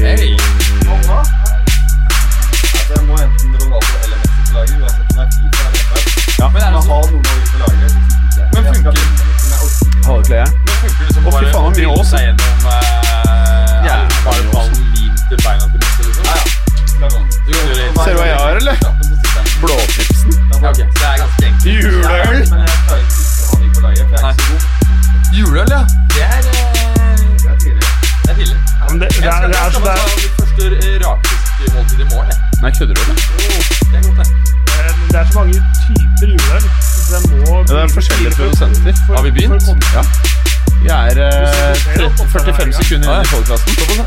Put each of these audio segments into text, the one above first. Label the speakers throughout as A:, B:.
A: Hey.
B: Altså, eh, liksom? Ser du hva jeg har, eller? Blåflipsen. Juleøl. Juleøl, ja. eh,
C: Men det, det, er, det, er, så det, er,
B: eh, Nei, kødder du, eller?
C: det er så mange typer juleøl. så jeg må
B: Det er forskjellige produsenter. Har vi begynt? Ja. Vi er eh, 30, 45 sekunder inn i podkasten.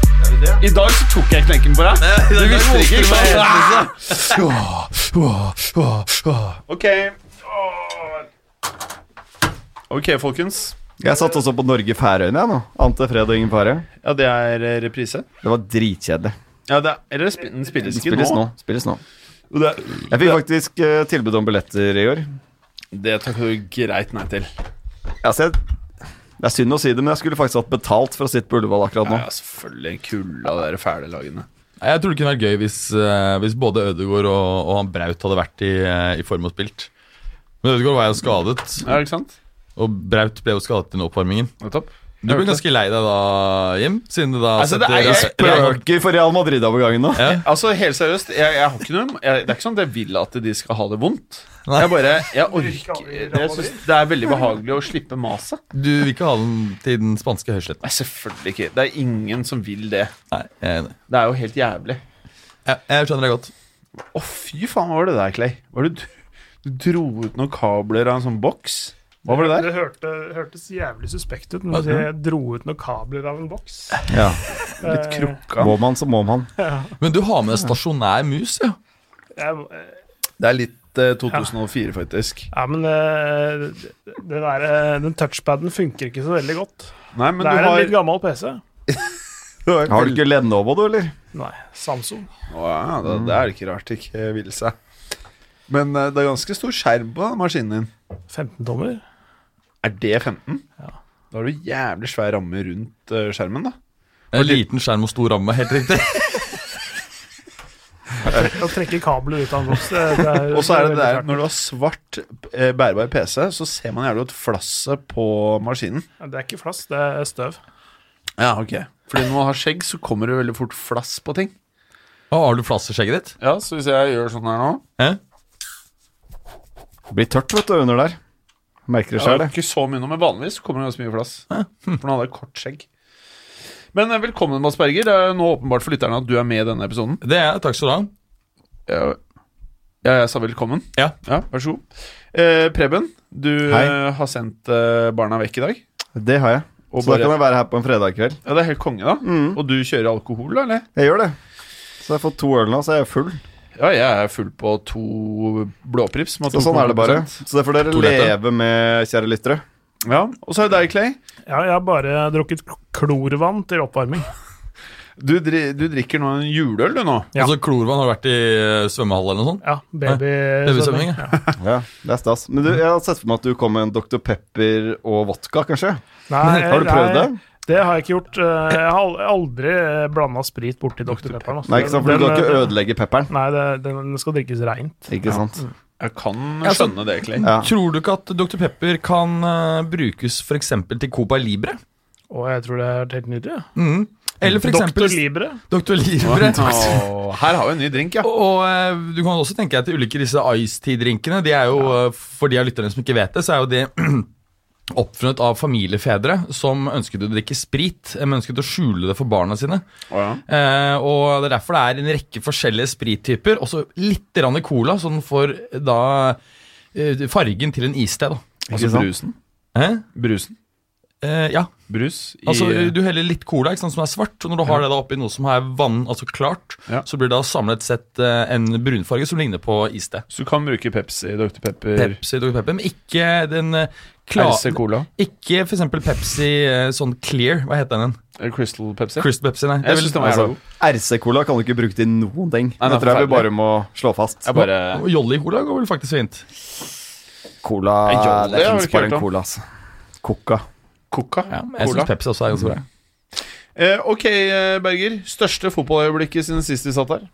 B: I dag så tok jeg knekken på deg. Du liksom. visste ikke, Ah! ikke sant? Ok. Ok, folkens.
D: Jeg satt også på Norge-Færøyene jeg nå. Ante fred og ingen fare.
B: Ja, det er eh, reprise.
D: Det var dritkjedelig.
B: Ja, det er, eller sp den spilles ikke
D: Spilles nå.
B: nå.
D: Spilles nå.
B: Og Det,
D: Jeg fikk faktisk eh, tilbud om billetter i år.
B: det takker du greit nei til.
D: Altså, jeg, det er synd å si det, men jeg skulle faktisk hatt betalt for å sitte på Ullevål akkurat nå.
B: Ja, selvfølgelig. Kulda av de fæle lagene.
E: Nei, Jeg tror det kunne vært gøy hvis, eh, hvis både Ødegaard og, og han Braut hadde vært i, eh, i form og spilt. Men Ødegaard var jo skadet,
B: Ja, ikke sant?
E: og Braut ble jo skadet under oppvarmingen.
B: Nettopp.
E: Du ble ganske lei deg da, Jim? Siden du da
B: Altså, det er-
E: setter-
D: Spøker for Real Madrid-overgangen nå.
E: Ja.
B: Altså, helt seriøst, jeg, jeg har ikke noe jeg, Det er ikke sånn at jeg vil at de skal ha det vondt. Jeg bare Jeg orker jeg synes Det er veldig behagelig å slippe maset.
E: Du vil ikke ha den til den spanske høysletten?
B: Nei, selvfølgelig ikke. Det er ingen som vil det.
E: Nei, jeg er enig.
B: Det er jo helt jævlig.
E: Jeg, jeg skjønner deg godt.
B: Å, fy faen, hva var det der, Clay? Var det du, du dro ut noen kabler av en sånn boks? Hva var det der?
C: Det hørte, hørtes jævlig suspekt ut når du sier jeg dro ut noen kabler av en boks. Eh,
D: Ja.
B: Litt krukka.
D: Må man, så må man.
E: Men du har med deg stasjonær mus, ja.
C: Jeg, eh,
B: Det er litt eh, 2004, faktisk.
C: ja, men eh, det der, eh, den touchpaden funker ikke så veldig godt.
B: Nei, men
C: det
B: du
C: er en
B: har,
C: litt gammel PC.
D: Har du ikke Lenovo, du, eller?
C: Nei, Samsung.
B: Å, ja, da, det er ikke rart det ikke vil seg. Men eh, det er ganske stor skjerm på den maskinen din.
C: 15 tommer.
B: Er det 15? Da har du jævlig svær ramme rundt eh, skjermen, da.
E: En liten skjerm og stor ramme, helt riktig.
C: Å trekke kabler ut av en boks, det, det er
B: Og så er det
C: veldig
B: der,
C: fælt.
B: når du har svart eh, bærbar PC, så ser man jævlig godt flasset på maskinen.
C: Ja, Det er ikke flass, det er støv.
B: Ja, ok. Fordi når man har skjegg, så kommer det veldig fort flass på ting.
E: Å, har du plass i skjegget ditt?
B: Ja, så hvis jeg gjør sånn her nå
E: Eh?
D: Blir tørt, vet du, under der. Merker det
B: Jeg
D: sjøl,
B: har
D: det. Hm.
B: ikke så mye nå, men vanligvis kommer det ganske mye flass. For nå hadde jeg kort skjegg. Men eh, velkommen, Mads Berger. Det er nå åpenbart for lytterne at du er med i denne episoden.
E: Det er jeg. Takk skal du ha.
B: Ja, ja jeg sa velkommen.
E: Ja.
B: Vær så god. Eh, Preben, du
D: Hei.
B: eh, har sendt eh, barna vekk i dag.
D: Det har jeg.
B: Og
D: Så da
B: bare-
D: kan jeg være her på en fredag kveld.
B: Ja, Det er helt konge, da.
D: Mm.
B: Og du kjører alkohol, da, eller?
D: Jeg gjør det. Så jeg har fått to øl nå, så jeg er full.
B: Ja, jeg er full på to blåprips. med
D: Så sånn er det bare.
B: 2,5%.
D: Så det får dere
E: Toalettet.
D: leve med, kjære lyttere.
B: Ja, Og så er det deg, Clay.
C: Ja, jeg har bare drukket klorvann til oppvarming.
B: Du, dri du drikker nå en juleøl, du nå.
C: Ja.
E: Altså, Klorvann har vært i eh, svømmehall eller noe sånt?
C: Ja, baby...
E: Babysvømming,
C: ja.
D: Ja, det er stas. Men du, jeg har sett for meg at du kom med en Dr. Pepper og vodka, kanskje?
C: Nei,
D: Har du prøvd det?
C: nei, Det har jeg ikke gjort. Eh, Jeg har al- aldri blanda sprit borti altså. Dr. Pepper.
D: Nei, ikke sant, for du kan
B: eh,
D: ikke ødelegge pepperen.
C: eh, Nei, det, den skal drikkes reint.
D: Ikke sant?
B: Jeg kan
E: Ja, så-
B: skjønne det, Clay.
D: Ja.
E: Tror du ikke at Dr. Pepper kan eh, brukes f.eks. til Copa Libre?
C: Og jeg tror det er helt nydelig. ja.
E: Mm. Eller f.eks.
C: Dr. Libre.
E: Dr. Libre.
B: Åh, her har vi en ny drink, ja.
E: Og eh, du kan også tenke deg til ulike disse ice tea-drinkene. De er jo, eh, For de av lytterne som ikke vet det, så er jo de oppfunnet av familiefedre som ønsket å drikke sprit, eh, men ønsket å skjule det for barna sine.
B: Å, ja.
E: Eh, og Det er derfor det er en rekke forskjellige sprittyper, også litt grann cola, så den får da eh, fargen til en iste. da.
B: Altså
D: sant?
B: brusen.
E: Hæ?
B: Brusen.
E: Eh, ja.
B: Brus i
E: Altså, Du heller litt cola ikke sant, som er svart, og når du har det da oppi noe som er vann, altså klart,
B: Ja.
E: så blir det da samlet sett eh, en brunfarge som ligner på iste.
B: Så du kan bruke Pepsi, Dr. Pepper,
E: Pepsi Dr. Pepper, men ikke den eh, kla-
B: RC Cola,
E: Ikke for eksempel Pepsi eh, sånn clear, hva heter den?
B: eh, Crystal Pepsi.
E: Crystal Pepsi, nei.
B: Jeg synes den altså var jævla
E: altså,
B: god.
D: RC-cola kan du ikke bruke til noen ting.
B: Nei, det er
D: Det tror jeg vi
B: forferdelig.
D: bare må slå fast.
B: Jeg bare
E: Og Jolly Cola går vel faktisk fint.
D: Cola
B: Jolle,
D: Det
B: har du
D: fins
B: ikke
D: bare
B: hørt
D: en
B: om?
D: cola, altså. Coca.
B: Coca.
E: Ja, men jeg
B: Cola. Mm.
E: syns Pepsi også er ganske bra.
B: Eh, ok, eh, Berger. Største fotballøyeblikket siden sist vi satt her?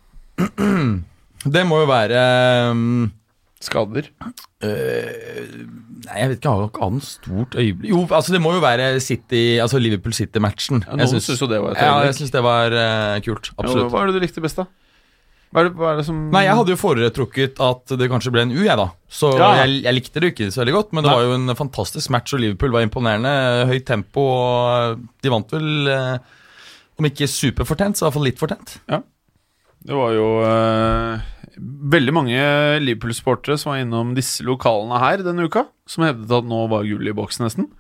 E: Det må jo være ehm,
B: Skader.
E: Eh, Nei, jeg vet ikke, jeg har jo ikke annet stort øyeblikk Jo, altså det må jo være City, altså Liverpool City-matchen.
B: Ja, noen synes jo det var et
E: ja, jeg
B: øyeblikk.
E: syns det var eh, kult.
B: Ja,
E: Absolutt.
B: hva er det du likte best, da? Hva er det, hva er det som
E: Nei, jeg hadde jo foretrukket at det kanskje ble en U, jeg, da. Så
B: Ja.
E: jeg, jeg likte det jo ikke så veldig godt, men det var jo en fantastisk match, og Liverpool var imponerende. Høyt tempo, og de vant vel eh, Om ikke superfortjent, så i hvert fall litt fortjent.
B: Det var jo eh, veldig mange Liverpool-sportere som var innom disse lokalene her denne uka, som hevdet at nå var gullet i boksen, nesten.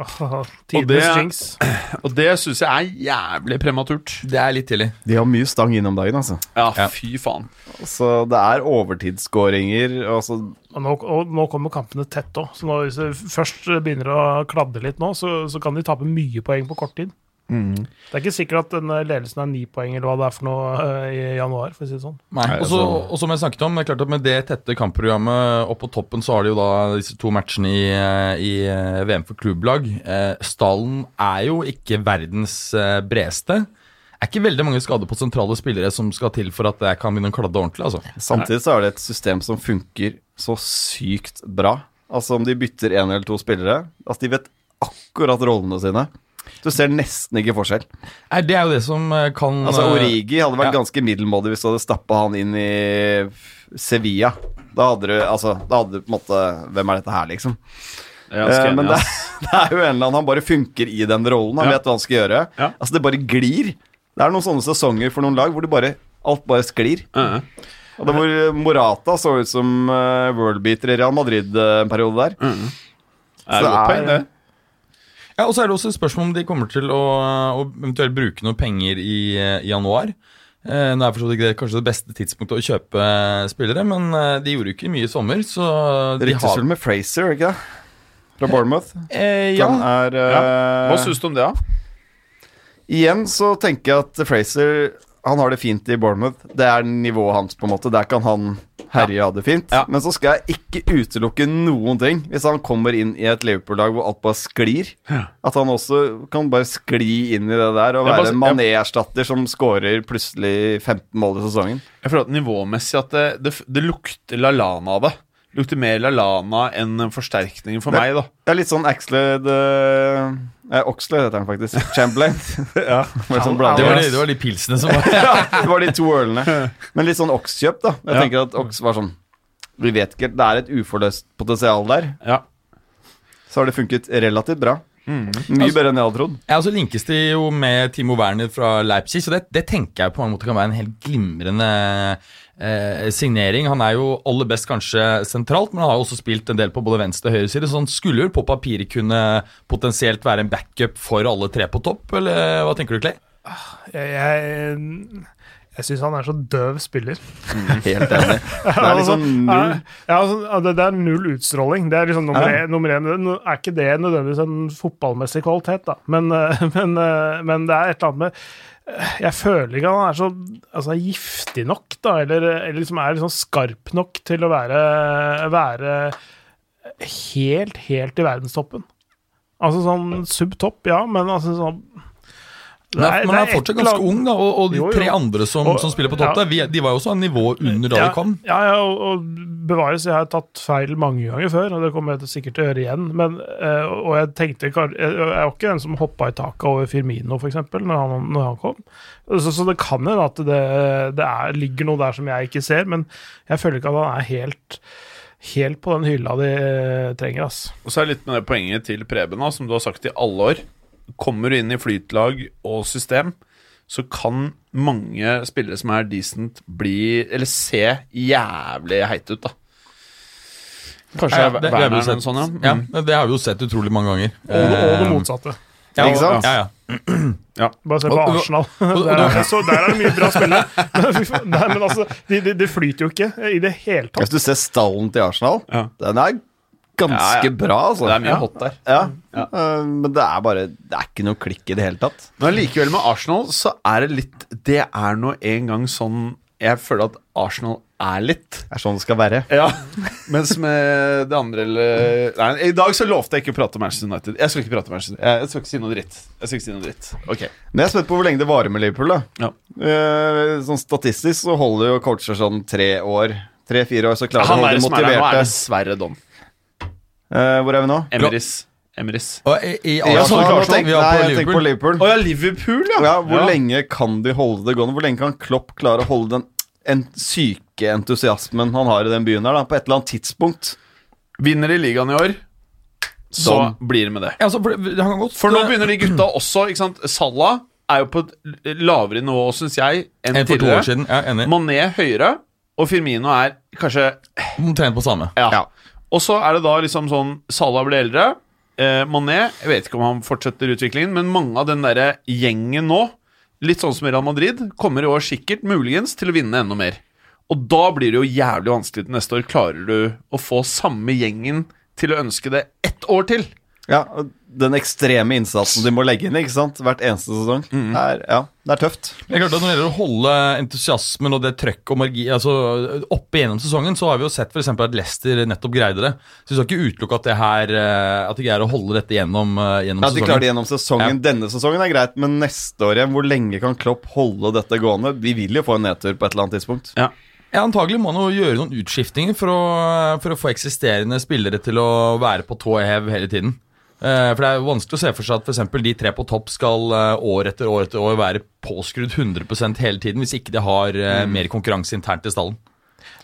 C: Åh,
B: Og det-
C: Tidenes jinx.
B: Og det syns jeg er jævlig prematurt.
E: Det er litt tidlig.
D: De har mye stang innom dagen, altså.
B: Ja,
E: Ja.
B: fy faen.
D: Så det er overtidsskåringer. og så-
C: Og nå, og nå kommer kampene tett òg, så nå, hvis det først begynner å kladde litt nå, så, så kan de tape mye poeng på kort tid.
D: Mm.
C: Det er ikke sikkert at denne ledelsen er ni poeng eller hva det er for noe eh, i januar, for å si det sånn.
E: Nei, og så-
D: altså-
E: og som jeg snakket om, det er klart at med det tette kampprogrammet opp på toppen, så har de jo da disse to matchene i, eh, i eh, VM for klubblag. Eh, Stallen er jo ikke verdens eh, bredeste. Det er ikke veldig mange skader på sentrale spillere som skal til for at jeg kan begynne å kladde ordentlig. altså.
D: Samtidig så er det et system som funker så sykt bra. Altså om de bytter én eller to spillere. Altså de vet akkurat rollene sine. Du ser nesten ikke forskjell.
E: Nei, Det er jo det som eh, kan
D: Altså
E: eh,
D: Origi hadde vært
E: ja.
D: ganske middelmådig hvis du hadde stappa han inn i Sevilla. Da hadde du altså, da hadde du på en måte Hvem er dette her, liksom? Eh, men det, det er jo en eller annen Han bare funker i den rollen. Han
B: Ja.
D: vet hva han skal gjøre.
B: Ja.
D: Altså, det bare glir. Det er noen sånne sesonger for noen lag hvor det bare, alt bare sklir.
B: Ja.
D: Og det hvor eh, Morata så ut som eh, worldbeater i Real Madrid eh, en periode der.
B: er det godt
D: Så
B: poeng, det?
E: Ja, og så er det også et spørsmål om de kommer til å, eh, å eventuelt bruke noen penger i, i januar. Eh, nå er forstått ikke det kanskje det beste tidspunktet å kjøpe spillere, men eh, de gjorde jo ikke mye i sommer, så de
D: Ryktes vel med Fraser, ikke det? Fra Bournemouth.
E: eh, ja.
D: Han er eh,
B: Hva syns du om det, da?
D: Igjen så tenker jeg at Fraser han har det fint i Bournemouth. Det er nivået hans, på en måte. Der kan han herje og ha det fint.
B: Ja.
D: Men så skal jeg ikke utelukke noen ting hvis han kommer inn i et Liverpool-lag hvor alt bare sklir. At han også kan bare skli inn i det der og
B: Jeg bare-
D: være en mané-erstatter som scorer plutselig 15 mål i sesongen.
B: Jeg føler at nivåmessig at det, det, det lukter LaLana av det. Det Lukter mer LaLana enn en forsterkning for
D: Nei.
B: meg, da.
D: Det er litt sånn Axlade eh, Oxlade heter han faktisk. Chamberlain. ja. Med sånn
E: Det
D: blanding.
E: var, de, det var de pilsene som var
D: Det var de to ølene. Men litt sånn okskjøp, da. Jeg
B: Ja.
D: tenker at oks var sånn Vi vet ikke, det er et uforløst potensial der.
B: Ja.
D: Så har det funket relativt bra.
B: Mm.
D: Mye bedre enn jeg hadde trodd.
E: Ja, og så linkes de jo med Timo Werner fra Leipzig, så det, det tenker jeg på mange måter kan være en helt glimrende eh, signering. Han er jo aller best kanskje sentralt, men han har jo også spilt en del på både venstre og høyre side, så han skulle jo på papiret kunne potensielt være en backup for alle tre på topp, eller hva tenker du, Clay?
C: Jeg, jeg, jeg syns han er så døv spiller.
D: Helt enig. Det er liksom null
C: Ja, ja, altså, det, det er null utstråling. Det er liksom nummer, en, nummer en. Nå Er ikke det nødvendigvis en fotballmessig kvalitet, da? Men, eh, men, eh, men det er et eller annet med eh, Jeg føler ikke han er så altså, er giftig nok, da, eller, eller liksom er liksom skarp nok til å være, være helt, helt i verdenstoppen. Altså sånn subtopp, ja, men altså sånn
E: Men
C: Nei,
E: han er
C: det er
E: fortsatt
C: et eller
E: ganske ung, da, og, og de
C: Jo, jo.
E: tre andre som,
C: Og-
E: som spiller på topp
C: ja.
E: der, vi, de var jo også en nivå under da
C: ja,
E: de kom.
C: Ja, ja og, og bevares, jeg har tatt feil mange ganger før, og det kommer jeg til sikkert til å gjøre igjen. Men, eh, og jeg tenkte, kar- jeg jeg er jo ikke den som hoppa i taket over Firmino, f.eks., når, han- når han kom. Så, så det kan hende at det, det er, ligger noe der som jeg ikke ser, men jeg føler ikke at han er helt, helt på den hylla de eh, trenger, ass.
B: Og så er det litt med det poenget til Preben, da, som du har sagt i alle år. Kommer du inn i flytlag og system, så kan mange spillere som er decent, bli Eller se jævlig heite ut, da. Kanskje
E: Ja,
B: ja,
E: det- det har vi
B: Werner
E: jo
B: eller
E: sett.
B: noe sånt, ja. Mm.
E: Ja, det har vi jo sett utrolig mange ganger.
C: Og, og det
E: Eh,
C: motsatte.
E: ja,
D: Ikke sant?
E: Ja, ja.
C: Bare se på
E: Og- og-
C: Arsenal.
E: og-
C: Der er, det- så, der er det mye bra spillere. Men fy faen, Nei, men altså, de, de, de flyter jo ikke i det hele tatt.
D: Hvis du ser stallen til Arsenal,
B: Ja.
D: den er ganske
B: Ja, ja.
D: bra, altså.
B: Det er mye hot der.
D: Ja. Eh, men det er bare Det er ikke noe klikk i det hele tatt.
B: Men likevel med Arsenal så er det litt Det er nå en gang sånn Jeg føler at Arsenal er litt
D: Det er sånn det skal være.
B: Ja, mens med det andre eller Nei, i dag så lovte jeg ikke å prate om Manchester United. Jeg skal ikke prate om Manchester United. Jeg skal ikke si noe dritt. Jeg skal ikke si noe dritt. Ok.
D: Men jeg er spent på hvor lenge det varer med Liverpool. da
B: Ja.
D: Eh, Sånn Statistisk så holder jo coacher sånn tre år. Tre-fire år, så klarer de å
B: Han
D: holde
B: er
D: de
B: som er her nå, er
D: motiverte.
B: dessverre Don.
D: Eh, hvor er vi nå?
B: Emrys. Emrys.
E: Og i, i
D: Ja,
E: Arsenal,
D: sånn,
E: Arsenal,
D: tenk-
E: vi var
D: nei,
E: på
D: jeg tenker på
E: Liverpool.
D: Liverpool.
B: Å ja, Liverpool, ja!
D: Ja, hvor lenge kan de holde det gående? Hvor lenge kan Klopp klare å holde den en syke entusiasmen han har i den byen her, da, på et eller annet tidspunkt?
B: Vinner de ligaen i år, så blir det med det.
E: Ja, altså, for, det har gått,
B: For nå begynner de gutta også, ikke sant. Salah er jo på et lavere nivå, syns jeg, enn
E: en for to år
B: tidligere.
E: siden. Ja, enig.
B: Mané høyere, og Firmino er kanskje
E: Omtrent på samme.
B: Ja. Og så er det da liksom sånn Salah blir eldre. Eh, Mané Jeg vet ikke om han fortsetter utviklingen, men mange av den derre gjengen nå, litt sånn som i Real Madrid, kommer i år sikkert, muligens, til å vinne enda mer. Og da blir det jo jævlig vanskelig til neste år. Klarer du å få samme gjengen til å ønske det ett år til?
D: Ja, og Den ekstreme innsatsen de må legge inn ikke sant? hvert eneste sesong. Det, er, ja, det er tøft.
E: Det er klart at Når det gjelder å holde entusiasmen og det trøkket og margi, altså oppe gjennom sesongen, så har vi jo sett for eksempel at Leicester nettopp greide det. Så vi skal ikke utelukke at det her eh, At de greier å holde dette gjennom, eh, gjennom
D: Ja, De klarer det
E: sesongen.
D: gjennom sesongen. Denne sesongen er greit, men neste år igjen, hvor lenge kan Klopp holde dette gående? Vi vil jo få en nedtur på et eller annet tidspunkt.
E: Ja, antagelig må han jo gjøre noen utskiftinger for å, for å få eksisterende spillere til å være på tå hev hele tiden. Eh, For det er jo vanskelig å se for seg at for eksempel de tre på topp skal eh, år etter år etter år være påskrudd 100 hele tiden, hvis ikke de har eh, mer konkurranse internt i stallen.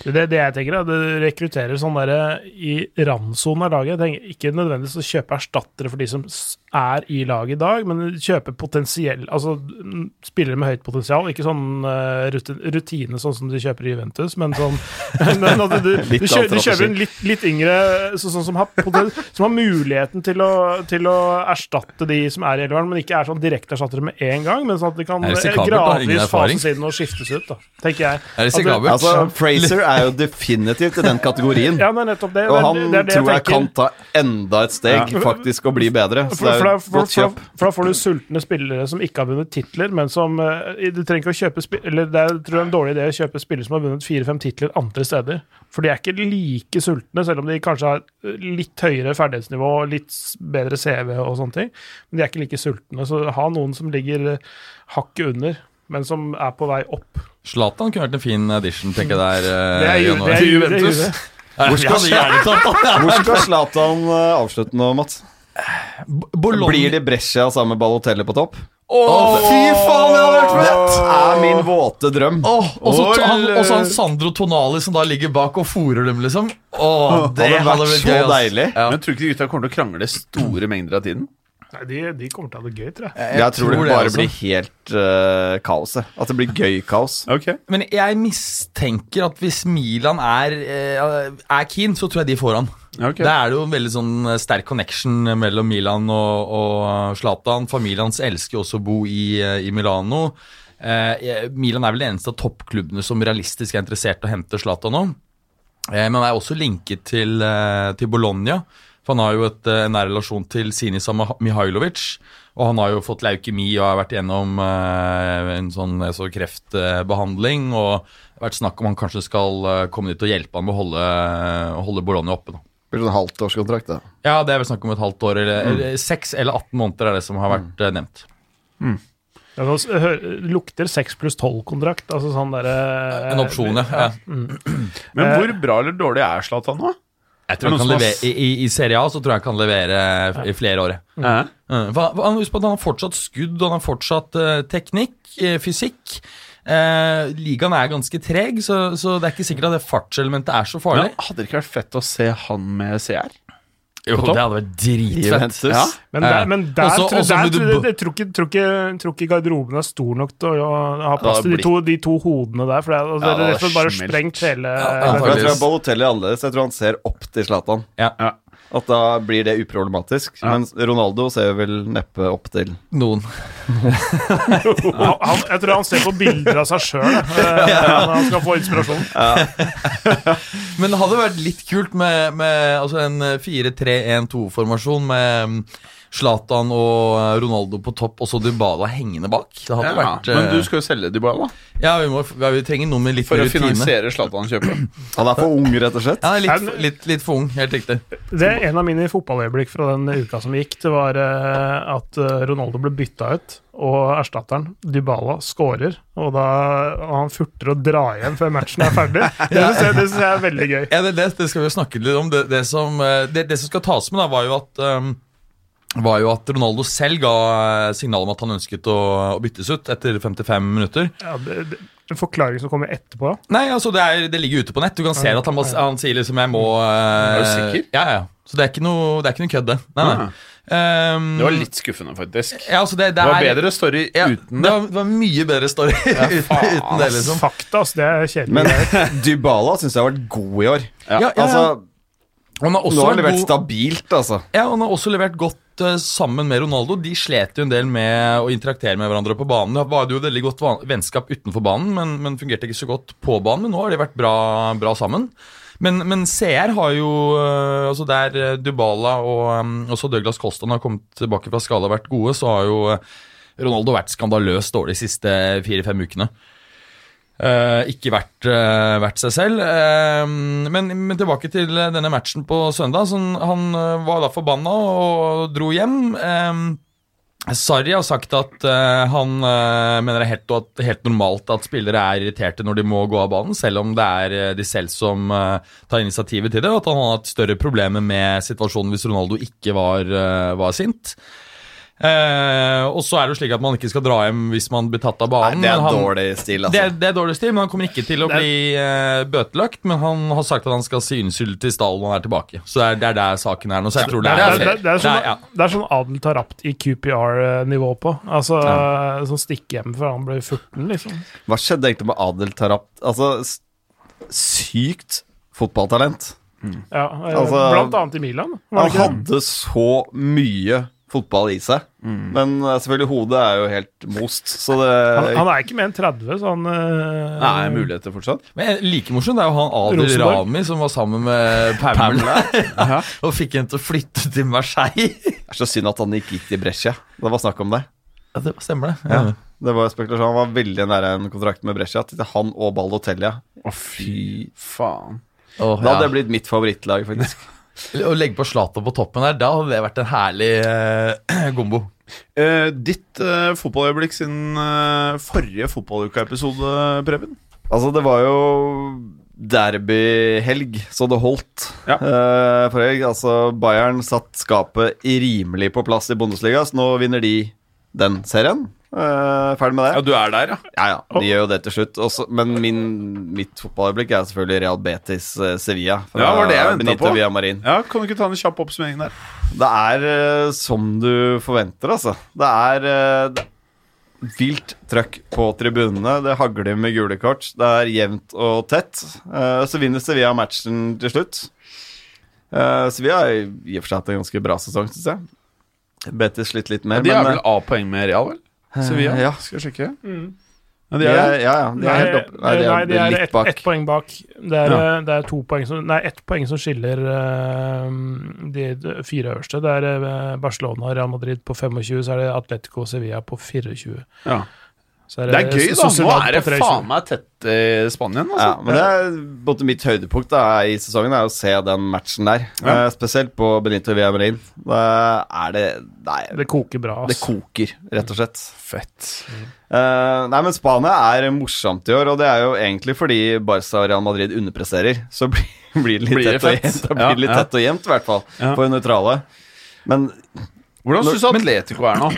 C: Det, det jeg tenker er at Du rekrutterer sånn der i randsonen av laget. Jeg tenker Ikke nødvendigvis å kjøpe erstattere for de som s- er i laget i dag, men kjøpe potensiell Altså mm, spillere med høyt potensial. Ikke sånn eh, rutin, rutine sånn som de kjøper i Juventus, men sånn men at du, du, kjøper, du
D: Litt antropologi.
C: kjøper en litt, litt yngre så, sånn som har, poten, som har muligheten til å, til å erstatte de som er i elveren, men ikke er sånn direkte erstattere med en gang, men sånn at de kan
E: Er
C: eh,
E: det risikabelt å ha ingen
C: gradvis
E: erfaring?
C: fases inn og skiftes ut, da, tenker jeg.
E: Er det
C: At du-
E: risikabelt?
D: Altså, Fraser er jo definitivt i den kategorien.
C: ja, det er nettopp det.
D: Og
C: Eh, Det er-
D: han
C: det er det
D: tror jeg
C: tenker.
D: kan ta enda et steg, faktisk, og bli bedre.
C: for,
D: Så det
C: for, da-
D: er jo
C: for,
D: godt kjøp.
C: for, for da får du sultne spillere som ikke har vunnet titler, men som eh, Du trenger ikke å kjøpe spi- Eller det er, tror jeg er en dårlig idé å kjøpe spillere som har vunnet fire-fem titler andre steder. For de er ikke like sultne, selv om de kanskje har eh, litt høyere ferdighetsnivå og litt s- bedre CV og sånne ting. Men de er ikke like sultne. Så ha noen som ligger eh, hakket under, men som er på vei opp.
E: Zlatan kunne vært en fin addition, tenker jeg der. eh,
C: Det er,
E: i
C: ju-
E: januar.
C: det er, ju- det er,
B: Juventus.
C: det
E: Hvor skal han gjerne ta
D: Hvor skal Zlatan eh, avslutte nå, Mats? Blir
E: Bologna
D: det Brescia sammen med Balotelli på topp?
E: Fy faen, det hadde vært
D: Det er min våte drøm.
E: Og så han, også han Sandro Tonali som da ligger bak og fòrer dem, liksom. Åh, det
D: hadde vært
E: hadde vært
D: så
E: gøy, ass.
D: deilig.
E: Ja.
B: Men tror du ikke de gutta kommer til å krangle store mengder av tiden?
C: Nei, de, de kommer til å ha det gøy, tror jeg.
D: Jeg, tror,
E: tror
D: det
E: det
D: bare
E: også.
D: blir helt eh, kaoset. At det blir gøy kaos.
B: Ok
E: Men jeg mistenker at hvis Milan er, eh, er keen, så tror jeg de får han.
B: Ok.
E: Da er det jo en veldig sånn eh, sterk connection mellom Milan og, og Zlatan. Familien hans elsker jo også å bo i, eh, i Milano. Eh, jeg- Milan er vel det eneste av toppklubbene som realistisk er interessert i å hente Zlatan nå. Eh, men han er også linket til, eh, til Bologna. For han har jo et, eh, en nær relasjon til Sinisa Mih- Mihailovic. Og han har jo fått leukemi og har vært gjennom eh, en sånn eh, så kreftbehandling. Og det har vært snakk om han kanskje skal eh, komme dit og hjelpe han med å holde, eh, holde Bologna oppe. da.
D: Det blir sånn halvtårskontrakt, da.
E: Ja, det er vel snakk om et halvt år, eller eller seks eller 18 måneder er det som har vært eh, nevnt.
C: Ja, nå s- hø- lukter 6 pluss 12-kontrakt. Altså sånn derre
E: Eh, En opsjon, ja. ja.
B: Men hvor bra eller dårlig er Zlatan nå?
E: Jeg tror
B: Men
E: han kan
B: også-
E: levere, i, i, I Serie A så tror jeg han kan levere f- i flere år. ja.
B: Eh?
E: Mm, for han- for han- Husk på at han har fortsatt skudd, og han har fortsatt eh, teknikk, eh, fysikk. Eh, ligaen er ganske treg, så, så det er ikke sikkert at det fartselementet er så farlig.
B: Men hadde det ikke vært fett å se han med CR?
E: Jo, det hadde vært dritfett.
D: Juventus. Ja.
C: Men der, men der,
E: Også-
C: tror-
E: også
C: der
E: med
C: tror
E: du
C: jeg-
E: bu-
C: jeg tror ikke- tror ikke- tror ikke garderoben er stor nok til å, å ha plass til de to, de to hodene der. For det, er- altså, det er rett og slett bare
B: smelt.
C: sprengt hele
E: ja,
D: Men jeg tror
E: Faktisk.
D: Balotelli er annerledes. Jeg tror han ser opp til Zlatan.
E: Ja.
D: At da blir det uproblematisk. Mens Ronaldo ser vel neppe opp til
E: Noen.
C: han, han- Jeg tror han ser på bilder av seg sjøl når han skal få inspirasjon.
E: Men det hadde vært litt kult med, med altså en 4-3-1-2-formasjon med mm, Zlatan og eh, Ronaldo på topp, og så Dybala hengende bak. Det hadde
B: Ja,
E: vært eh,
B: men du skal jo selge Dybala
E: Ja, vi, må, ja, vi trenger noe med litt
B: for
E: mer
B: å
E: rutine.
B: finansiere Zlatan-kjøpet.
D: Han er for ung, rett og slett.
E: Ja, litt, litt, litt for ung, helt riktig.
C: Det er En av mine fotballøyeblikk fra den uka som gikk, det var eh, at eh, Ronaldo ble bytta ut, og erstatteren, Dybala, skårer. Og da og han furter å dra hjem før matchen er ferdig. Det syns jeg, det synes jeg er veldig gøy.
E: Ja, det, det, det skal vi jo snakke litt om. Det, det, som, eh, det, det som skal tas med, da, var jo at ehm, var jo at Ronaldo selv ga eh, signal om at han ønsket å, å byttes ut etter 55 minutter.
C: Ja, det, det, en forklaring som kommer etterpå.
E: Nei, altså det, er, det ligger ute på nett. Du kan se at han, må, han sier liksom 'jeg må' eh,
B: Er du sikker?
E: Ja, ja. Så det er ikke noe, det er ikke noe kødd, det. Nei, nei. Ehm,
B: Det var litt skuffende, faktisk.
E: ja, altså det, det
B: Det var
E: er-
B: bedre story
E: ja,
B: uten
E: det.
B: det.
E: Var, det var mye bedre story uten, uten det, liksom.
C: Fakta, altså. Det er kjedelig.
D: Men Dybala syns jeg har vært god i år.
E: Ja, ja, ja.
D: Altså,
E: han har også
D: nå har han
E: vært
D: levert
E: god-
D: stabilt, altså.
E: Ja, og han har også levert godt eh, sammen med Ronaldo. De slet jo en del med å interaktere med hverandre på banen. Det var jo veldig godt van- vennskap utenfor banen, men, men fungerte ikke så godt på banen. Men nå har de vært bra, bra sammen. Men, men CR har jo eh, altså Der eh, Dybala og eh, også Douglas Colston har kommet tilbake fra skala og vært gode, så har jo eh, Ronaldo vært skandaløst dårlig de siste fire-fem ukene. Eh, ikke vært, eh, vært seg selv. Eh, men, men tilbake til eh, denne matchen på søndag. Så han- han eh, var da forbanna og dro hjem. Eh, Sarri har sagt at eh, han eh, mener det er helt, at, helt normalt at spillere er irriterte når de må gå av banen, selv om det er eh, de selv som eh, tar initiativet til det. Og at han har hatt større problemer med situasjonen hvis Ronaldo ikke var, eh, var sint. Eh, og så er det jo slik at man ikke skal dra hjem hvis man blir tatt av banen.
D: Det er
E: men han,
D: dårlig stil,
E: det
D: altså.
E: er, det er dårlig stil, men han kommer ikke til å bli eh, bøtelagt. Men han har sagt at han skal si unnskyld til stallen når han er tilbake. Så det er, det er der saken er nå. Så jeg tror det
C: det,
E: er
C: er, det, er, det, er
E: det er- ja.
C: sånn, det er sånn Adel Tarapt i QPR-nivå på. Altså Sånn stikke hjem før han ble 14, liksom.
D: Hva skjedde egentlig med Adel Tarap? Altså, s- sykt fotballtalent.
C: Ja, eh,
D: Altså-
C: blant annet i Milan. Var det
D: Han
C: ikke det?
D: hadde så mye fotball i seg. Men eh, selvfølgelig, hodet er jo helt most, så det
C: Han, han er ikke mer enn 30, så han eh,
B: Nei, muligheter fortsatt.
E: Men like morsomt er jo han Adil
C: Rosenborg.
E: Rami som var sammen med Pamela. og fikk henne til å flytte til Marseille.
D: er så synd at han ikke gikk til Brescia. Det var snakk om det.
E: ja, det stemmer, det. Ja.
D: Det var spekulasjon. Han var veldig nær en kontrakt med Brescia. Til han og Ballotellia.
B: Å, fy faen.
E: Åh,
D: Da hadde
E: ja.
D: det blitt mitt favorittlag, faktisk.
E: Å legge på Zlatan på toppen der, da hadde det vært en herlig eh, gombo.
B: Eh, ditt eh, fotballøyeblikk siden eh, forrige fotballuka-episode, Eh, Preben?
D: Altså, det var jo derbyhelg, så det holdt.
B: Ja.
D: Eh, forrige helg, altså, Bayern satt skapet rimelig på plass i Bundesliga, så nå vinner de den serien. Eh, ferdig med det.
B: du er der, ja.
D: Ja, ja, de gjør jo det til slutt. Også, men min, mitt fotballøyeblikk er selvfølgelig Real Betis eh, Sevilla. Eh, fra
B: Ja, var det jeg ventet
D: Benito
B: på.
D: Villamarin.
B: ja. Kan du ikke ta en kjapp oppsummering der?
D: Det er eh, som du forventer, altså. Det er eh, det- vilt trøkk på tribunene. Det hagler med gule kort. Det er jevnt og tett. Eh, så vinner Sevilla matchen til slutt. Eh, Sevilla har i og for seg hatt en ganske bra sesong, syns jeg. Betis slitt litt mer,
B: De er
D: men
B: vel A-poeng med Real, vel? Sevilla?
D: eh, ja.
B: eh, Skal jeg sjekke?
E: Mm.
B: Ja,
D: eh, de
B: de er
D: er,
B: det.
D: ja, ja, de er helt oppe. Nei, de er,
C: nei, de er
D: litt
C: ett
D: bak.
C: ett poeng altså. bak. Det er, eh, det er to poeng som Nei, ett poeng som skiller eh, de de fire øverste. Det er eh, Barcelona og Real Madrid på 25, så er det Atletico og Sevilla på 24.
B: Ja.
C: Så
B: Det er gøy, da. Nå
C: Sociedad
B: er det
C: på 23.
B: faen meg tett i Spanien. Altså.
D: Ja, men det er både mitt høydepunkt da, i sesongen er å se den matchen der. Eh, spesielt på Benito Villamarin. Da er det Nei,
C: Det koker bra.
D: det
C: ass.
D: koker, rett og slett.
B: Fett.
D: Eh, nei, men Spania er morsomt i år, og det er jo egentlig fordi Barca og Real Madrid underpresterer. Så blir, blir det litt
B: Blir det
D: tett og
B: fett?
D: jevnt, da
B: Ja,
D: blir det litt
B: ja.
D: tett og jevnt, i hvert fall,
B: Ja.
D: for nøytrale. Men
B: Hvordan syns du Atletico er nå?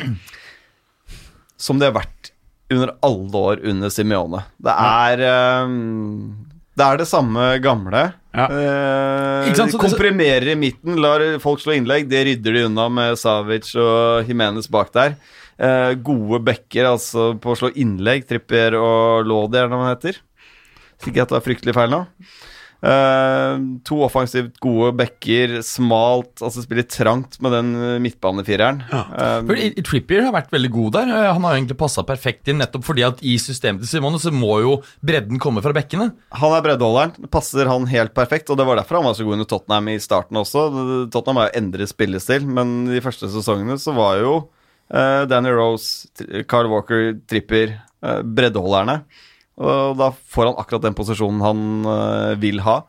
D: som det har vært under ehm, alle år under Simione. Det er eh, Det er det samme gamle.
B: Ja.
D: Eh,
E: Ikke sant, så det-
D: komprimerer i midten, lar folk slå innlegg. Det rydder de unna med Savic og Jimenez bak der. Eh, gode backer altså, på å slå innlegg, Trippier og Laudi, er det hva han heter. Hvis ikke jeg tar fryktelig feil nå. Eh, to offensivt gode backer, smalt Altså spiller trangt med den eh, midtbanefireren. Eh,
E: For I- I Trippier har vært veldig god der. Eh, Han har jo egentlig passa perfekt inn, nettopp fordi at i systemet til Simone så må jo bredden komme fra bekkene.
D: Han er breddeholderen. Det Passer han helt perfekt. Og det var derfor han var så god under Tottenham i starten også. Tottenham har jo endret spillestil, men de første sesongene så var jo eh, Danny Rose, Tr- Carl Walker, Tripper eh, breddeholderne. Og da får han akkurat den posisjonen han eh, vil ha.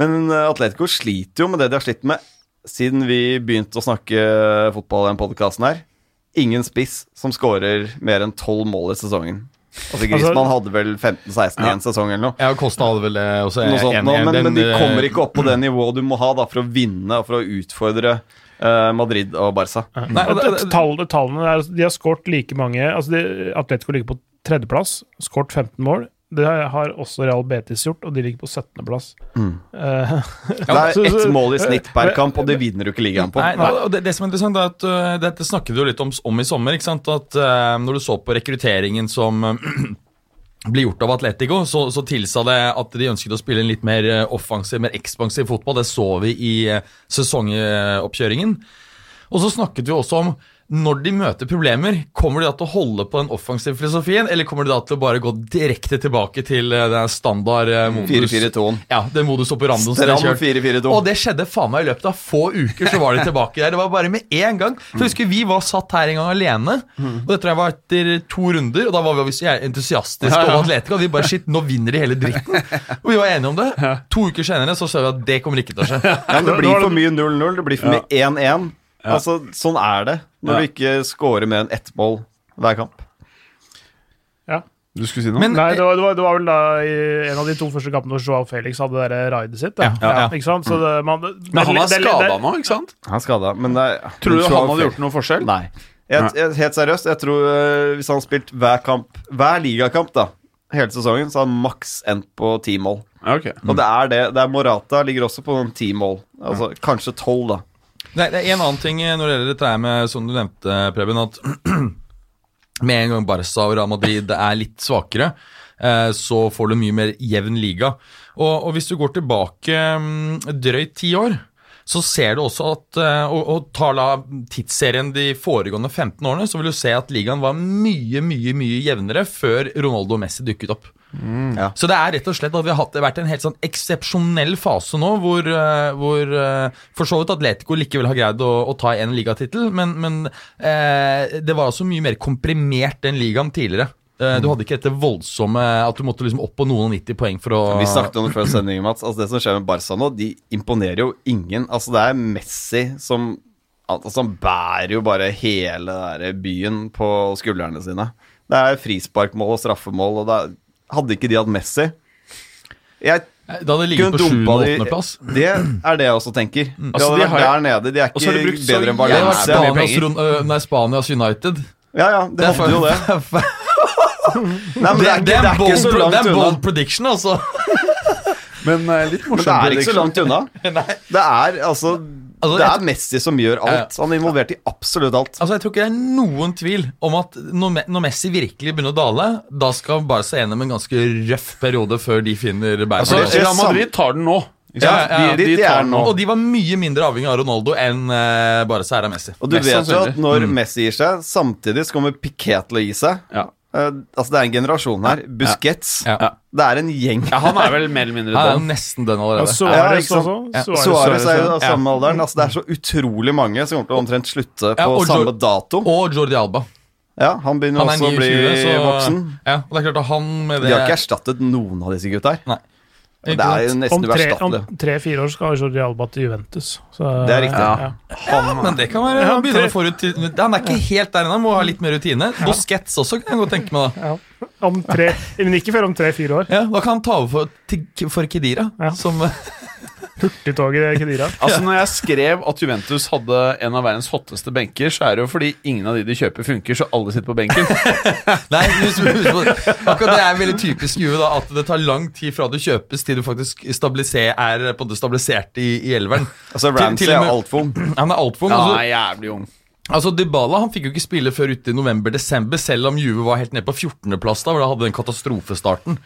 D: Men eh, Atletico sliter jo med det de har slitt med siden vi begynte å snakke fotball i den podkasten her. Ingen spiss som skårer mer enn tolv mål i sesongen. Altså Griezmann hadde vel 15-16 i en sesong eller noe
E: Ja, Kosta hadde vel eh, også
D: noe sånt
E: en-
D: nå,
E: en-
D: men,
E: den,
D: men de
E: eh,
D: kommer ikke opp på det nivået du må ha da, for å vinne og for å utfordre eh, Madrid og Barca.
E: Nei, og det- det-
C: Tall, tallene der, altså, de har skåret like mange altså de, Atletico ligger på tredjeplass, skåret 15 mål. Det har også Real Betis gjort, og de ligger på 17.-plass.
D: Mm. Det
C: så-
D: er ett
C: så-
D: mål i snitt per kamp, og det vinner du ikke ligaen på.
E: Nei, nei, og det, det som er interessant er at øh, Dette snakket vi jo litt om, om i sommer. ikke sant? At øh, Når du så på rekrutteringen som øh, ble gjort av Atletico, så, så tilsa det at de ønsket å spille en litt mer øh, offensiv, mer ekspansiv fotball. Det så vi i øh, sesongoppkjøringen. Og så snakket vi også om når de møter problemer, kommer de da til å holde på den offensive filosofien, eller kommer de da til å bare gå direkte tilbake til øh, den standard øh, modus?
D: 4-4-2-en.
E: Ja, det modus operandoen som de har
D: Stram
E: kjørt.
D: 4-4-2.
E: Og det skjedde faen meg i løpet av få uker, så var de tilbake der. Det var bare med én gang. For jeg husker Vi var satt her en gang alene, og dette var etter to runder. Og da var vi så jævlig entusiastiske over Atletico, og vi bare shit, nå vinner de hele dritten. Og vi var enige om det. To uker senere så ser vi at det kommer ikke til å skje.
D: Ja, men det blir for mye 0-0, det blir for mye 1-1. Altså, sånn er det når du ikke scorer mer enn ett mål hver kamp.
B: Du skulle si noe?
E: Men
C: Nei, det var, det, var, det var vel da i en av de to første kampene hvor Joao Felix hadde det der raidet sitt. Da.
E: Ja, ja, ja.
C: Ikke sant? Så det, man, det,
B: men han er
C: det- det-
B: skada nå, ikke sant?
D: Han er skada, men det er
B: Tror du han hadde gjort noe forskjell?
D: Nei. Jeg, jeg, helt seriøst, jeg tror eh, hvis han hadde spilt hver kamp, hver ligakamp, da, hele sesongen, så hadde han maks endt på ti mål.
B: Ja, ok.
D: Og det er det. det er Morata ligger også på noen ti mål. Altså, Kanskje tolv, da.
E: Nei, det er en annen ting eh, når det gjelder dette her med, som du nevnte, Preben, at med en gang Barca og Real Madrid er litt svakere, eh, så får du mye mer jevn liga. Og, og hvis du går tilbake mm, drøyt ti år, så ser du også at eh, Og, og tar da tidsserien de foregående 15 årene, så vil du se at ligaen var mye, mye mye jevnere før Ronaldo og Messi dukket opp.
D: Ja.
E: Så det er rett og slett at vi har hatt, det har vært en helt sånn eksepsjonell fase nå, hvor, eh, hvor eh, for så vidt Atletico likevel har greid å, å ta en ligatittel, men, men eh, det var altså mye mer komprimert enn ligaen tidligere. Eh,
D: Mm.
E: du hadde ikke dette voldsomme at du måtte liksom opp på noen og 90 poeng for å
D: Vi snakket om det før sendingen, Mats. Altså, det som skjer med Barca nå, de imponerer jo ingen. Altså, det er Messi som altså, Han bærer jo bare hele der byen på skuldrene sine. Det er frisparkmål og straffemål, og det er, hadde ikke de hatt Messi jeg
E: Eh, Da hadde det ligget på
D: kunne dumpa de
E: 7.-8.-plass.
D: Det er det jeg også tenker. De
B: Altså,
D: hadde
B: de
D: vært
B: har-
D: der nede. De er
B: Og så har de
D: ikke
B: brukt så
D: bedre enn
E: Det hadde vært
D: Valencia.
B: jævlig mye
E: Spanias,
B: penger.
E: Ron- øh, nei, Spanias United.
D: Ja, ja, det hadde jo det. Nei, men
E: Det
D: det er
E: er
D: ikke,
E: det er en
D: ikke
E: bold
D: så
E: pro- det
D: langt
E: er en
D: unna.
E: bold prediction, altså.
B: Men eh, litt
D: Men det
B: morsomt.
D: er ikke så langt unna. Det er altså
E: Altså,
D: Det
E: jeg-
D: er Messi som gjør alt. Han er involvert i absolutt alt.
E: Altså, Jeg tror ikke det er noen tvil om at når, Me- når Messi virkelig begynner å dale, da skal Barca gjennom en ganske røff periode før de finner Bergen.
B: Så
D: Altså, det er
B: Altså, Real Madrid tar den nå. Ikke sant?
E: Altså, Ja, ja, ja.
B: De, de
D: Dit de er
B: tar den nå.
D: nå.
E: og de var mye mindre avhengig av Ronaldo enn uh, Barca er av Messi.
D: Og du
B: Mest
D: vet jo at
B: sannsynlig.
E: Mm.
D: når Messi gir seg, samtidig så kommer Piqué til å gi seg.
B: Ja.
D: Eh, altså Det er en generasjon her. Busquets.
E: Ja.
D: Det er en gjeng.
B: Ja, han er vel mer eller mindre
E: Han er
B: død.
E: nesten den allerede.
D: Ja, ikke
C: Suarez
D: sant?
C: også.
E: Ja.
C: Suarez.
D: Suarez er jo
B: Suarez,
D: av
B: ja.
D: samme alderen. Altså Det er så utrolig mange som kommer til å omtrent slutte
E: Ja,
D: på
E: og
D: samme
E: Jor-
D: dato.
E: og Jordi Alba.
D: Ja, Han begynner
E: Han er
D: også å
E: 29,
D: bli
E: så
D: voksen.
E: ja, og det er klart at han med
D: De
E: det
D: har ikke erstattet noen av disse gutta her.
E: Nei.
D: Det er jo
C: Om
D: nesten
C: tre- Om
D: uerstattelig.
C: tre-fire år skal Jordi Alba til Juventus. Så-
D: Det er riktig.
C: Ja.
E: Men det kan være Han begynner å få rutin- Han er ikke helt der ennå, må ha litt mer rutine. Busquets også, kan jeg godt tenke meg. da
C: Om tre, men ikke før om tre-fire år.
E: Ja, Da kan han ta over for, til- for Kedira,
C: Ja.
E: som
C: Hurtigtoget i Kedira.
B: Altså Når jeg skrev at Juventus hadde en av verdens hotteste benker, så er det jo fordi ingen av de de kjøper, funker, så alle sitter på benken.
E: Nei, husk, husk på, akkurat det er veldig typisk Juve, da, at det tar lang tid fra du kjøpes til du faktisk stabiliser, er på en måte stabilisert i, i elveren.
D: Altså,
E: Til- til
D: Ramsey
E: og
D: er
E: med-
D: altfor ung.
E: Han er altfor ung.
B: Han
E: Altså,
B: er jævlig ung.
E: altså Dybala han fikk jo ikke spille før ute i november-desember, selv om Juve var helt ned på 14.-plass da, hvor de hadde den katastrofestarten.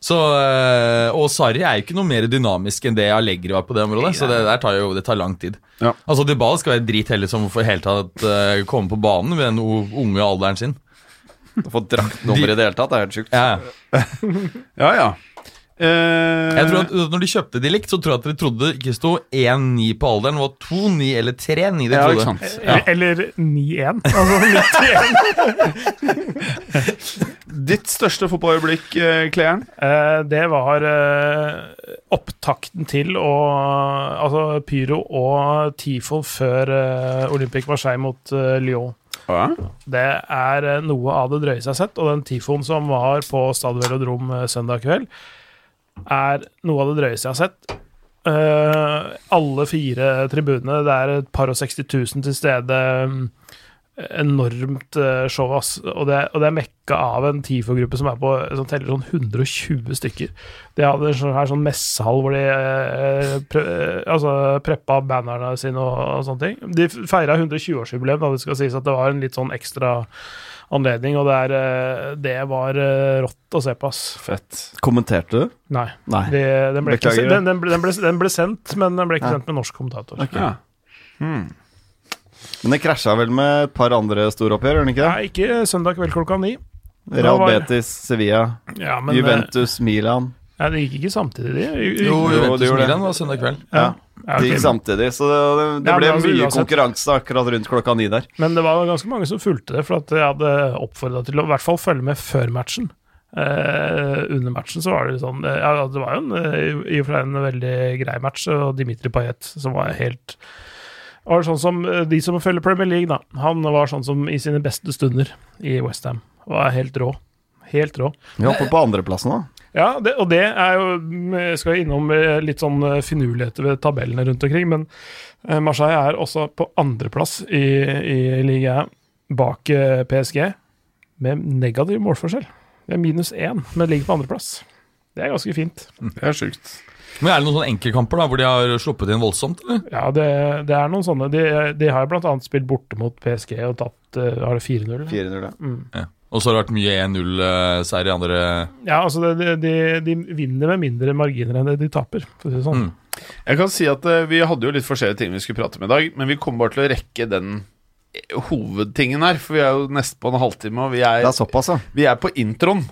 E: Så, øh, og Sarri er jo ikke noe mer dynamisk enn det Allegri var på det området, så det der tar jo det tar lang tid.
B: Ja.
E: Altså Dybala skal være dritheldig som får helt tatt øh, komme på banen ved den o- unge alderen sin.
D: Å få draktnummer i det hele tatt det er helt sjukt.
E: Ja, ja.
B: Ja, ja. Eh,
E: Jeg tror at Når de kjøpte de likt, så tror jeg at de trodde ikke det sto 1-9 på alderen. Det var 2-9 eller 3-9. de
B: ja,
E: trodde.
B: ikke sant.
C: Eller 9-1. Altså, 91.
B: Ditt største fotballøyeblikk, eh, Kleeren?
C: Eh, det var eh, opptakten til og Altså pyro og TIFO før eh, Olympic Marseille mot eh, Lyon.
B: Ja.
C: Det er eh, noe av det drøyeste jeg har sett, og den tifoen som var på Stad Velodrom eh, søndag kveld, er noe av det drøyeste jeg har sett. Eh, alle fire tribunene, det er et par og 60 000 til stede. mm, Enormt eh, show, ass. Og det, og det er mekka av en TIFO-gruppe som, er på, som teller sånn 120 stykker. De hadde en sånn, her sånn messehall hvor de eh, pre, eh, altså, preppa bannerne sine og, og sånne ting. De feira 120-årsjubileum, da det skal sies at det var en litt sånn ekstra anledning, og det, er, eh, det var eh, rått å se på, ass.
D: Fett. Kommenterte du?
C: Nei.
D: Nei.
C: Vi, den, ble ikke,
D: Beklager.
C: sen- den, den, ble, den, ble, den ble sendt, men den ble ikke
D: Ja.
C: sendt med norsk kommentator.
D: Men det krasja vel med et par andre storoppgjør, gjør det ikke
C: Nei, ikke søndag kveld klokka ni.
D: det? Real
C: var-
D: Betis, Sevilla,
C: Ja, men, eh,
D: Juventus, Milan.
C: Nei, det gikk ikke samtidig, de. U- u-
E: Jo,
D: Jo, det
E: Juventus
D: gjorde det.
E: Milan var søndag kveld.
D: Ja.
C: ja,
D: Det
C: ok.
D: gikk samtidig, så det, det
C: Ja,
D: ble
C: men altså,
D: mye
C: uansett.
D: konkurranse akkurat rundt klokka ni der.
C: Men det var ganske mange som fulgte det, for at jeg hadde oppfordra til å i hvert fall følge med før matchen. Eh, under matchen så var det sånn eh, Ja, det var jo en, eh, i og for seg en veldig grei match, og Dimitri Payet som var helt var sånn som eh, De som følger Premier League, da. Han var sånn som i sine beste stunder i Westham. Var helt rå. Helt rå.
D: Vi hopper på andreplassen, da.
C: Ja, det, og det er jo mm, Jeg skal innom eh, litt sånn eh, finurligheter ved tabellene rundt omkring, men eh, Marseille er også på andreplass i, i ligaen bak eh, PSG, med negativ målforskjell. Det er minus én, men ligger på andreplass. Det er ganske fint.
B: Det er sjukt.
E: Men Er det noen sånne enkeltkamper da, hvor de har sluppet inn voldsomt? eller?
C: Ja, det, det er noen sånne. De, de har jo blant annet spilt borte mot PSG og tatt eh, Har det 4-0?
D: 4-0, ja.
E: Ja. Og så har det vært mye 1-0-seier i andre
C: Ja, altså det, de, de, de vinner med mindre marginer enn det de taper, for å si det sånn.
B: Jeg kan si at eh, Vi hadde jo litt forskjellige ting vi skulle prate om i dag, men vi kommer bare til å rekke den eh, hovedtingen her. For vi er jo nesten på en halvtime, og vi er,
D: Det er såpass, ja.
B: vi er på introen.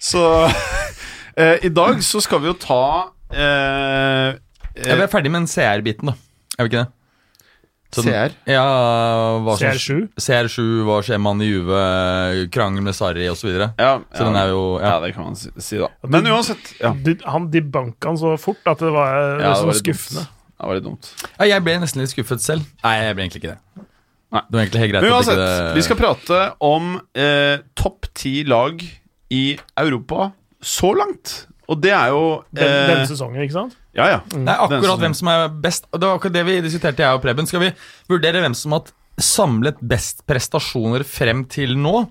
B: Så eh, i dag så skal vi jo ta eh,
E: Ja, Vi er ferdig med den CR-biten, da. Er vi ikke det? Så den-
B: CR?
E: Ja, hva som-
C: CR7?
E: CR7 var skjemaen i Juve, krangel med Sarri osv. Så, videre.
B: ja,
E: så den er jo
B: ja,
E: ja.
B: det kan man si, si da. Men uansett. Ja,
C: De, han debanka han så fort at det var, eh,
B: ja,
C: sånn
B: litt
C: skuffende.
B: dumt. Det var litt dumt.
E: ja, Jeg ble nesten litt skuffet selv. Nei, jeg ble egentlig ikke det.
B: Nei.
E: Det var egentlig helt greit
B: Men
E: at ikke
B: uansett,
E: det-
B: vi skal prate om eh, topp ti lag i Europa så langt. Og det er jo
C: Den,
B: eh,
C: denne sesongen, ikke sant?
B: Ja, ja.
E: Det er
B: Den som-
E: akkurat hvem som er best. og Det var akkurat det vi diskuterte, jeg og Preben. Skal vi vurdere hvem som har hatt samlet best prestasjoner frem til nå?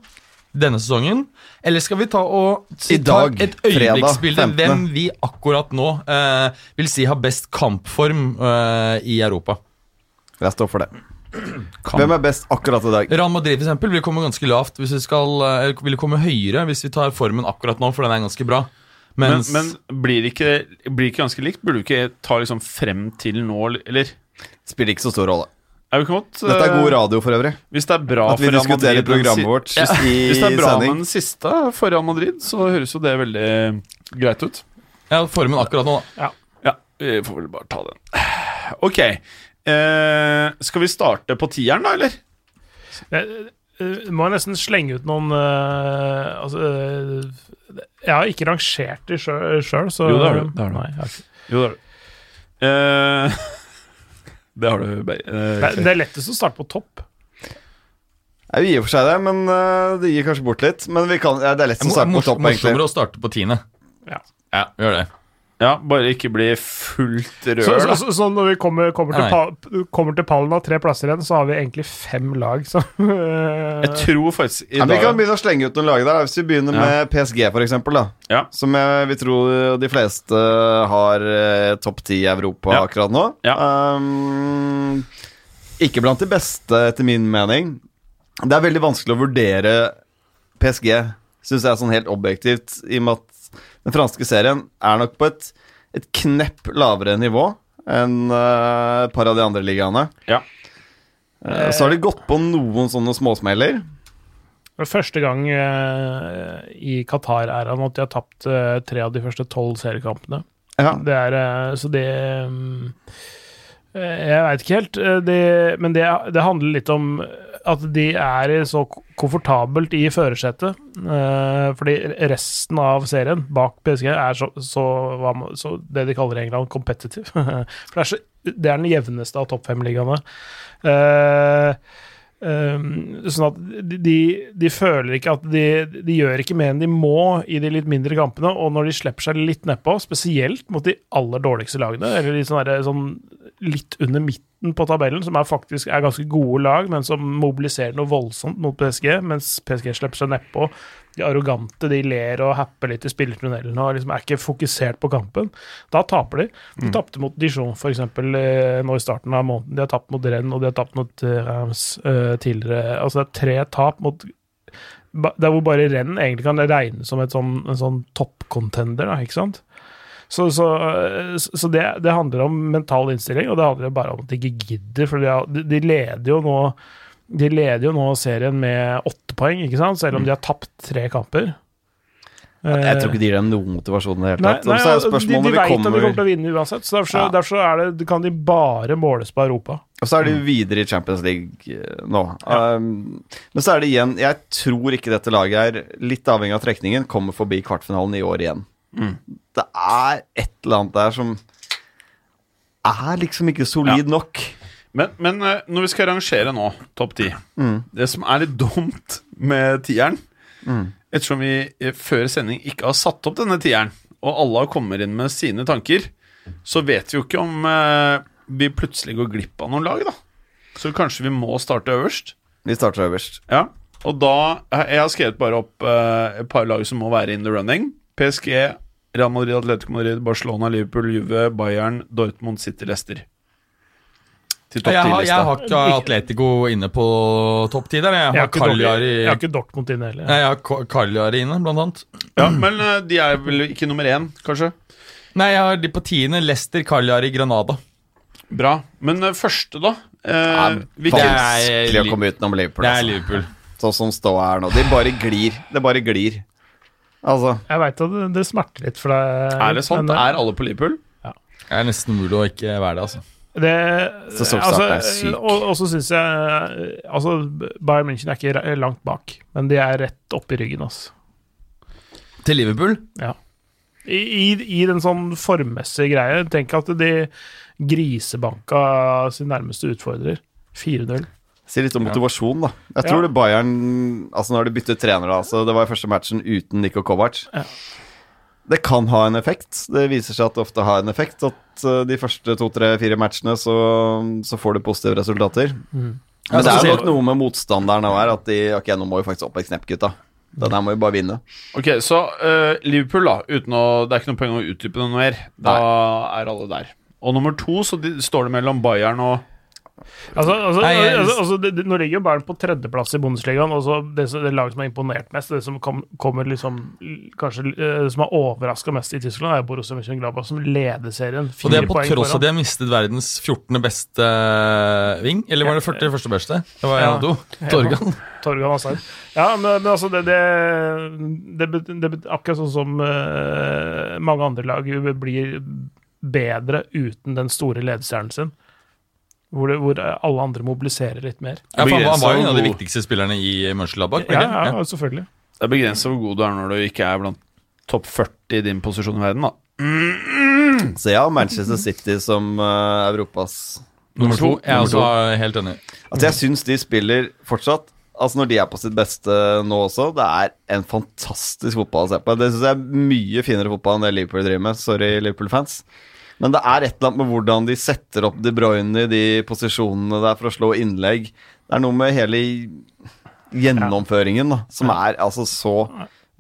E: Denne sesongen? Eller skal vi ta og
D: I dag,
E: ta et
D: fredag,
E: øyeblikksbilde
D: 15..
E: hvem vi akkurat nå eh, vil si har best kampform eh, i Europa?
D: Jeg står for det. Hvem er best akkurat i dag?
E: Real Madrid for eksempel, vil komme ganske lavt hvis vi skal, eh, vil komme høyere hvis vi tar formen akkurat nå, for den er ganske bra.
B: Men,
E: Mens,
B: men blir, det ikke, blir det ikke ganske likt? Burde du ikke ta liksom frem til nå, eller?
D: Spiller ikke så stor rolle.
B: Er vi kommet? eh,
D: Dette er god radio for øvrig.
B: Hvis det er bra
D: At vi
B: for Real
D: diskuterer
B: Madrid, den si-
D: programmet vårt
B: Ja.
D: i
B: Hvis det er bra med
D: sending.
B: den siste for Real Madrid, så høres jo det veldig eh, greit ut.
E: ja, formen akkurat nå, da.
B: Ja, vi får vel bare ta den. Ok. Eh, skal vi starte på tieren, da, eller?
C: Jeg, eh, må jeg nesten slenge ut noen eh, altså, eh, Jeg har ikke rangert de sjøl, så
B: Jo, det har du, det har du.
C: Nei, jeg har ikke.
B: Jo, det har du. Eh, det har du, Bay. Eh,
C: Det, er- det er lettest å starte på topp.
D: Jeg vil gi for seg det, men øh, det gir kanskje bort litt. Men vi kan, ja, det er lett å starte på
E: Mors-
D: topp, egentlig.
E: Morsommere å starte på tiende.
C: Ja.
E: ja, gjør det.
B: Ja, bare ikke bli fullt rør,
C: Så, så,
B: da.
C: så, så når vi kommer, kommer, til
E: Nei.
C: pal, kommer til pallen av tre plasser igjen, så har vi egentlig fem lag som eh,
B: Jeg tror faktisk i
D: Ja, vi
B: dag
D: kan begynne å slenge ut noen lag der. da. Hvis vi begynner med PSG, for eksempel, da.
B: Ja.
D: Som jeg, vi tror de fleste har eh, topp ti i Europa
B: Ja.
D: akkurat nå. Um, ikke blant de beste, etter min mening. Det er veldig vanskelig å vurdere PSG, syns jeg, sånn helt objektivt, i og med at den franske serien er nok på et, et knepp lavere nivå enn eh, et par av de andre ligaene.
B: Ja.
D: Eh, Så har de gått på noen sånne småsmeller.
C: Det er første gang eh, i Qatar-æraen at de har tapt eh, tre av de første tolv seriekampene.
D: Ja.
C: Det er eh, Så det mm, eh, Jeg veit ikke helt, eh, det, men det, det handler litt om at de er i så ko- komfortabelt i førersetet. eh, Fordi resten av serien bak PSG er så, så, hva må- så det de kaller i England competitive. For det er, så, det er den jevneste av topp fem-ligaene. Eh, Um, sånn at de, de, de føler ikke at de, de gjør ikke mer enn de må i de litt mindre kampene, og når de slipper seg litt nedpå, spesielt mot de aller dårligste lagene, eller de sånne der, sånn litt under midten på tabellen, som er faktisk er ganske gode lag, men som mobiliserer noe voldsomt mot PSG, mens PSG slipper seg nedpå. De arrogante de ler og happer litt i spillertunnelen og liksom er ikke fokusert på kampen. Da taper de. De tapte mot Dijon for eksempel, eh, nå i starten av måneden. De har tapt mot Rennes og de har tapt mot eh, Reims eh, tidligere. Altså det er tre tap mot ba- Der hvor bare Rennes egentlig kan regnes som et sånn, en sånn toppcontender, da, ikke sant? Så, så, eh, så det, det handler om mental innstilling, og det handler bare om at de ikke gidder. For de, har, de- de leder jo nå de leder jo nå serien med åtte poeng, ikke sant? selv om de har tapt tre kamper.
D: Jeg tror ikke de gir dem noen motivasjon i det hele
C: Eh, Nei,
D: tatt.
C: nei,
D: så er
C: altså, de,
D: spørsmålet
C: de
D: om
C: vet
D: vi
C: at de kommer
D: kommer
C: til å vinne uansett, så derfor,
D: Ja.
C: derfor er det, kan de bare måles på Europa.
D: Og så er de jo videre i Champions League eh, nå. Um, men så er det igjen Jeg tror ikke dette laget her, litt avhengig av trekningen, kommer forbi kvartfinalen i år igjen.
E: Mm.
D: Det er et eller annet der som er liksom ikke solid nok.
B: Men, men eh, når vi skal rangere nå, topp ti Det som er litt dumt med tieren Ettersom vi eh, før sending ikke har satt opp denne tieren, og alle har kommet inn med sine tanker, så vet vi jo ikke om eh, vi plutselig går glipp av noen lag, da. Så kanskje vi må starte øverst.
D: Vi starter øverst.
B: Ja, og da eh, Jeg har skrevet bare opp eh, et par lag som må være in the running. PSG, Real Madrid, Atletico Madrid, Barcelona, Liverpool, Juve, Bayern, Dortmund, City, Leicester. Til topp
E: Jeg har, jeg
B: ti-lista.
E: har ikke Atletico inne på topp ti der. Jeg
C: Jeg
E: har
C: har ikke,
E: Kaljar
C: Dortmund-
E: i
C: jeg har ikke Dortmund inne heller.
E: Nei, jeg har Ka- Kaljar inne, blant annet.
B: Ja, men eh, de er vel ikke nummer én, kanskje?
E: Nei, jeg har de på tiende. Leicester, Kaljar i Granada.
B: Bra. Men eh, første, da? Eh,
D: Nei,
B: hvilken-
D: Vanskelig å komme utenom Liverpool,
E: Det er
D: altså.
E: Liverpool.
D: sånn som ståa er nå. De bare glir. Det bare glir. Altså
C: Jeg veit at det, det smerter litt for deg.
B: er det sant?
C: men, eh,
B: Er alle på Liverpool?
E: Det er nesten umulig å ikke være det, altså.
C: Det, altså,
D: Sesongstarten er syk.
C: og, og så syns jeg Altså, Bayern München er ikke ra- langt bak, men de er rett oppi ryggen, altså.
E: Til Liverpool?
C: Ja. I, i, I den sånn formmessige greie. Tenk at de grisebanka sin nærmeste utfordrer. 4-0.
D: Si litt om motivasjon, da. Jeg tror
C: Ja.
D: det Bayern Altså Nå har de byttet trener, da. Så det var første matchen uten Niko Kovac. Det kan ha en effekt. Det viser seg at det ofte har en effekt. At eh, de første to, tre, fire matchene så, så får du positive resultater. Men det er jo nok noe med motstanderen òg her. At de Ok, nå må vi faktisk opp et knepp, gutta. Den her må vi bare vinne.
B: Ok, så eh, Liverpool, da. Uten å, det er ikke noe poeng å utdype det noe mer. Da er alle der. Og nummer to, så de, står det mellom Bayern og
C: Altså, altså,
E: Nei, jeg-
C: altså, altså, det, det, nå ligger jo Bayern på tredjeplass i Bundesligaen. og så Det, som- det laget som har imponert mest, det som kom, kommer liksom l- Kanskje eh, som har overraska mest i Tyskland, er jo Borussia Mönchengladbach, som leder serien.
E: Og
C: Fire
E: det er på
C: poeng
E: tross av
C: foran.
E: at de har mistet verdens 14. beste ving. Eller var det 40. første beste? Det var en
C: Ja.
E: av to. Torgan.
C: Torgan Asheim. Ja, men, men altså det, det, det, bet- det bet- Akkurat sånn som eh, mange andre lag jo blir bedre uten den store ledestjernen sin. Hvor, det, hvor alle andre mobiliserer litt mer.
E: Ja, faen, han var jo en av de
B: Begrenset.
E: viktigste spillerne i Mönchengladbach. ble
C: Ja,
E: ikke?
C: ja, selvfølgelig.
B: Det er begrensa hvor god du er når du ikke er blant topp 40 i din posisjon i verden, da.
D: Så ja, Manchester City som eh, Europas
E: Nummer to. Jeg er
B: Nummer to.
E: også eh, helt enig.
D: Altså Jeg syns de spiller fortsatt altså når de er på sitt beste nå også, det er en fantastisk fotball å se på. Det syns jeg er mye finere fotball enn det Liverpool driver med. Sorry, Liverpool-fans. Men det er et eller annet med hvordan de setter opp De Bruyne i de posisjonene der for å slå innlegg. Det er noe med hele gjennomføringen da, som er altså så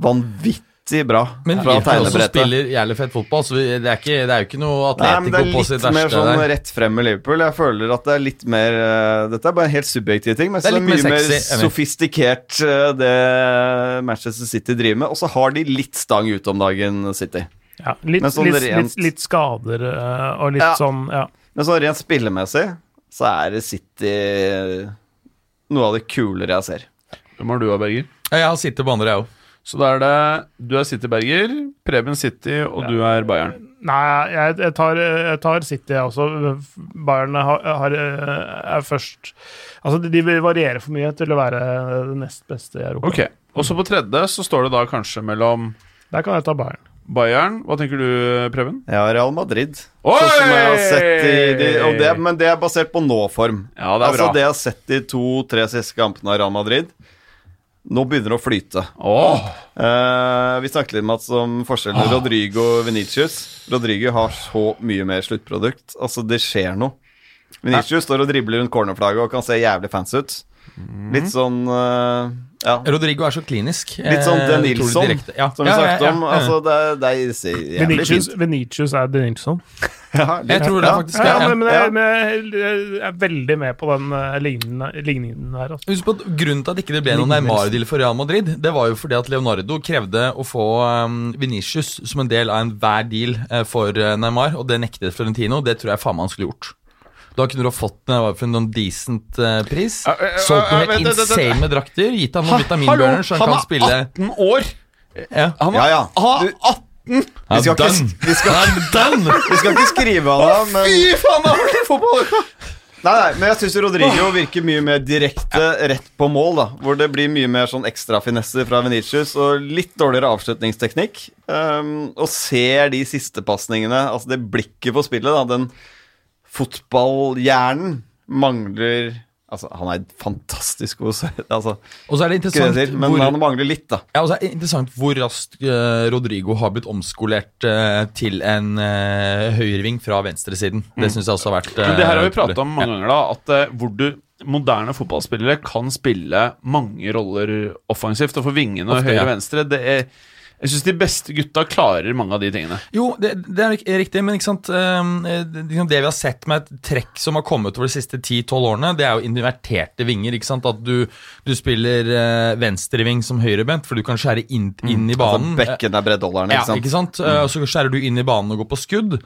D: vanvittig bra.
E: Men
D: fra
E: Liverpool også
D: tegnebrettet.
E: spiller jævlig fett fotball, så vi- det er, ikke, det er jo ikke noe
D: Nei, men det
E: Atletico
D: er
E: på sitt
D: litt mer
E: verste
D: sånn
E: der.
D: rett frem med Liverpool. Jeg føler at det er litt mer eh, Dette er bare en helt subjektiv ting, men jeg
E: Det er
D: synes det
E: litt
D: er mye
E: mer
D: mer,
E: sexy, enig.
D: sofistikert eh, det Manchester City driver med. Og så har de litt stang ute om dagen, City.
C: Ja, litt,
D: Men sånn
C: litt,
D: rent-
C: litt, litt skader eh, og litt
D: Ja.
C: sånn ja.
D: Men sånn rent spillemessig så er det City eh, noe av det kulere jeg ser.
B: Hvem har du, da, Berger?
E: Ja, jeg har sittet på andre, jeg òg.
B: Så da er det Du er City-Berger, Preben City, og du er Bayern.
C: Nei, jeg, jeg, tar, jeg tar City, jeg også. Bayern har, har, eh, er først Altså, de, de varierer for mye til å være det nest beste i Europa.
B: Ok. Og så på tredje så står det da kanskje mellom
C: Der kan jeg ta Bayern.
B: Bayern Hva tenker du, Preben?
D: Jeg har Real Madrid.
B: Oi!
D: Sånn som jeg har sett i de, og det, men det er basert på nå-form.
B: Ja, det er
D: altså
B: bra.
D: det jeg har sett i to-tre siste kampene av Real Madrid, nå begynner det å flyte.
B: Åh,
D: Eh, vi snakket litt om, at som forskjellen
E: Ah.
D: Rodrigo og Venicius. Rodrigo har så mye mer sluttprodukt. Altså, det skjer noe. Venicius står og dribler rundt cornerflagget og kan se jævlig fans ut.
E: Mhm.
D: Litt sånn eh, Ja.
E: Rodrigo er så klinisk.
D: Litt sånn
E: eh,
D: Den
E: utrolig
D: Nilsson,
E: direkte. Ja.
D: som vi
E: Ja, ja,
D: snakket
E: ja,
D: om.
E: ja.
D: Altså, det, er- det er- det ser jævlig
C: Venicius,
D: fint ut.
C: Venicius er De Nilsson.
D: Ja,
E: Jeg tror det
D: ja.
E: faktisk
C: Ja,
E: er
C: men, men,
D: Ja.
C: jeg, men jeg, jeg er veldig med på den eh, ligningen, ligningen der. Altså.
E: Husk på at Grunnen til at ikke det ble noen Neymar-deal for Real Madrid, det var jo fordi at Leonardo krevde å få um, Venicius som en del av enhver deal eh, for eh, Neymar, og det nektet Florentino. Det tror jeg faen meg han skulle gjort. Da kunne du ha fått Neymar for noen decent eh, pris.
B: Ja, ja, ja,
E: Solgt
B: ja,
E: noen
B: vent,
E: helt
B: vent, vent, vent.
E: insane med drakter. Gitt ham
B: ha-
E: noen
B: hallo,
E: vitaminbørner, så han,
B: han
E: kan
B: er
E: spille
B: 18 år!
E: ja.
B: Han
D: Ja,
B: er
D: ja.
B: Ah,
D: Du-
B: ah,
E: Han
D: skal ikke-
E: er done!
D: vi skal-
E: Han er done!
D: Vi skal ikke skrive av det, men
B: Fy faen, da har du fotballuka!
D: Nei, nei, men jeg syns Rodrigo virker mye mer direkte rett på mål. da Hvor det blir mye mer sånn ekstrafinesser fra Venitius og litt dårligere avslutningsteknikk. Um, og ser de siste pasningene, altså det blikket på spillet, da den fotballhjernen mangler Altså, han er fantastisk god, så- altså,
E: Og så er det
D: ikke det jeg
E: interessant
D: sier, men
E: hvor-
D: han mangler litt, da.
E: Ja, og så er det interessant hvor raskt eh, Rodrigo har blitt omskolert eh, til en uh, høyreving fra venstresiden.
D: Mm.
E: Det syns jeg også har vært eh,
B: Men det her har vi prata om mange ganger, da. At eh, hvor du moderne fotballspillere kan spille mange roller offensivt. Og for vingene og
E: Ofte,
B: høyre
E: ja.
B: og venstre det er, Jeg syns de beste gutta klarer mange av de tingene.
E: Jo, det, det er rik- riktig, men ikke sant ehm, eh, det, liksom det vi har sett med et trekk som har kommet over de siste 10-12 årene, det er jo inverterte vinger. ikke sant? At du, du spiller eh, venstreving som høyrebent, for du kan skjære inn, inn i
D: Altså,
E: banen.
D: bekken er breddolleren, ikke
E: eh, Ja,
D: sant?
E: ikke sant? Eh, Og så skjærer du inn i banen og går på skudd.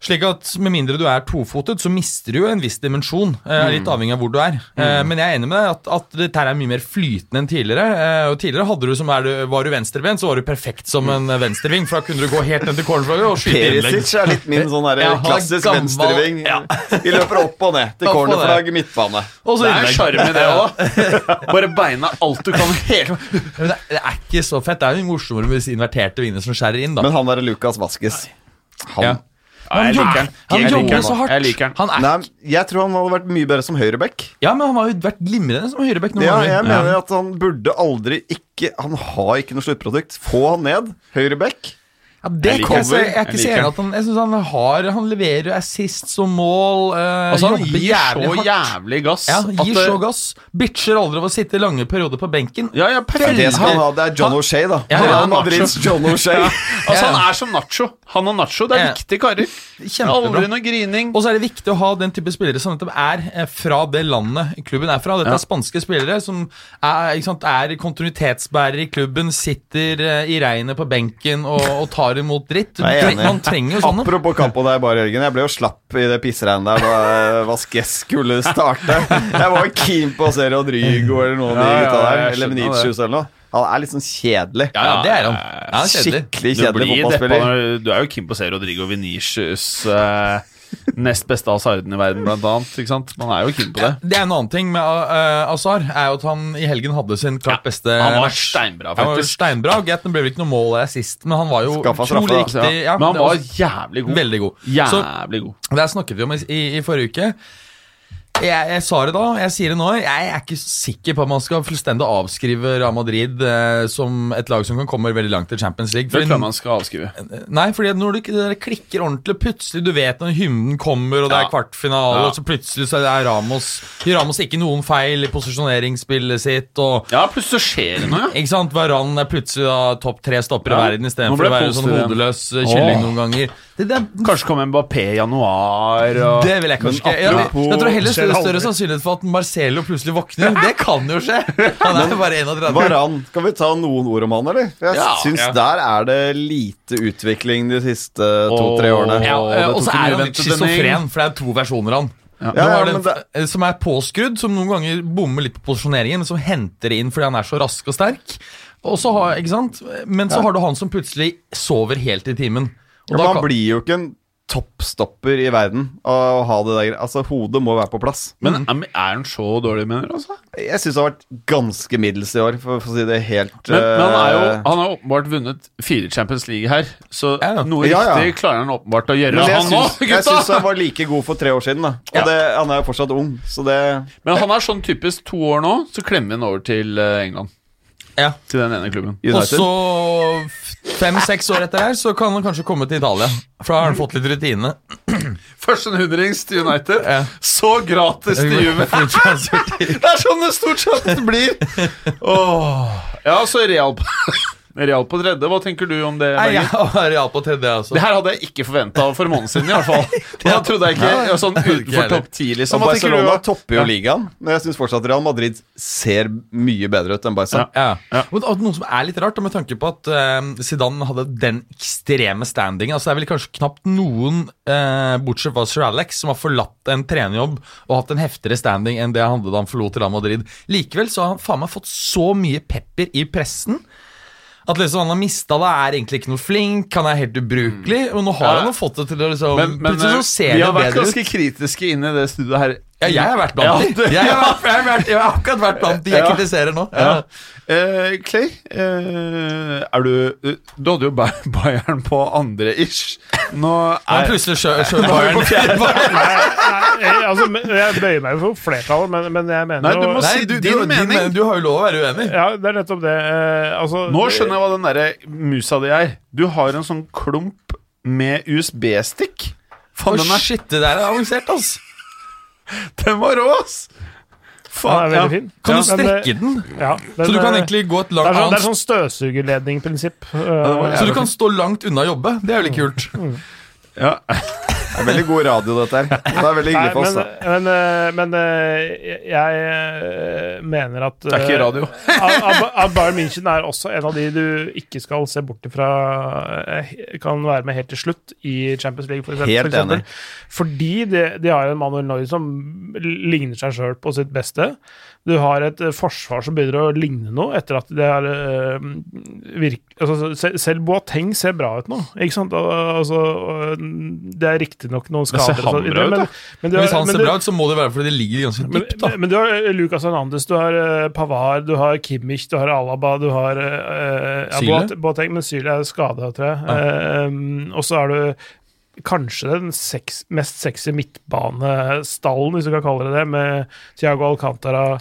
E: Slik at Med mindre du er tofotet, så mister du jo en viss dimensjon. eh, Litt avhengig av hvor du er. Eh, Men jeg er enig med deg at, at dette her er mye mer flytende enn tidligere. Eh, Og Tidligere hadde du, som er du, var du venstrebent, så var du perfekt som en eh, venstreving. For da kunne du gå helt ned til cornerflagget og skyte innlegg.
D: Perisic er litt min sånn her
E: Ja, han er
D: klassisk
E: gammel.
D: venstreving. Vi løper opp og ned til
E: Opp og ned.
D: cornerflagg, midtbane.
E: Og så
B: Det er en
E: innlegg.
B: sjarm i det òg. Bare beina alt du kan hele
E: Men det, det er ikke så fett. Det er jo morsommere med disse inverterte vingene som skjærer inn, da.
D: Men han derre Lucas Vaskes Han
B: Ja. Ja, jeg liker den.
E: han
B: Jeg
E: jobber
B: liker
E: så
B: den.
E: hardt.
B: Jeg liker den.
E: Han er,
D: Nei, jeg tror han hadde vært mye bedre som høyreback.
E: ja, men han har jo vært glimrende som høyrebekk noen
D: Ja,
E: ganger.
D: jeg mener at han burde aldri ikke Han har ikke noe sluttprodukt. Få han ned. Høyreback.
E: Ja, det
B: Jeg liker
E: kommer.
B: cover.
E: Jeg er ikke
B: Jeg
E: så
B: liker
E: enig at han Jeg synes han har Han leverer jo assist som mål. eh,
B: Altså, han
E: jobber
B: gir så
E: hardt.
B: jævlig gass
E: Ja, han gir
B: at,
E: så
B: eh,
E: gass. Bitcher aldri av å sitte lange perioder på benken.
B: Ja, ja, perfekt.
D: Det skal han ha. Det er John O'Shay, da.
E: Ja,
D: Han
E: ja,
D: er
E: han
B: har
D: Madrids John O'Shay.
B: Altså, han er som Nacho. Han og Nacho, det er
E: Ja.
B: viktige karer. Aldri
E: Kjempebra.
B: noe grining.
E: Og så er det viktig å ha den type spillere som nettopp er eh, fra det landet klubben er fra. Dette
B: Ja.
E: er spanske spillere som er, ikke sant, er kontinuitetsbærere i klubben, sitter eh, i regnet på benken og, og tar imot dritt.
D: Jeg er enig.
E: Man trenger jo sånn, sånne.
D: Apropos kampen der, bare Jørgen. Jeg ble jo slapp i det pissregnet der da Vasques skulle starte. Jeg var jo keen på å se Rodrigo eller noen av
B: Ja,
D: de
B: ja,
D: gutta der.
B: jeg
D: Eller
B: skjønner
D: Venitius eller noe. Han er litt sånn kjedelig.
E: Ja, ja, det er han. Ja, kjedelig.
D: Skikkelig
B: Du
D: kjedelig
B: blir deppa
D: fotballspiller.
B: når Du er jo keen på å se Rodrigo Venicius eh, nest beste hasarden i verden, blant annet. Ikke sant? Man er jo keen på det.
E: Det er en annen ting med uh, Azar, er jo at han i helgen hadde sin klart beste
B: Han var
E: match.
B: steinbra,
E: Han var
B: faktisk.
E: steinbra. Greit, det ble vel ikke noe mål eller assist, men han var jo
D: Skaffa straffe,
E: utrolig
D: da.
B: Så,
E: riktig.
B: ja. Men han
E: det
B: var jævlig god.
E: veldig god. Så
B: Jævlig god.
E: det her snakket vi om i, i, i forrige uke. jeg, jeg sa det da, jeg sier det nå. Jeg er ikke sikker på at man skal fullstendig avskrive Real Madrid eh, som et lag som kan komme veldig langt til Champions League.
B: Det
E: Fordi-
B: tror jeg man skal avskrive.
E: Nei, fordi at når du ikke- det der klikker ordentlig Plutselig, du vet når hymnen kommer Og det
B: Ja.
E: er kvartfinale
B: Ja.
E: Og så plutselig så er Ramos Gjør Ramos ikke noen feil i posisjoneringsspillet sitt Og
B: Ja, plutselig så skjer det noe. ja.
E: ikke sant, Varan er plutselig da, topp tre stopper
B: Ja.
E: i verden I stedet
B: Nå
E: for
B: ble
E: å
B: jeg
E: være sånn
B: positiv igjen.
E: hodeløs eh, kylling
B: Åh.
E: noen ganger det, det,
B: Kanskje kommer Mbappé i januar og
E: det vil jeg kanskje ikke jeg, jeg, jeg tror heller større, større sannsynlighet for at Marcelo plutselig våkner Det kan jo skje Han er bare 31
D: Varan, kan vi ta noen ord om han, eller? Jeg
B: Ja,
D: syns
B: ja.
D: der er det lite utvikling de siste to-tre
B: Åh.
D: årene.
E: ja,
B: Åh,
E: eh,
B: det
E: og
B: tok
E: så
B: en
E: er han
B: uventet
E: litt schizofren, for det er to versjoner av han. Du
D: Ja, ja,
E: har den
D: men det-
E: f- eh, som er påskrudd, som noen ganger bommer litt på posisjoneringen, men som henter inn fordi han er så rask og sterk. Og så har, ikke sant? Men så har du han som plutselig sover helt i timen. Og
D: Ja,
E: da
D: men han
E: kan,
D: blir jo ikke en toppstopper i verden av å ha det der. Altså, hodet må være på plass.
B: Men er er han så dårlig, mener du? altså?
D: Jeg syns det har vært ganske middels i år, for, for å si det helt
B: Men, men han, er jo,
D: eh,
B: han har åpenbart vunnet fire Champions League her, så
E: Ja, ja.
B: noe
D: Ja, ja.
B: riktig klarer han åpenbart å gjøre,
D: men jeg
B: han
D: syns-
B: òg,
D: jeg
B: gutta!
D: syns han var like god for tre år siden, da. Og
B: Ja.
D: det, han er jo fortsatt ung, så det
B: Men han er sånn typisk to år nå, så klemmer vi han over til eh, England.
E: Ja.
B: Til den ene klubben.
E: og
D: United.
E: så fem-seks år etter her, så kan han kanskje komme til Italia. For da har han fått litt rutine.
B: Først en hundrings til United,
E: Ja.
B: så gratis til Juve. Det er sånn det stort sett blir! Åh. Ja, så Real på, Real på tredje. Hå tenker du om det?
E: Nei,
B: Berger?
E: jeg har real på tredje, altså.
B: Det her hadde jeg ikke forventa for en måned siden, i hvert fall. Da trodde jeg ikke ja, sånn utenfor
E: heller.
B: topp ti, liksom.
D: Og
B: Hva tenker du,
D: Barcelona
B: da?
D: topper jo ligaen, men jeg syns fortsatt Real Madrid ser mye bedre ut enn Barca.
E: Ja. Og, og noe som er litt rart, da, med tanke på at eh, Zidane hadde den ekstreme standingen. Altså, det er vel kanskje knapt noen, eh, bortsett fra Sir Alex, som har forlatt en trenerjobb og hatt en heftigere standing enn det han hadde da han forlot Real Madrid. Likevel så har han faen meg fått så mye pepper i pressen. At liksom han har mista det, er egentlig ikke noe flink, han er helt ubrukelig. Og nå har
B: Mm. Ja.
E: han jo fått det til å liksom
B: Men, men eh,
E: Plutselig så ser
B: vi
E: det
B: har vært
E: bedre ut.
B: ganske kritiske inn i det studioet her.
E: Ja, jeg har vært blant
B: Ja,
E: de.
B: du-
E: Jeg har, vært- jeg, har vært- jeg har akkurat vært blant de jeg
B: Ja.
E: kritiserer nå. Ja.
B: Ja. Eh, Clay, eh, er du eh, Du hadde jo Bay- Bayern på andre ish. Nå
E: Men
B: er
E: plutselig sjø, sjø, Bayern.
C: Nei, jeg, altså, men- jeg bøyer meg for flertallet, men, men jeg mener
B: Nei, du
C: jo-
B: må si
E: du,
B: din
E: du,
B: mening.
E: men du har jo lov å være uenig.
C: Ja, det er nettopp det. Eh, altså,
B: Nå skjønner jeg hva den derre musa di er. Du har en sånn klump med USB-stikk.
E: Å,
B: Faen, den, er,
E: shit, det der er avansert, ass.
B: den var rå, ass!
C: Den er
B: ja.
C: veldig fin. Ja,
E: Kan du strekke den?
C: den? Ja, den,
E: Så du kan
C: eh,
E: egentlig gå et
C: det er sånn, det
E: langt
C: er
E: annet
C: sånn støvsugerledning-prinsipp. Eh,
E: Så du kan stå langt unna jobbe? Det er vel ikke kult?
D: Det er veldig god radio, dette her. Det er veldig hyggelig for oss,
C: Nei,
D: da.
C: men, men, eh, men eh, jeg eh, mener at Det
B: er ikke radio.
C: At Bayern München er også en av de du ikke skal se bort ifra eh, kan være med helt til slutt i Champions League, for eksempel.
D: Helt
C: for eksempel.
D: enig.
C: Fordi de, de har en Manuel Neuer som ligner seg sjøl på sitt beste. Du har et eh, forsvar som begynner å ligne noe etter at det er eh, virk, altså, se- Selv Boateng ser bra ut nå, ikke sant? Og, altså, og, det er riktignok noen
B: ser
C: skader og sånn
B: han
C: videre,
B: bra ut,
C: men- men du
E: Men
C: har-
E: Hvis han
C: men
E: ser
C: du-
E: bra ut, så må det være fordi det ligger ganske
C: men,
E: dypt. da
C: men du har eh, Lucas Hernandez, du har eh, Pavard, du har Kimmich, du har Alaba, du har eh, ja,
E: Syle?
C: Boat- Boateng, men Syle er skada, tror jeg. Eh, um, og så er du kanskje den seks- mest sexy midtbanestallen, hvis du kan kalle det det, med Thiago Alcantara,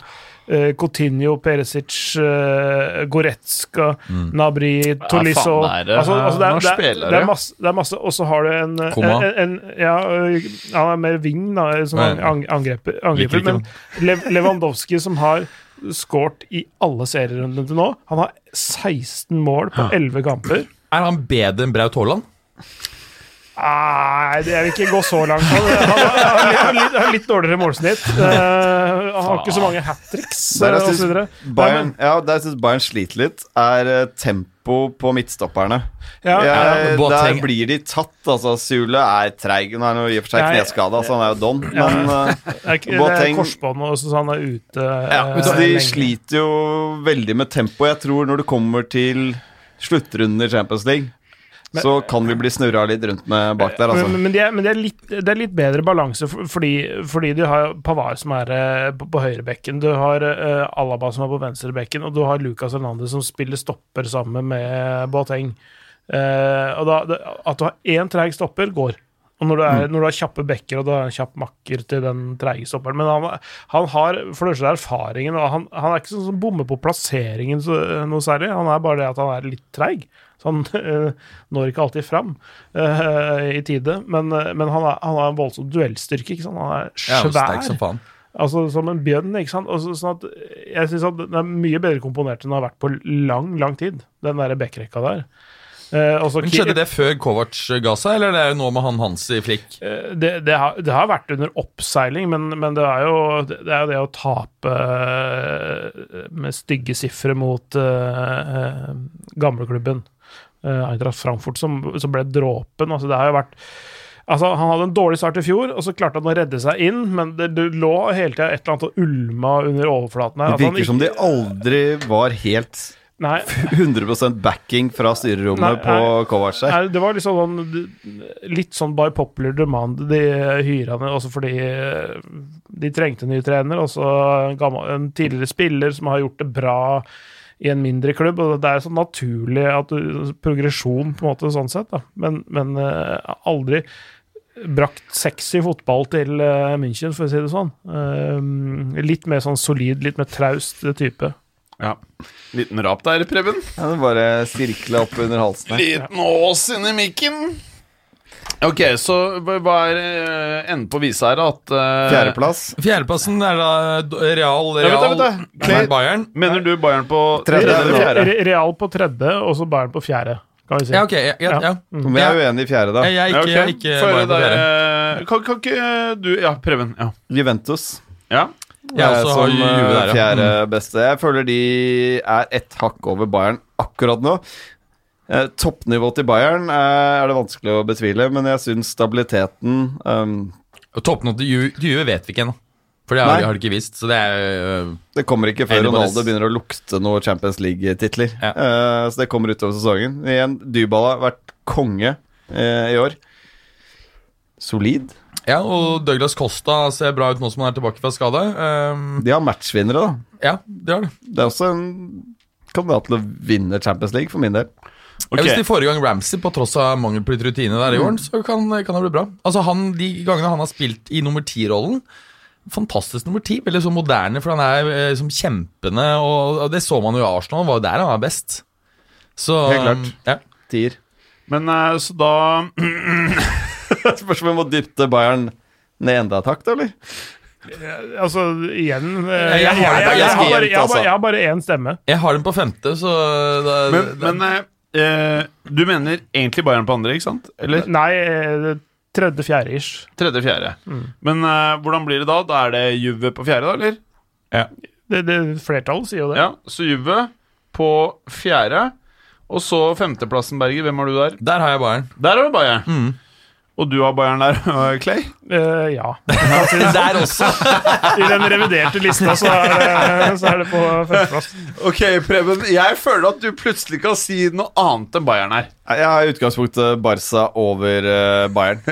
C: eh, Coutinho, Peresic, eh, Goretzka,
E: Mm.
C: Nabri, Tolisso
B: faen, er eh, det-
C: altså, altså, det,
B: nå
C: er, det,
B: spiller
C: er, det
B: det.
C: er masse, det er masse Og så har du en, en,
E: Komma.
C: en Ja, ø, han er mer wing, da, som
E: Nei.
C: ang- ang- angreper,
E: Liker
C: angriper,
E: ikke
C: men Lev Lewandowski, som har skåret i alle serierundene til nå, han har 16 mål på 11 kamper.
E: Er han bedre enn Braut Haaland?
C: Nei, det- jeg vil ikke gå så langt. Han, han, har- han, har litt, han har litt dårligere målsnitt. Eh, han har ikke så mange hat tricks eh,
D: Der jeg
C: osv.
D: synes Bayern, ja, der jeg synes Bayern sliter litt, er eh, tempo på midtstopperne.
C: Ja, ja,
D: Jeg, der
E: Boateng.
D: blir de tatt, altså. Sule er treig. Nå er han jo i og for seg
C: Nei.
D: kneskada, så han er jo don, men eh,
C: det er ikke- det er
D: Boateng-
C: korsbånd, og så han er ute.
D: ja,
C: eh,
D: så De
C: lenge.
D: sliter jo veldig med tempo. Jeg tror når det kommer til sluttrunden i Champions League, så kan vi bli snurra litt rundt med bak der,
C: Men,
D: altså.
C: men, de er, men de er litt, det er litt bedre balanse, for- fordi, fordi de har Pavard som er eh, på, på høyrebekken, du har eh, Alaba som er på venstrebekken, og du har Lucas Hernandez som spiller stopper sammen med Boateng. Eh, og da, det, at du har én treg stopper, går. Og når du, er,
E: Mm.
C: når du har kjappe bekker og du har en kjapp makker til den treige stopperen Men han, han har for det første erfaringen, og han, han er ikke sånn som bommer på plasseringen så, eh, noe særlig. Han er bare det at han er litt treig. Så han eh, når ikke alltid fram eh, i tide. Men, eh, men han, er, han har en voldsom duellstyrke. ikke sant? Han er
E: Jeg
C: svær.
E: er jo sterk som faen.
C: Altså som en bjønn, ikke sant. Og så- sånn at jeg syns at den er mye bedre komponert enn den har vært på lang, lang tid, den derre bekkrekka der. Eh, og så
E: Men
C: Ki-
E: Skjedde det før Kovac ga seg, eller er det nå med han Hans i flikk?
C: Eh, det, det, har, det har vært under oppseiling, men, men det, er jo, det er jo det å tape eh, med stygge sifre mot eh, eh, gamleklubben eh, Eintracht Frankfurt, som, som ble dråpen. Altså, det har jo vært Altså, Han hadde en dårlig start i fjor, og så klarte han å redde seg inn, men det, det lå hele tida et eller annet og ulma under overflaten her.
D: Det
C: At han
D: virker som de aldri var helt
C: Nei,
D: 100 backing fra styrerommet
C: Nei,
D: på Kovac der.
C: Nei, det var liksom sånn, litt sånn by popular demand de hyra ned, også fordi eh, de trengte en ny trener, og så en, gammel- en tidligere spiller som har gjort det bra i en mindre klubb, og det er sånn naturlig at du, progresjon på en måte sånn sett, da. Men, men eh, aldri brakt sexy fotball til eh, München, for å si det sånn. Eh, litt mer sånn solid, litt mer traust type.
B: Ja. Liten rap der, Preben.
D: Ja, det bare sirkla opp under halsen her.
B: Liten ås inni mikken. Ok, så hva hva er eh, enden på visa her? da? At eh,
D: Fjerdeplass.
E: Fjerdeplassen er da Real,
B: Ja, vent da,
E: Real
B: vent da.
E: Nei, Bayern.
B: Mener du Bayern på
D: Tredje.
B: tredje eller fjerde?
C: Re- Real på tredje, og så Bayern på fjerde, kan vi si.
E: Ja, ok. Jeg, jeg,
C: Ja.
E: ja.
D: Men jeg er uenig i fjerde, da.
E: Jeg, jeg, er ikke, jeg, er ikke
B: Få høre
E: Bayern på
B: der,
E: fjerde.
B: eh, kan, kan ikke eh, du Ja, Preben. Ja.
D: Juventus.
B: ja.
E: Jeg
D: er
E: også
D: som
E: har Juve
D: eh,
E: der, ja. Mm.
D: fjerde beste. Jeg føler de er ett hakk over Bayern akkurat nå. Eh, Toppnivå til Bayern eh, er det vanskelig å betvile, men jeg syns stabiliteten ehm,
E: Og Toppen til Juve, til Juve vet vi ikke ennå. For det
D: Nei.
E: har, har de ikke visst. Så det er øh,
D: Det kommer ikke før
E: Enig på
D: Ronaldo
E: det.
D: begynner å lukte noen Champions League-titler.
E: Ja.
D: Eh, så det kommer utover sesongen. Igjen, Dybala har vært konge eh, i år. Solid.
E: Ja, og Douglas Costa ser bra ut nå som han er tilbake fra skade. Ehm,
D: De har matchvinnere, da.
E: ja, det har det.
D: Det er også en kandidat til å vinne Champions League, for min del.
E: Jeg visste i forrige gang Ramsey, på tross av mangel på litt rutine
D: Mm.
E: der i år, så kan, kan det bli bra. Altså han, De gangene han har spilt i nummer ti-rollen Fantastisk nummer ti. Veldig så moderne, for han er eh, liksom kjempende. Og, og Det så man jo i Arsenal, var jo der han var best. Så,
D: Helt klart.
E: Ja.
D: Tier.
B: Men eh, så da
D: Spørs om vi må dytte Bayern ned enda et hakk, da, eller?
C: Altså, igjen eh,
E: jeg
C: Jeg jeg-
E: har det
C: jeg- jeg
D: ganske
C: har bare-
D: jevnt,
C: jeg har bare-
D: altså.
C: jeg har bare én stemme.
E: Jeg har dem på femte, så øh, da,
B: Men,
E: da-
B: men eh, eh, du mener egentlig Bayern på andre, ikke sant? Eller?
C: Nei, eh, tredje-fjerde ish.
B: Tredje-fjerde. Men eh, hvordan blir det da? Da er det Juve på fjerde, da, eller?
C: Det, det, flertallet sier jo det.
B: Ja, så Juve på fjerde. Og så femteplassen, Berger. Hvem har du der?
E: Der har jeg Bayern.
B: Der har du Bayern. Og du har Bayern der, og Clay.
C: Eh, ja.
E: Der også!
C: I den reviderte lista så er det, så er det på førsteplass.
B: Ok, Preben. Jeg føler at du plutselig kan si noe annet enn Bayern her.
D: Jeg har i utgangspunktet Barca over eh, Bayern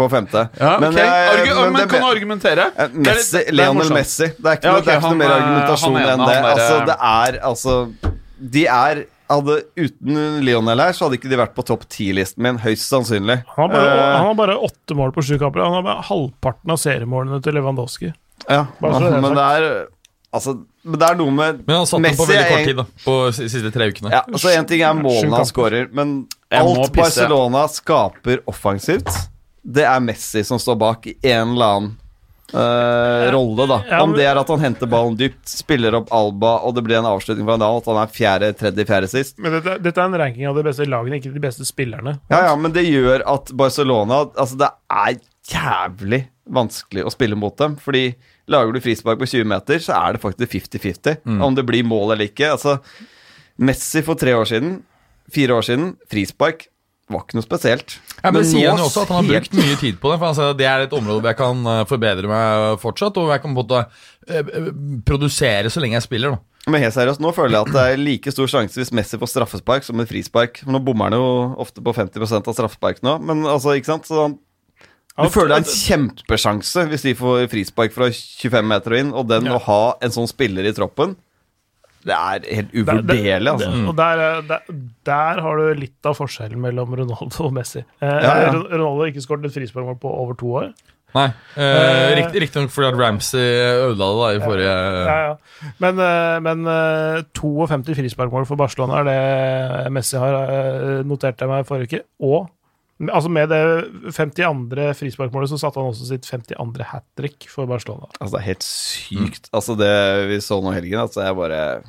D: på femte.
B: Ja, ok.
D: jeg-
B: Argu men
D: det-
B: kan du argumentere?
D: Eh, Messi,
B: Det er litt- det er
D: Lionel
B: morsomt.
D: Messi. Det er ikke,
B: Ja,
D: noe, det er
B: ok,
D: ikke noe
B: han
D: mer
B: er-
D: argumentasjon
B: han er eh,
D: enn
B: en,
D: det.
B: han er-
D: Altså, det er altså De er hadde, Uten Lionel her, så hadde ikke de vært på topp ti-listen min, høyst sannsynlig.
C: Han har bare,
D: Eh,
C: han har bare åtte mål på sju kamper. Han har bare halvparten av seriemålene til Lewandowski.
D: ja,
C: bare så det er
D: men det er Altså, men det er noe med
E: Men han satt dem på
D: Messi
E: veldig
D: er
E: kort
D: en-
E: tid, da. På de siste tre ukene.
D: Ja, altså En ting er
C: Sju
D: målene
C: kamper.
D: han skårer, men
B: Jeg må
D: alt
B: pisse.
D: Barcelona skaper offensivt, det er Messi som står bak i en eller annen eh, rolle, da.
C: Ja,
D: Om
C: men-
D: det er at han henter ballen dypt, spiller opp Alba, og det blir en avslutning fra en annen, at han er fjerde, tredje, fjerde sist.
C: Men dette, dette er en ranking av de beste lagene, ikke de beste spillerne.
D: Ja, ja, men det gjør at Barcelona Altså, det er jævlig vanskelig å spille mot dem. Fordi lager du frispark på 20 meter, så er det faktisk 50-50
E: Mm.
D: om det blir mål eller ikke. Altså, Messi for tre år siden, fire år siden, frispark var ikke noe spesielt.
E: Ja, men, sier han jo
D: nå
E: også at han har
D: ser-
E: brukt mye tid på det. For han sier at det er et område hvor jeg kan eh, forbedre meg fortsatt, og hvor jeg kan på en måte eh, eh, produsere så lenge jeg spiller. Da.
D: Men helt seriøst, nå føler jeg at det er like stor sjanse hvis Messi får straffespark som en frispark. Nå bommer han jo ofte på 50 av straffespark nå, men altså, ikke sant? Så han, du føler det er en kjempesjanse hvis de får frispark fra 25 meter og inn, og den å ha en sånn spiller i troppen Det er helt
C: Der- der-
D: uvurderlig, altså.
C: Og der, er- der, der har du litt av forskjellen mellom Ronaldo og Messi. Eh,
D: ja.
C: Ron- Ronaldo har ikke skåret et frisparkmål på over to år.
E: Nei.
C: Eh,
E: Riktignok riktig nok fordi at Ramsey eh, ødela det da i forrige
C: Ja, ja. Men, eh, men eh, 52 frisparkmål for Barcelona er det Messi har, eh, noterte jeg meg forrige uke. Og altså med det 52. frisparkmålet så satte han også sitt 52. hat trick for Barcelona.
D: Altså, det er helt sykt. Altså, det vi så nå i helgen, altså, jeg bare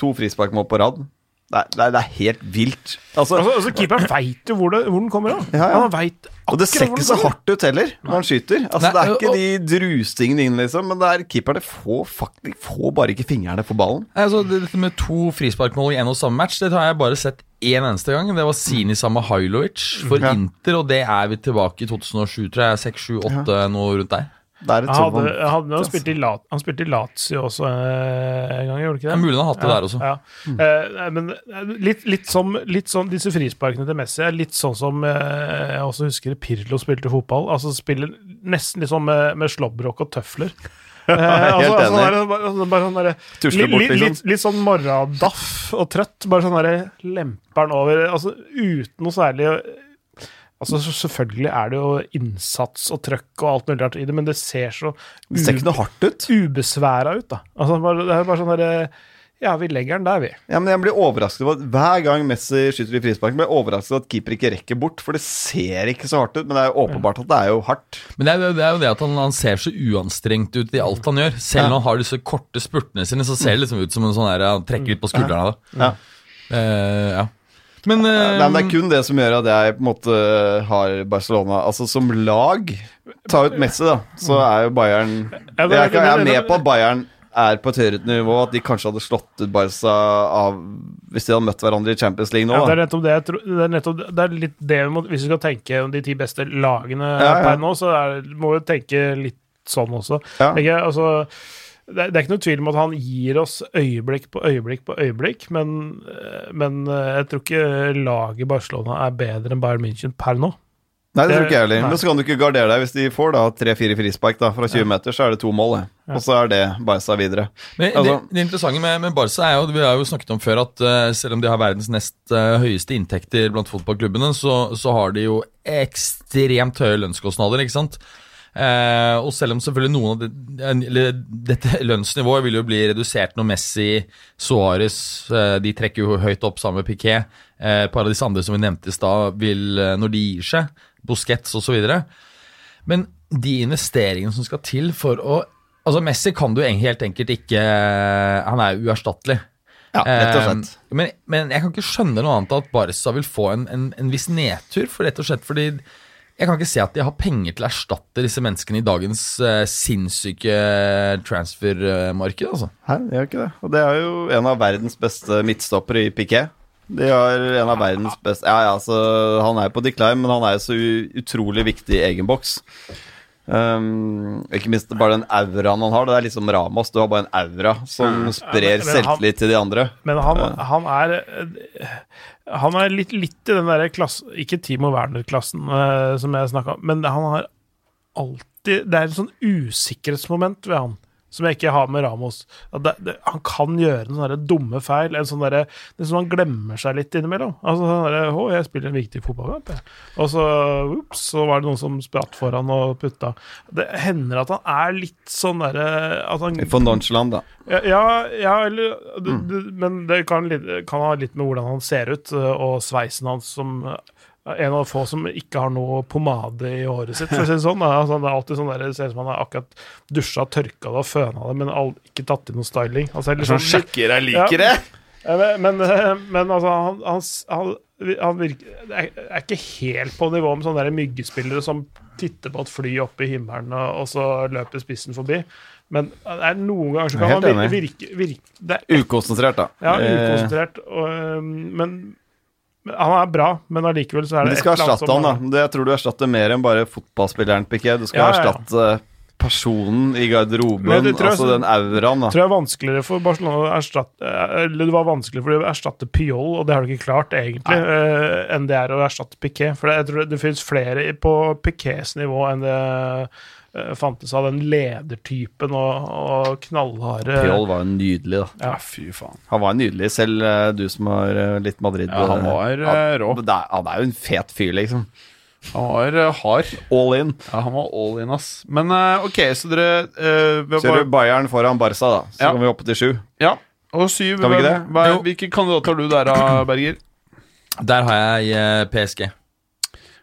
D: To frisparkmål på rad. Det er, det er, det er helt vilt. Altså,
C: Altså, altså Keeperen veit jo hvor, det, hvor den kommer av.
D: Ja, ja.
C: Han vet
D: og det ser ikke så hardt ut heller når han skyter. Altså,
E: Nei,
D: det er ikke
E: og-
D: de drustingene inn, liksom, men det er keeperne får, fakt- de får bare ikke fingrene på ballen.
E: Nei, altså, det- Dette med to frisparkmål i en og samme match Det har jeg bare sett én eneste gang. Det var Sini Samahailovic for
D: Ja.
E: Inter, og det er vi tilbake i 2007, tror jeg. 6, 7, 8, noe rundt der.
D: Det er et
C: Han,
D: sånt
C: hadde,
D: man-
C: han, han, spilte i La- han spilte i Lazio også eh, en gang, gjorde han ikke
E: Det
C: det?
E: er mulig han har hatt det der også.
C: Ja.
D: Mm.
C: Eh, men eh, litt, litt, som, litt sånn disse frisparkene til Messi er litt sånn som eh, jeg også husker Pirlo spilte fotball. Altså spiller nesten litt sånn med, med slåbrok og tøfler. Eh, altså,
D: Helt
C: altså,
D: enig.
C: bare- bare- altså, bare sånn derre-
D: Tusler
C: li-
D: bort,
C: li-
D: liksom.
C: litt, litt sånn morgendaff og trøtt. Bare sånn derre lemper'n over Altså uten noe særlig Altså så- Selvfølgelig er det jo innsats og trøkk og alt mulig rart i det, men det ser så
D: Det ser ikke noe hardt ut.
C: ubesværa ut, da. Altså, bare, det er bare sånn derre Ja, vi legger den der, vi.
D: Ja, men jeg blir overrasket over at Hver gang Messi skyter i frisparken, blir jeg overrasket over at keeper ikke rekker bort. For det ser ikke så hardt ut, men det er jo åpenbart at det er jo hardt.
E: Men det er, jo- det er jo det at han, han ser så uanstrengt ut i alt han gjør. Selv når han har disse korte spurtene sine, så ser det liksom ut som en sånn der, han trekker litt på skuldrene av det.
D: Ja.
E: Eh, ja. Men, eh,
D: Nei, men Det er kun det som gjør at jeg på en måte har Barcelona Altså som lag Ta ut Messi, da, så er jo Bayern
C: Ja,
D: Jeg,
C: men-
D: er ikke- jeg er med på at Bayern er på et høyere nivå, at de kanskje hadde slått ut Barca av hvis de hadde møtt hverandre i Champions League nå.
C: Ja, det er
D: Da.
C: nettopp det jeg tror Det er, nettopp, det er litt det vi må Hvis vi skal tenke om de ti beste lagene
D: Ja, ja.
C: per nå, så er, det- må vi tenke litt sånn også.
D: Ja.
C: Tenker Jeg, altså, det, er- det er ikke noe tvil om at han gir oss øyeblikk på øyeblikk på øyeblikk, men, eh, men eh, jeg tror ikke laget Barcelona er bedre enn Bayern München per nå.
D: Nei, det tror ikke jeg heller.
C: Nei.
D: Men så kan du ikke gardere deg hvis de får da tre-fire frispark da, fra 20 meter, så er det to mål, det. Og så er det Barca videre.
E: Men
D: Altså-
E: det, det interessante med, med Barca er jo, vi har jo snakket om før, at eh, selv om de har verdens nest eh, høyeste inntekter blant fotballklubbene, så, så har de jo ekstremt høye lønnskostnader, ikke sant? Eh, og selv om selvfølgelig noen av det, eller dette lønnsnivået vil jo bli redusert når Messi, Suárez eh, De trekker jo høyt opp sammen med Piquet. Eh, et par av disse andre som vi nevnte i stad, vil eh, når de gir seg, Busquets osv. Men de investeringene som skal til for å Altså, Messi kan du en- helt enkelt ikke eh, Han er jo uerstattelig.
D: Ja, rett og slett.
E: Eh, Men, men jeg kan ikke skjønne noe annet enn at Barca vil få en, en, en viss nedtur, for rett og slett fordi jeg kan ikke se at de har penger til å erstatte disse menneskene i dagens eh, sinnssyke transfermarked, altså.
D: Hæ, de gjør ikke det. Og det er jo en av verdens beste midtstoppere i Piquet. De har en av verdens beste Ja, ja, så han er på decline, men han er jo så u- utrolig viktig i egen boks. Um, ikke minst bare den auraen han har. Det er liksom Ramas. Du har bare en aura som sprer
C: men han-
D: selvtillit til de andre.
C: Men han, han er eh, Han er litt, litt i den derre klassen Ikke Timo Werner-klassen eh, som jeg snakka om, men han har alltid Det er et sånn usikkerhetsmoment ved han. Som jeg ikke har med Ramos. At det, det, han kan gjøre noen sånne dumme feil. En sånn derre- det er som han glemmer seg litt innimellom. Altså sånn derre 'Å, jeg spiller en viktig fotballkamp', jeg. Og så ups, så var det noen som spratt foran og putta. Det hender at han er litt sånn derre At han
D: For Nonchalant, da.
C: ja, ja, ja eller, du, du, men det kan, litt- kan ha litt med hvordan han ser ut, eh, og sveisen hans som eh, en av få som ikke har noe pomade i håret sitt, for å si det sånn. da. Altså, det er alltid sånn der, det ser ut som han har akkurat dusja, tørka det og føna det, men all, ikke tatt inn noe styling. Altså, eller sånn,
D: sjekker jeg
C: liker Ja. Eh, Men, men, eh, men altså, han, han, han, han virker det er, er ikke helt på nivå med sånne der myggespillere som titter på et fly oppe i himmelen, og, og så løper spissen forbi. Men eh, det er noen ganger så kan
D: Jeg er
C: han
D: helt
C: virke, virke, virke det er,
D: Ukonsentrert, da.
C: ja,
D: Eh,
C: ukonsentrert. Og, eh, men, men han er bra, men allikevel så er
D: Men
C: det
D: de skal
C: et eller annet
D: erstatte han, da. Det, jeg tror du erstatter mer enn bare fotballspilleren Piquet. Du skal
C: Ja, ja, ja.
D: erstatte personen i garderoben,
C: Men det tror jeg
D: altså
C: så-
D: den auraen, da.
C: tror jeg er vanskeligere for Barcelona å erstatte eh, Eller det var vanskeligere for de å erstatte Piol, og det har de ikke klart, egentlig, eh, enn det er å erstatte Piquet. For jeg tror det, det finnes flere i- på Piquets nivå enn det eh, fantes av den ledertypen og, og knallharde
D: Pjol var jo nydelig, da.
B: Ja, fy faen.
D: Han var nydelig, selv eh, du som har eh, litt Madrid.
B: Ja, han var eh, rå.
D: Men det er- Han er jo en fet fyr, liksom.
B: Han var eh, hard.
D: All in.
B: Ja, han var all in, ass. Men eh, OK, så dere eh, vi har
D: Ser
B: bare-
D: du Bayern foran Barca, da. Så
B: Ja.
D: kan vi hoppe til sju.
B: Ja. Og syv.
D: Kan vi ikke
B: hvem-
D: det?
B: Hva,
E: Jo.
B: hvilke kandidater har du der, da, Berger?
E: Der har jeg eh, PSG.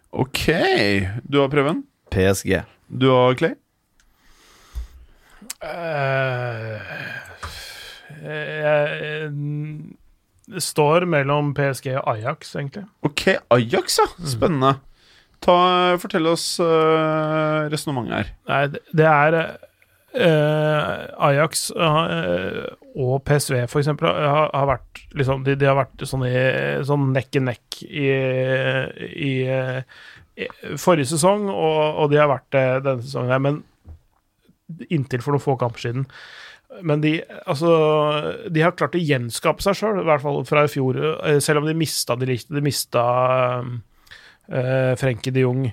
B: OK. Du har Preben.
D: PSG.
B: Du har Clay.
C: Eh, jeg, Det står mellom PSG og Ajax, egentlig.
B: OK, Ajax, ja.
D: Mm.
B: Spennende. Ta, eh, fortell oss uh, resonnementet her.
C: Nei, det- det er eh, Ajax eh, og PSV for eksempel har, har vært liksom, de, de har vært sånn, i, sånn nekk i nekk i, i, eh, i forrige sesong, og, og de har vært det denne sesongen her, men inntil for noen få kamper siden. Men de, altså, de har klart å gjenskape seg sjøl, i hvert fall fra i fjor. eh, Selv om de mista de likte, de mista eh, Frenkie de Jong.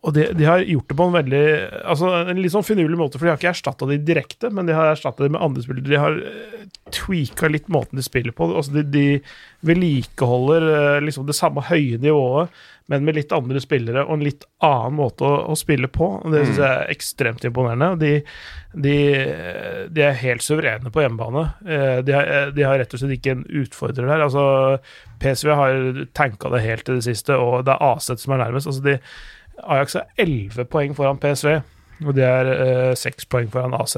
C: Og de, de har gjort det på en veldig altså en litt sånn finurlig måte, for de har ikke erstatta de direkte, men de har erstatta de med andre spillere. De har eh, tweaka litt måten de spiller på. altså De, de vedlikeholder eh, liksom det samme høye nivået, men med litt andre spillere og en litt annen måte å, å spille på. og Det syns jeg er ekstremt imponerende. De, de, de er helt suverene på hjemmebane. Eh, De har, de har rett og slett ikke en utfordrer der. altså PSV har tanka det helt til det siste, og det er Aset som er nærmest. altså de Ajax er 11 poeng foran PSV, og de er eh, 6 poeng foran AZ.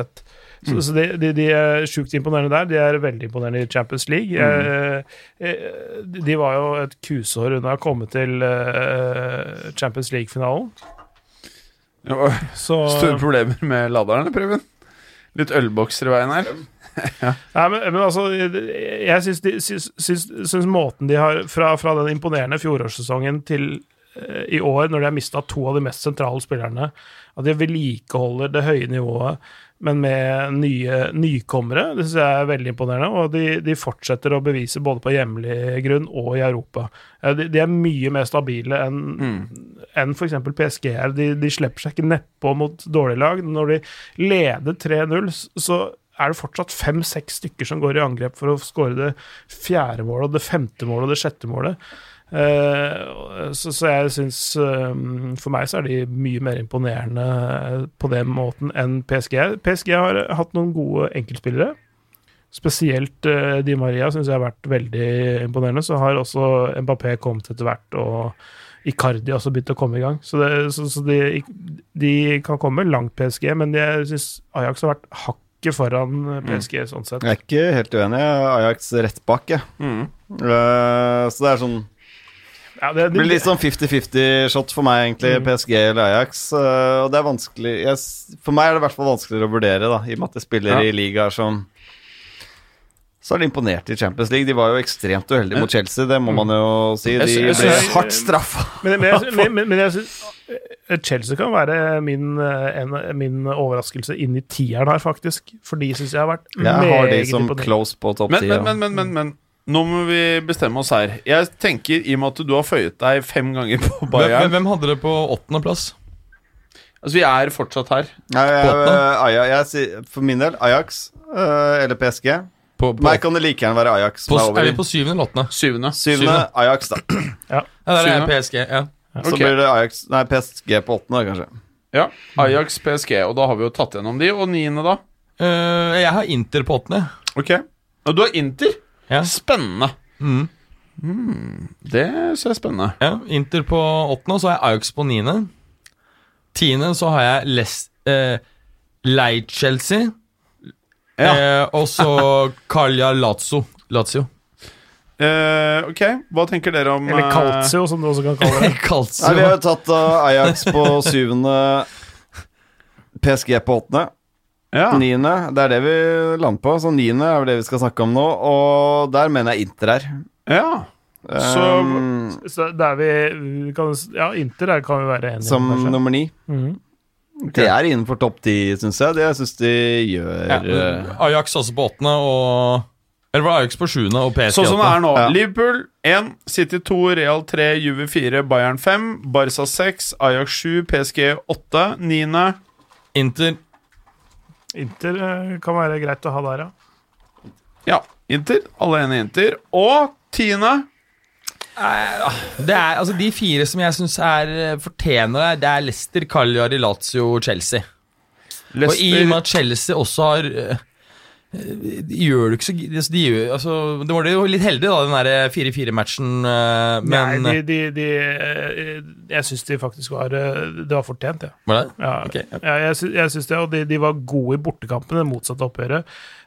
C: Så, så de, de, de er sjukt imponerende der. De er veldig imponerende i Champions League. Eh, eh, de- de var jo et kusehår unna å komme til eh, Champions League-finalen. Så
B: Store problemer med laderen, Preben? Litt ølbokser i veien her.
C: Nei, men, men altså, jeg syns, de, syns, syns, syns måten de har Fra, fra den imponerende fjorårssesongen til eh, i år, når de har mista to av de mest sentrale spillerne, at de vedlikeholder det høye nivået, men med nye nykommere, det syns jeg er veldig imponerende. Og de, de fortsetter å bevise både på hjemlig grunn og i Europa. Eh, De, de er mye mer stabile enn enn f.eks. PSG er. De, de slipper seg ikke nedpå mot dårlige lag. Når de leder 3-0, s- så er det fortsatt fem-seks stykker som går i angrep for å skåre det fjerde målet, og det femte målet og det sjette målet. Eh, så, så jeg syns eh, For meg så er de mye mer imponerende eh, på den måten enn PSG. PSG har hatt noen gode enkeltspillere. Spesielt eh, Di Maria syns jeg har vært veldig imponerende. Så har også Mbappé kommet etter hvert, og Icardi har også begynt å komme i gang. Så, det, så, så de, de kan komme langt, PSG, men jeg syns Ajax har vært hakket foran PSG sånn sett.
D: Jeg er ikke helt uenig. jeg er Ajax rett bak, jeg.
B: Mm.
D: Eh, så det er sånn
C: Ja, det,
D: Det blir litt sånn 50-50-shot for meg, egentlig, PSG eller Ajax. eh, og det er vanskelig jeg, s- For meg er det i hvert fall vanskeligere å vurdere, da, i og med at de spiller i ligaer som så er de imponert i Champions League. De var jo ekstremt uheldige mot Chelsea, det må man jo si. De
B: jeg
D: ble
B: synes-
D: hardt straffa.
C: Men, men, jeg- men, men, men jeg synes eh, Chelsea kan være min, eh, en, min overraskelse inn i tieren her, faktisk. For de syns jeg har vært
D: Jeg har de som
C: imponerende.
D: close på topp
B: Men,
D: ti.
B: men, men,
D: ja.
B: men, men, men nå må vi bestemme oss her. Jeg tenker, i og med at du har føyet deg fem ganger på
E: Hvem, hvem-
B: Bayern
E: hvem hadde det på åttendeplass?
B: Altså, vi er fortsatt her.
D: Nei, jeg- eh,
E: Båten?
D: Aja- jeg sier- For min del, Ajax eh, eller PSG.
E: På,
D: For
E: på,
D: meg kan det like gjerne være Ajax. Som
E: på,
D: er over
E: er
D: i.
E: vi på syvende eller åttende?
B: Syvende.
D: Syvende Ajax, da.
E: Ja, der er jeg
B: Syvende.
E: PSG. ja
D: Så
B: Ok.
D: blir det Ajax Nei, PSG på åttende, kanskje.
B: Ja. Ajax, PSG, og da har vi jo tatt gjennom de. Og niende, da?
E: Eh, jeg har Inter på åttende.
B: Ok. Og du har Inter.
E: Ja.
B: Spennende. Mm,
E: Mm.
B: Det synes jeg er spennende.
E: Ja, Inter på åttende, og så har jeg Ajax på niende. Tiende så har jeg Les... Eh, Leid Chelsea. Eh, og så Kalja Lazio. Lazio.
B: Eh, ok, hva tenker dere om
C: Eller
B: eh,
C: Calcio, som du også kan kalle det.
E: Calcio.
D: Nei, vi har jo tatt uh, Ajax på syvende, PSG på åttende,
B: eh, ja.
D: niende. Det er det vi lander på. Så niende er vel det vi skal snakke om nå, og der mener jeg Inter her.
B: ja. Eh, Så-
D: Um,
C: Så der vi, vi kan, ja, Inter der kan vi være enige.
D: som
C: om, kanskje.
D: nummer ni.
C: Mhm.
D: Det er innenfor topp ti, syns jeg. Det syns de gjør
E: Ja,
D: eh,
E: Ajax også på åttende, og Eller var det Ajax på sjuende og PSG
B: Sånn som det
E: åtte?
B: er nå.
D: Ja.
B: Liverpool 1, City 2, Real 3, Juve 4, Bayern 5, Barca 6, Ajax 7, PSG 8, 9.
E: Inter
C: Inter eh, kan være greit å ha der, ja.
B: Ja, Inter. Alle ene Inter. Og tiende
E: det er, altså De fire som jeg syns fortjener det, det er Leicester, Cagliari, Lazio og Chelsea. Og i og med at Chelsea også har eh, de gjør det ikke så gi- altså, de gjør, altså, Det var det jo litt heldig, da, den der 4-4-matchen, eh, men
C: Nei, de, de, de, eh, Jeg syns de faktisk var eh, Det var fortjent, ja.
E: Var det?
C: Ja,
E: Ok, ja.
C: ja jeg, sy jeg syns det. Og de, de var gode i bortekampen, det motsatte oppgjøret.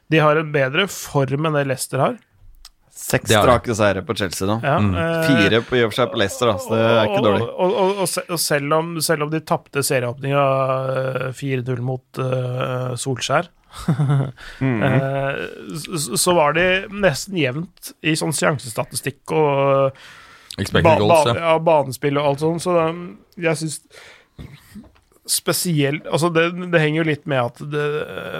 C: De har en bedre form enn det Leicester har.
D: Seks
E: Det har
D: strake seire på Chelsea nå.
C: Ja, eh,
D: Mm, Fire på i og for seg på Leicester, da, så det er ikke dårlig.
C: Og, og, og, og, se- og selv, om, selv om de tapte serieåpninga eh, 4-0 mot eh, Solskjær,
D: Mhm.
C: eh, så, så var de nesten jevnt i sånn sjansestatistikk og
E: Expected
C: ba,
E: goals,
C: ba,
E: ja.
C: ja, banespill og alt sånt, så um, jeg syns Spesielt altså det, det henger jo litt med at det,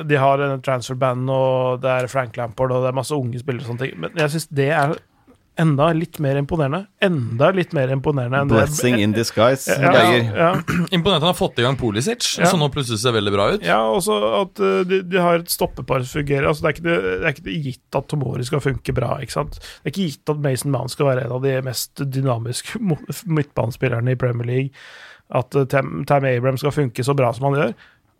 C: de har en transferband, og det er Frank Lampard, og det er masse unge spillere og sånne ting, men jeg syns det er enda litt mer imponerende. Enda litt mer imponerende enn det
D: Blessing in disguise.
C: ja,
D: Geiger.
C: ja,
E: Imponert Mm, at han har fått i gang Pulisic,
C: Ja.
E: som nå plutselig ser veldig bra ut.
C: ja, også at uh, de, de har et stoppepar som fungerer. Altså, det, er ikke, det er ikke gitt at Tomori skal funke bra. Ikke sant? Det er ikke gitt at Mason Mount skal være en av de mest dynamiske mo- midtbanespillerne i Premier League. At uh, Tam, Tam Abraham skal funke så bra som han gjør.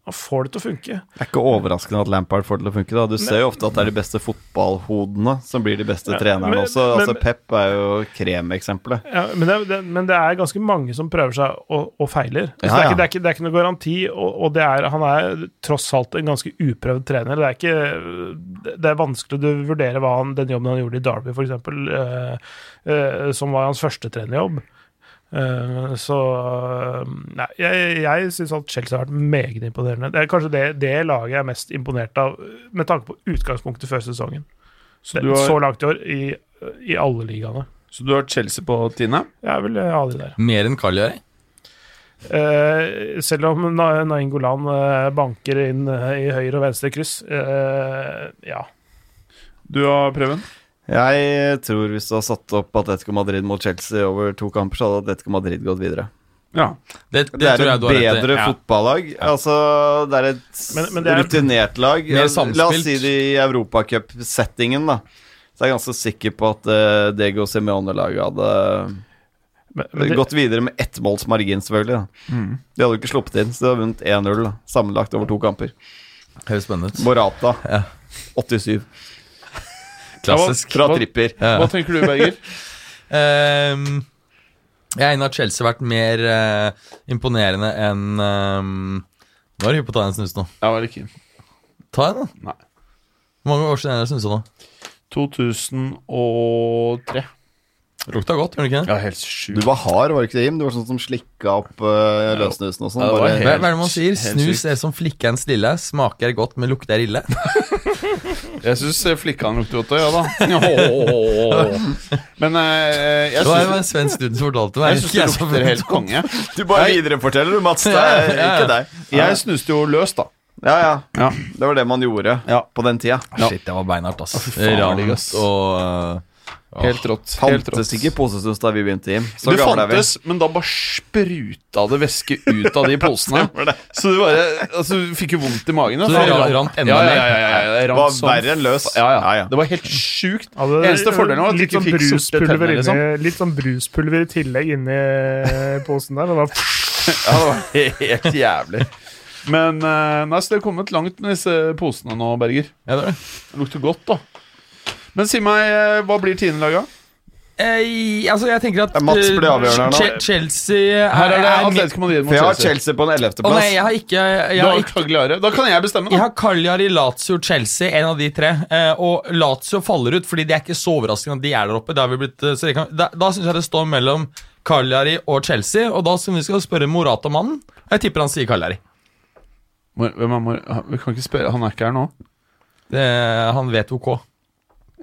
C: Han får det til å funke.
D: Det er ikke overraskende at Lampard får det til å funke. da Du ser jo ofte at det er de beste fotballhodene som blir de beste
C: Ja,
D: trenerne
C: men-
D: også. Altså
C: men-
D: Pep er jo kremeksempelet.
C: Ja, men, det, det, men det er ganske mange som prøver seg og, og feiler. Så
D: Ja,
C: det, er
D: ja.
C: ikke, det, er ikke, det er ikke noe garanti, og, og det er, han er tross alt en ganske uprøvd trener. Det er, ikke, det er vanskelig å vurdere hva han, den jobben han gjorde i Derby, f.eks., eh, eh, som var hans første trenerjobb. Eh, så eh, Nei, jeg, jeg syns at Chelsea har vært meget imponerende. Det er kanskje det, det laget jeg er mest imponert av, med tanke på utgangspunktet før sesongen. Så,
B: du har-
C: så langt i år, i, i alle ligaene.
B: Så du har Chelsea på tiende?
C: Jeg vil ha de der.
E: Mer enn Cagliari.
C: Eh, selv om Na- Nainggolan eh, banker inn eh, i høyre og venstre kryss. Eh, ja.
B: Du har Preben?
D: Jeg tror hvis du har satt opp Atletico Madrid mot Chelsea over to kamper, så hadde Atletico Madrid gått videre.
B: Ja.
E: Det, det,
D: Det er et
E: tror jeg du har rett i.
D: bedre
E: Ja.
D: fotballag. Altså, det er et
C: Men- men det er-
D: rutinert lag.
E: Mer
D: La
E: samspilt.
D: oss si det i Europacup-settingen, da. Så jeg er ganske sikker på at eh, Diego Simeone-laget hadde
C: Men, men det,
D: gått videre med ett måls margin, selvfølgelig. Da.
B: Mm.
D: De hadde jo ikke sluppet inn, så de hadde vunnet 1-0 da, sammenlagt over to kamper.
E: Høres spennende ut.
D: Morata,
E: Ja.
D: 87,
E: Klassisk.
D: fra tripper.
E: Ja.
B: Hva tenker du, Berger?
E: Ehm, jeg er enig i at Chelsea har vært mer eh, imponerende enn ehm, Nå er du hypp på å ta en snus nå.
B: Jeg var ikke
E: Ta en, da.
B: Nei.
E: Hvor mange år siden er det snusa nå?
B: 2003.
E: Lukta godt, gjør det ikke det?
B: Ja, helt sjukt.
D: Du var hard, var du ikke det, Jim? Du var sånn som slikka opp uh, løssnusen og sånn.
B: Ja, det var
D: bare-
E: Hva
B: helt-
E: hva er det man sier?
B: helt
E: Snus
B: sykt.
E: er som flikkens lille, smaker godt, men lukter ille.
B: Jeg syns flikkene lukter godt, ja da. Men eh, jeg
E: Det var
B: syns
E: en svensk student som fortalte meg.
B: jeg synes det
E: Ikke jeg som-
B: lukter helt konge.
D: Du bare videreforteller, du, Mats. Det er
E: Ja, ja.
D: ikke deg.
B: Jeg snuste jo løs, da.
D: Ja, ja.
B: Ja.
D: Det var det man gjorde
B: Ja.
D: på den tida.
B: Ja.
E: Shit, det var beinhardt, ass.
B: faen,
E: Rant
B: ass.
E: og eh,
B: Helt rått. Helt rått.
D: Fantes ikke posesnus da vi begynte, Jim. Så
B: det
D: gamle er vi.
B: fantes, men da bare spruta det væske ut av de posene. så du bare altså, du fikk jo vondt i magen. da.
E: Så det
B: Faen,
E: ra-
B: ja.
E: rant enda
B: ja,
E: mer.
B: ja, ja, ja, ja, det rant
D: Var
B: som
D: verre enn løs.
B: fa- Ja, ja.
D: Ja, ja.
B: Det var helt sjukt.
C: ja, det-
B: Eneste fordelen var at du
C: litt
B: ikke
C: sånn
B: fikk sorte
C: bruspulver
B: tenner. Liksom.
C: inni- Litt sånn bruspulver i tillegg inni eh, posen der. Og da,
B: Ja, det var helt jævlig. Men eh, nei, så det har kommet langt med disse posene nå, Berger.
E: Ja, det var det.
B: Det lukter godt, da. Men si meg, eh, hva blir tiendelaget?
E: Eh, altså, jeg tenker at
D: Ja, Mats
E: eh,
D: ble avgjørende her nå.
E: Che- Chelsea er,
B: Her er det
E: er mitt-
B: Atletico Madrid
D: For
B: mot
D: jeg har
B: Chelsea.
D: Chelsea på en
E: Å nei, jeg
D: ellevteplass.
E: har ikke jeg
B: Du
E: har
B: har
E: ikke
B: Cagliari. Da kan jeg bestemme,
E: Jeg
B: da.
E: har Cagliari, Lazio, Chelsea, en av de tre. Eh, og Lazio faller ut, fordi det er ikke så overraskende at de er der oppe. Det har vi blitt, eh, så det kan, da da syns jeg det står mellom Cagliari og Chelsea, og da skal vi skal spørre Morata-mannen. Jeg tipper han sier Cagliari.
B: Mor- Hvem er mor? Vi kan ikke spørre. Han er ikke her nå.
E: Det, han vet OK.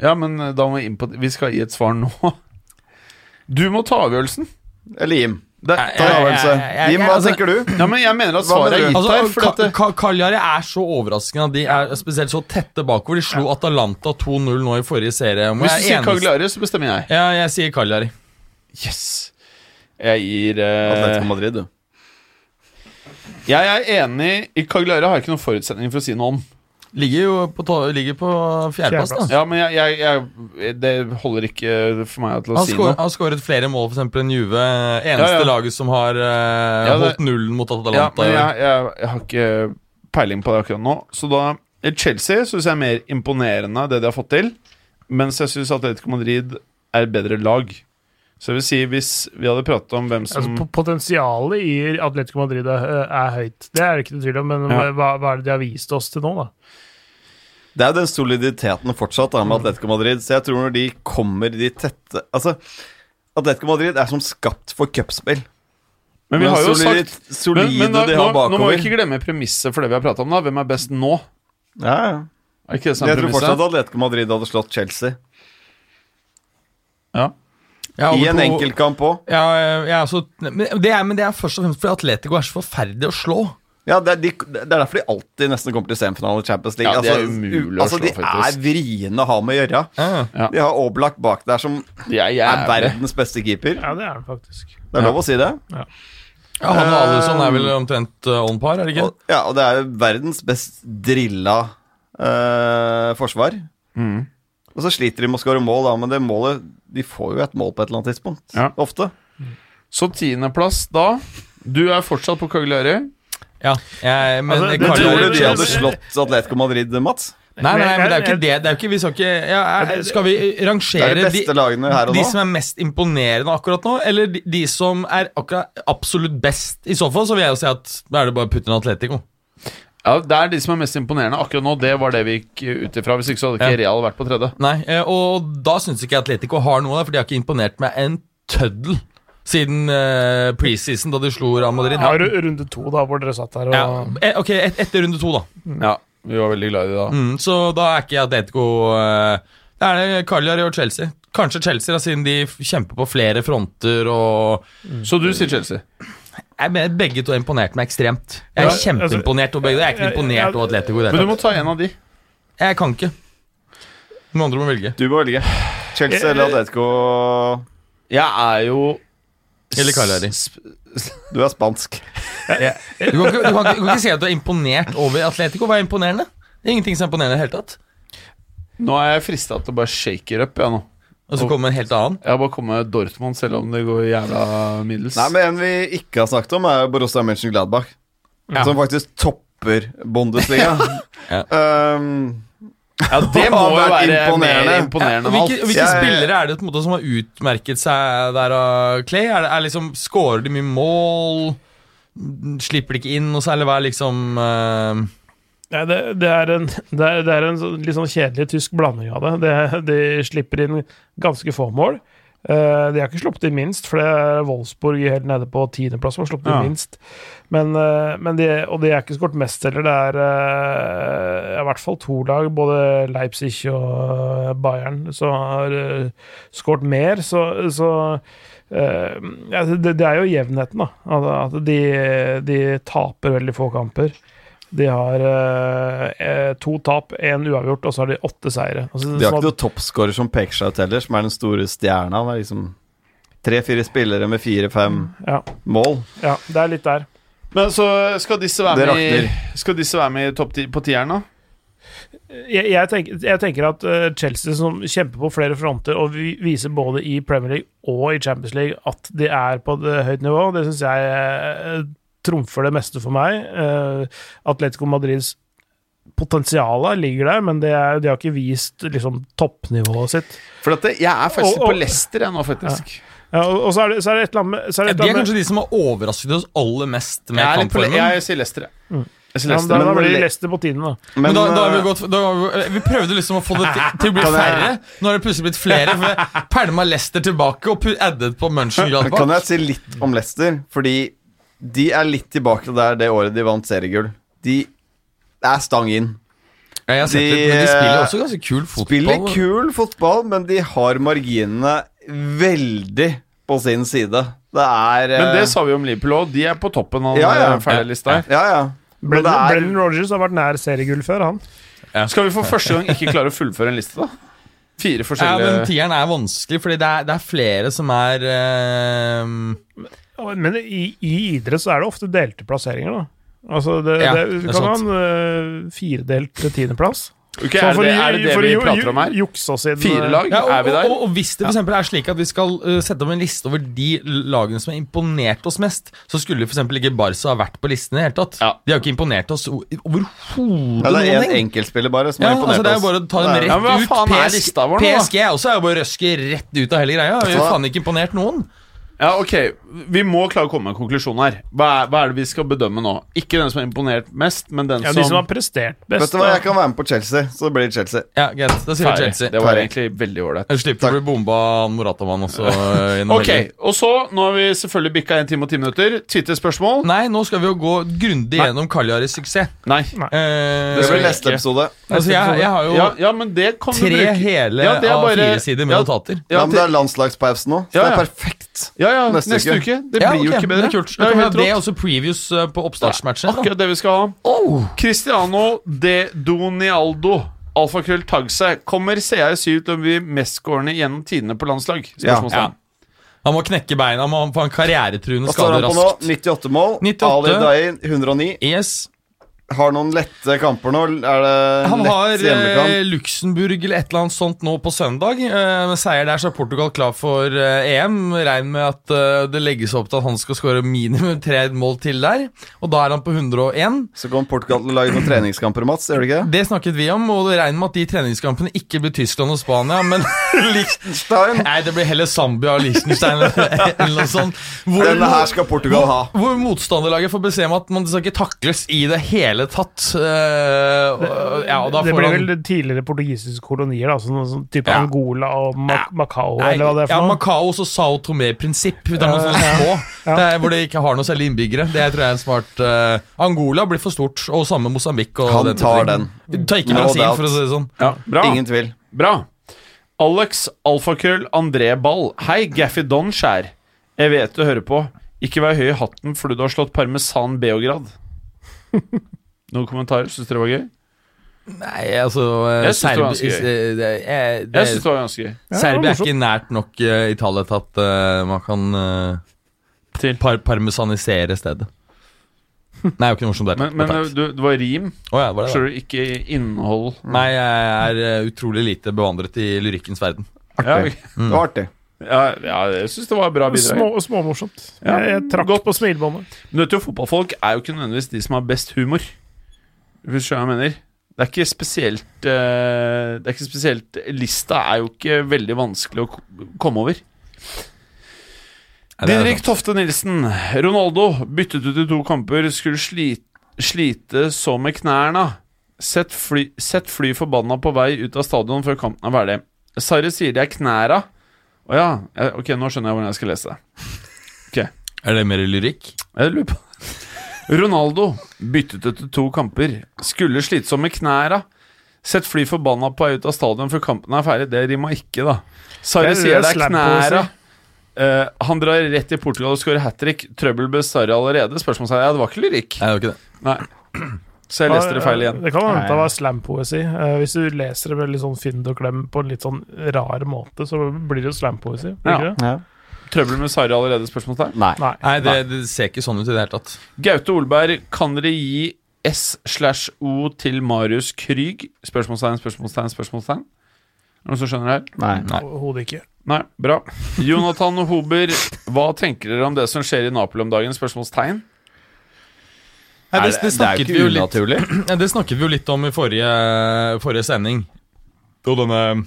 B: Ja, men eh, da må vi inn på Vi skal gi et svar nå. Du må ta avgjørelsen.
D: Eller Jim. Det, toleranse. Jim,
B: altså-
D: hva tenker du?
B: Ja, men jeg mener at svaret er
D: mener du?
B: gitt
E: Altså,
B: her. For
E: Ka-
B: at eh, det,
E: Ka Cagliari er så overraskende at de er spesielt så tette bakover. De slo Atalanta 2-0 nå i forrige serie. Og
B: hvis du
E: jeg
B: sier
E: er eneste-
B: Cagliari, så bestemmer jeg.
E: Ja, jeg sier Cagliari.
B: Yes. Jeg gir eh,
D: Atletico Madrid, du.
B: Jeg er enig i Cagliari. Har jeg ikke noen forutsetning for å si noe om.
E: Ligger jo på, to- ligger på fjerdeplass, da.
B: Ja, men jeg, jeg, jeg, Det holder ikke for meg til å
E: Han
B: si
E: skår-
B: noe.
E: har skåret flere mål for eksempel enn Juve. Eneste
B: Ja, ja.
E: laget som har eh,
B: Ja, det-
E: holdt nullen mot
B: Ja,
E: Atalanta.
B: men
E: i år.
B: jeg, jeg, jeg har ikke peiling på det akkurat nå. Så da Chelsea syns jeg er mer imponerende, det de har fått til. Mens jeg syns Atletico Madrid er bedre lag. Så jeg vil si, hvis vi hadde pratet om hvem som
C: Altså, po- potensialet i Atletico Madrid er, eh, er høyt, det er det ikke noe tvil om, men
B: Ja.
C: hva, hva er det de har vist oss til nå, da?
D: Det er jo den soliditeten fortsatt da, med
B: Mm.
D: Atletico Madrid. Så jeg tror når de kommer de tette Altså, Atletico Madrid er som skapt for cupspill.
B: Men vi har jo
D: solid-
B: sagt
D: Solide
B: men, men da,
D: de
B: nå,
D: har
B: nå må
D: bakover.
B: vi ikke glemme premisset for det vi har pratet om. da Hvem er best nå?
D: Ja, ja.
B: Er ikke det som
D: Jeg
B: er
D: tror
B: premisset?
D: fortsatt at Atletico Madrid hadde slått Chelsea.
E: Jeg er
D: I
E: over
D: en
E: to-
D: enkeltkamp òg.
E: Ja, jeg er også, men, det er, men det er først og fremst fordi Atletico er så forferdelig å slå.
D: Ja, det er, de, det er derfor de alltid nesten kommer til semifinale i Champions League.
B: Ja, det er
D: Altså,
B: umulig
D: u-
B: å
D: altså,
B: slå,
D: de
B: faktisk.
D: er vriene å ha med å gjøre.
B: Ja.
D: De har Oblak bak der, som
B: Ja, jeg
D: er
B: er det.
D: verdens beste keeper.
C: Ja, det er det faktisk.
D: Det er lov å si det.
E: Ja, han og
B: Eh,
E: Alisson er vel omtrent eh, on par, er det ikke?
D: Og, ja, og det er verdens best drilla eh, forsvar. Og så sliter de med å skåre mål, da, men det målet De får jo et mål på et eller annet tidspunkt.
B: Ja.
D: Ofte.
B: Så tiendeplass da. Du er fortsatt på Cagliari.
E: Ja, jeg, men
C: Altså, det-
E: Cagliari-
D: Tror du de
C: det-
D: hadde slått Atletico Madrid, Mats?
E: Nei, nei, men det er jo ikke det. det, er jo ikke, vi skal, ikke, ja, er, skal vi
D: Det er
E: rangere
D: de beste lagene her og
E: de
D: nå.
E: som er mest imponerende akkurat nå, eller de, de som er akkurat, absolutt best? I så fall så vil jeg jo si at da er det bare å putte inn Atletico.
B: Ja, Det er de som er mest imponerende akkurat nå. Det var det vi gikk ut ifra. Hvis ikke så hadde ikke Real vært på tredje.
E: Nei, eh, Og da syns ikke jeg Atletico har noe, der, for de har ikke imponert meg en tøddel siden eh, preseason, da de slo Real Madrid.
C: Ja, ru- runde to, da, hvor dere satt der og
E: Ja, eh, ok, et, etter runde to, da.
B: Ja, vi var veldig glad i det da.
E: Mm, så da er ikke Atletico eh, Det er det Cagliari og Chelsea. Kanskje Chelsea, da, siden de f- kjemper på flere fronter og
B: Så du sier Chelsea.
E: jeg mener, Begge to har imponert meg ekstremt. Jeg er
C: Ja, altså-
E: kjempeimponert over begge. to. Jeg er ikke
C: Ja, ja, ja.
E: imponert over Atletico. i det
B: Men
E: hele
B: du
E: tatt.
B: må ta en av de.
E: Jeg kan ikke. Noen andre må velge.
D: Du må velge. Chelsea eller Atletico
B: Jeg er jo
E: Eller Cagliari.
D: Du er spansk.
E: Du kan, ikke, du, kan ikke, du kan ikke si at du er imponert over Atletico. Hva er imponerende? Det er ingenting som er imponerende i det hele tatt.
B: Nå er jeg frista til å bare shake it up, jeg nå.
E: Og så kommer en helt annen.
B: Jeg har bare kommet Dortmund, selv om det går jævla middels.
D: Nei, men En vi ikke har snakket om, er Borussia Mönchengladbach. Som faktisk topper Bundesliga.
E: Ja.
D: um,
B: ja, det må jo
D: Har vært
B: være
D: imponerende.
B: mer imponerende enn
E: Hvilke,
B: alt.
E: hvilke
D: Jeg-
E: spillere er det på en måte, som har utmerket seg der av Clay? Er det, er liksom, Skårer de mye mål? Slipper de ikke inn noe særlig? Hva er liksom eh,
C: Nei, det, det er en, det er, det er en sånn- litt sånn kjedelig tysk blanding av det. det. De slipper inn ganske få mål. Eh, de har ikke sluppet inn minst, for det er Wolfsburg helt nede på tiendeplass som har sluppet
B: Ja.
C: inn minst. Men, eh, men de, og de er ikke skåret mest heller. Det er eh, i hvert fall to lag, både Leipzig og Bayern, som har eh, skåret mer. Så, så eh, ja, det, det er jo jevnheten, da. At, at de, de taper veldig få kamper. De har eh, eh, to tap, én uavgjort, og så har de åtte seire. Altså,
D: De har
C: sånn
D: ikke
C: at-
D: noen toppskårer som peker seg ut heller, som er den store stjerna. Det er liksom tre-fire spillere med fire-fem
C: ja,
D: mål.
C: ja, det er litt der.
B: Men så skal disse være
D: Det
B: med,
D: rakner.
B: i- skal disse være med i topp ti på tieren, da?
C: Jeg, jeg, tenker, jeg tenker at eh, Chelsea, som kjemper på flere fronter og vi, viser både i Premier League og i Champions League at de er på et høyt nivå, det syns jeg eh, trumfer det meste for meg. Eh, Atletico Madrids potensial ligger der, men det er, de har ikke vist liksom, toppnivået sitt.
B: For at det, jeg er faktisk
C: Og- og-
B: på Leicester jeg nå, faktisk.
C: Ja, og, og så er det, så er det et eller annet med, så er det
E: ja,
C: et
E: De er
C: eller annet
E: kanskje de som har overrasket oss aller mest med
B: Jeg, er litt på, Le-
E: kampformen.
B: jeg sier Leicester, jeg. Jeg sier
C: med, Mm. ja, men da,
B: Leicester.
C: da
D: men-
C: blir det Leicester på tiende, da.
D: Men,
E: Men da, da har vi
D: eh,
E: gått da har vi, eh, vi prøvde liksom å få det til, til å bli færre. Nå har det plutselig blitt flere. For jeg pælma Leicester tilbake og pu- addet på
D: kan
E: Mönchengladbach.
D: jeg si litt om Leicester? Fordi de er litt tilbake til der det året de vant seriegull. De er stang inn.
E: Ja, jeg har sett
D: De,
E: litt, men de spiller
D: eh,
E: også ganske kul fotball.
D: Spiller kul fotball, men de har marginene veldig på sin side. Det er
B: Men det
D: eh,
B: sa vi om Liverpool òg. De er på toppen av
D: Ja,
B: ja,
D: ja.
B: ferdige lista her.
D: Ja, ja. Men det
C: Brendan
D: er
C: Brendan Rodgers har vært nær seriegull før, han.
B: Skal vi for første gang ikke klare å fullføre en liste, da? Fire
E: Ja,
B: forskjellige
E: men tieren er vanskelig, fordi det er, det er flere som er eh,
C: Ja, Men i, i idrett så er det ofte delte plasseringer, da. Altså, det,
E: Ja,
C: det,
E: det er
C: kan ha
E: sant.
C: en øh, firedelt tiendeplass. Sånn,
E: Sånn,
B: Ok, er, det, er det det vi prater om her?
C: Juksa eh, siden
B: Fire lag?
E: ja, og,
B: er vi der?
E: Og, og hvis det for eksempel er slik at vi skal eh, sette opp en liste over de lagene som har imponert oss mest, så skulle for eksempel ikke Barca ha vært på listen i det hele tatt.
B: Ja.
E: De har ikke imponert oss o- overhodet
D: ja, det er én
E: noen ting.
D: enkeltspiller bare som
E: Ja,
D: har
E: altså
D: imponert
E: det er jo bare å ta dem
D: Nei,
E: rett
B: Ja, men hva
E: ut.
B: faen er
E: PSG
B: lista vår nå, da?
E: PSG er også er jo bare å røske rett ut av hele greia. Vi har
D: hva?
E: faen ikke imponert noen.
B: Ja, ok, Vi må klare å komme med en konklusjon her. Hva er, hva er det vi skal bedømme nå? Ikke den som har imponert mest, men den
C: Ja,
B: som,
C: de som har prestert best.
D: Vet du hva,
C: da.
D: jeg kan være med på Chelsea, så det blir Chelsea.
E: Ja, greit. Da sier vi
B: Ferdig.
E: Chelsea.
B: Det var
D: Ferdig.
B: egentlig veldig ålreit.
E: Jeg slipper å bli bomba av Moratamann også. eh, i noen
B: Ok,
E: helger.
B: og så, nå har vi selvfølgelig bikka en time og ti minutter. Twitter-spørsmål?
E: Nei, nå skal vi jo gå grundig
B: Nei.
E: gjennom Kaljaris suksess.
B: Nei.
E: Eh,
B: skal
D: Det blir
B: vi
D: neste
B: ikke.
D: episode.
E: altså, jeg, jeg har jo
B: Ja, ja, men det kan du
E: tre
B: bruke.
E: hele
B: Ja, det er
E: av
B: bare-
E: fire sider med
B: ja,
E: notater.
D: Ja,
B: Ja,
D: men det er landslagspause nå, så
B: Ja, ja.
D: det er perfekt.
B: ja, ja,
D: neste
B: neste, uke.
D: uke.
B: Det blir jo
E: ok,
B: ikke
E: men
B: bedre.
E: Det er kult.
B: Det
E: Da
B: er
E: kan vi ha
B: helt
E: det
B: rått.
E: også previews eh, på oppstartsmatchene. da.
B: Akkurat det vi skal ha. Cristiano de Donialdo. Alfakrøll Tagse. Kommer CR7 til å bli mestskårende gjennom tidene på landslag?
D: Ja.
E: Ja.
B: Spørsmålstegn.
E: Han må knekke beina, han må få en karrieretruende
D: Hva står
E: skade
D: han på nå?
E: raskt.
D: 98 mål.
E: 98.
D: Ali Dain 109.
E: Yes.
D: Har noen lette kamper nå? Er det
E: Han
D: lett
E: har eh,
D: hjemmekamp?
E: Luxembourg eller et eller annet sånt nå på søndag. Eh, med seier der så er Portugal klar for eh, EM. Regn med at eh, det legges opp til at han skal skåre minimum tre mål til der. Og da er han på 101.
D: Så kommer Portugal til å lage noen treningskamper, Mats. Gjør det ikke det?
E: Det snakket vi om, og regn med at de treningskampene ikke blir Tyskland og Spania, men
D: Liechtenstein.
E: Nei, det blir heller Zambia og Liechtenstein eller eller noe sånt. Hvor,
D: Denne her skal Portugal ha.
E: hvor motstanderlaget får beskjed om at man skal ikke takles i det hele tatt. Eh,
B: Øh,
E: og- ja, og da
C: det
E: får
C: blir
E: han-
C: vel tidligere portugisiske kolonier, da, sånn, sånn type
E: Ja.
C: Angola og Ma Macau,
E: Nei,
C: eller hva det er
E: ja,
C: for noe.
E: Macaos og Sao Tomé-prinsipp. Det er noe sånt små, det er, hvor de ikke har noe særlig innbyggere. Det tror jeg er en smart eh, Angola blir for stort, og samme Mosambik. Og
D: Han
E: den
D: tar
E: typen ting. Ta ikke
D: No
E: Brasil,
D: doubt.
E: for å si det sånn.
B: Ja, bra.
D: Ingen tvil.
B: Bra. Alex Alfakrøll André Ball. Hei, Gaffy Don Skjær. Jeg vet du hører på. Ikke vær høy i hatten fordi du har slått parmesan Beograd. Noen kommentarer? Syns dere det var gøy?
E: Nei, altså eh,
B: Jeg synes det var
E: Serbi-
B: ganske gøy.
E: eh, det er- det er-
B: Jeg syns det var ganske gøy.
C: Ja, det var
E: Serbia er
C: morsomt.
E: ikke nært nok eh, Italia til at eh, man kan eh,
B: Til.
E: par parmesanisere stedet. Nei, det er jo ikke noe morsomt der.
B: Men, men
E: Beklager.
B: du, det var rim,
E: Å ja, var det det?
B: skjønner du, ikke innhold.
E: Nei, jeg er eh, utrolig lite bevandret i lyrikkens verden.
B: Ja, ok.
D: Det var artig.
B: ja, ja, jeg syns det var et bra bidrag.
C: Små, småmorsomt.
B: Ja,
C: jeg, jeg trakk
B: godt.
C: på smilebåndet.
B: Men vet du, fotballfolk er jo ikke nødvendigvis de som har best humor. Hvis du skjønner hva jeg mener. Det er ikke spesielt eh, Det er ikke spesielt Lista er jo ikke veldig vanskelig å ko- komme over.
E: Nei, det er
B: Didrik
E: sant.
B: Tofte Nilsen. Ronaldo byttet ut i to kamper, skulle slite, slite så med knærne. Sett fly, sett fly forbanna på vei ut av stadion før kampen er ferdig. Sarri sier det er knæra. Å ja, eh, ok, nå skjønner jeg hvordan jeg skal lese det.
E: Er det mer lyrikk?
B: Jeg lurer på Ronaldo byttet ut i to kamper, skulle slite så med knæra. Sett fly forbanna på vei ut av stadion før kampen er ferdig. Det rima ikke, da. Sarri
C: Det er- det er
B: sier det er
C: slap-pose.
B: knæra. Eh, han drar rett til Portugal og skårer hat trick. Trøbbel med Sarri allerede? Spørsmålstegn. Ja, det var ikke lyrikk.
E: Nei, det er jo ikke det.
B: Nei. Så jeg leste det feil igjen.
C: Det kan hende det var slampoesi. Eh, hvis du leser det med litt sånn fynd og klem på en litt sånn rar måte, så blir det jo slampoesi. blir
B: Ja.
C: ikke det?
B: Trøbbel med Sarri allerede? Spørsmålstegn.
D: Nei.
C: Nei.
E: Nei, det, det ser ikke sånn ut i det hele tatt.
B: Gaute Olberg, kan dere gi S slash O til Marius Krygh? Spørsmålstegn, spørsmålstegn, spørsmålstegn. Er det Noen som skjønner her?
C: Overhodet ikke.
B: Nei, bra. Jonathan Hober, hva tenker dere om det som skjer i Napoli om dagen? Spørsmålstegn.
E: Nei,
D: Er
E: det, det, snakket vi jo litt,
D: unaturlig.
E: Nei, det snakket vi jo litt om i forrige, forrige sending. Og denne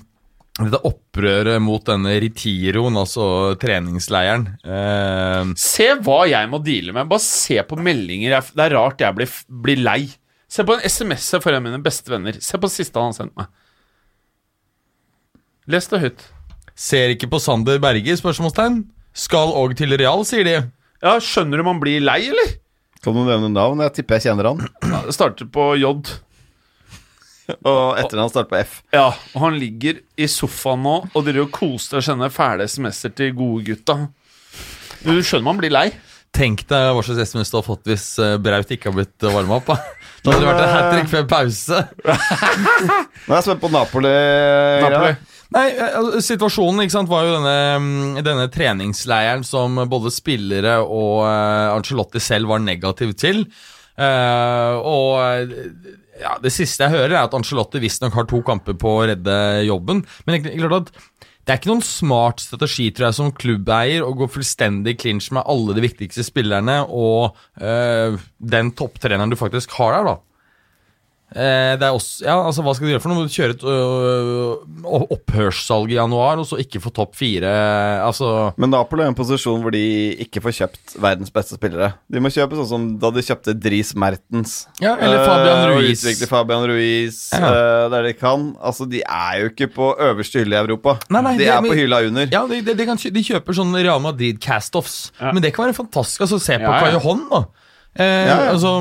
E: dette opprøret mot denne retiroen, altså treningsleiren. Eh,
B: Se hva jeg må deale med. Bare se på meldinger. Jeg, det er rart jeg blir, blir lei. Se på en SMS jeg får av mine beste venner. Se på siste han sendte meg. Les det høyt.
E: Ser ikke på Sander Berge? spørsmålstegn Skal òg til Real, sier de.
B: Ja, Skjønner du man blir lei, eller?
D: Kan du nevne navn? Jeg tipper jeg kjenner han.
B: Ja, det starter på J.
D: Og etter han starter på F.
B: Ja, og han ligger i sofaen nå og driver og koser og sender fæle SMS-er til gode gutta.
F: Du skjønner man blir lei.
E: Tenk deg hva slags SMS du hadde fått hvis eh, Braut ikke har blitt varma opp. Da. da hadde det vært en hat trick før pause.
D: Nå er jeg spent på Napoli-greia.
E: Napoli. Nei, eh, altså, Situasjonen ikke sant, var jo denne, mm, denne treningsleiren som både spillere og eh, Ancelotti selv var negativ til. Eh, og eh, ja, Det siste jeg hører, er at Ancelotti visstnok har to kamper på å redde jobben. Men det er klart at det er ikke noen smart strategi tror jeg, som klubbeier å gå fullstendig i clinch med alle de viktigste spillerne og eh, den topptreneren du faktisk har der. da. Eh, det er også, ja, altså Hva skal du gjøre for noe? Må du kjøre et øh, opphørssalg i januar, og så ikke få topp fire Altså
D: Men Napoli er i en posisjon hvor de ikke får kjøpt verdens beste spillere. De må kjøpe sånn som da de kjøpte Dris Mertens.
E: Ja, eller Fabian
D: Eh, og
E: Ruiz.
D: utvikle Fabian Ruiz
E: Ja.
D: eh, der de kan. Altså, de er jo ikke på øverste hylle i Europa.
E: Nei, nei,
D: de
E: det-
D: er
E: men-
D: på hylla under.
E: Ja, de, de, de, kan, kjø- de kjøper sånn Real Madrid-castoffs, men det kan være fantastisk. Altså, se på
F: Ja, ja.
E: Cajon, da. Eh,
D: Ja, ja.
E: Altså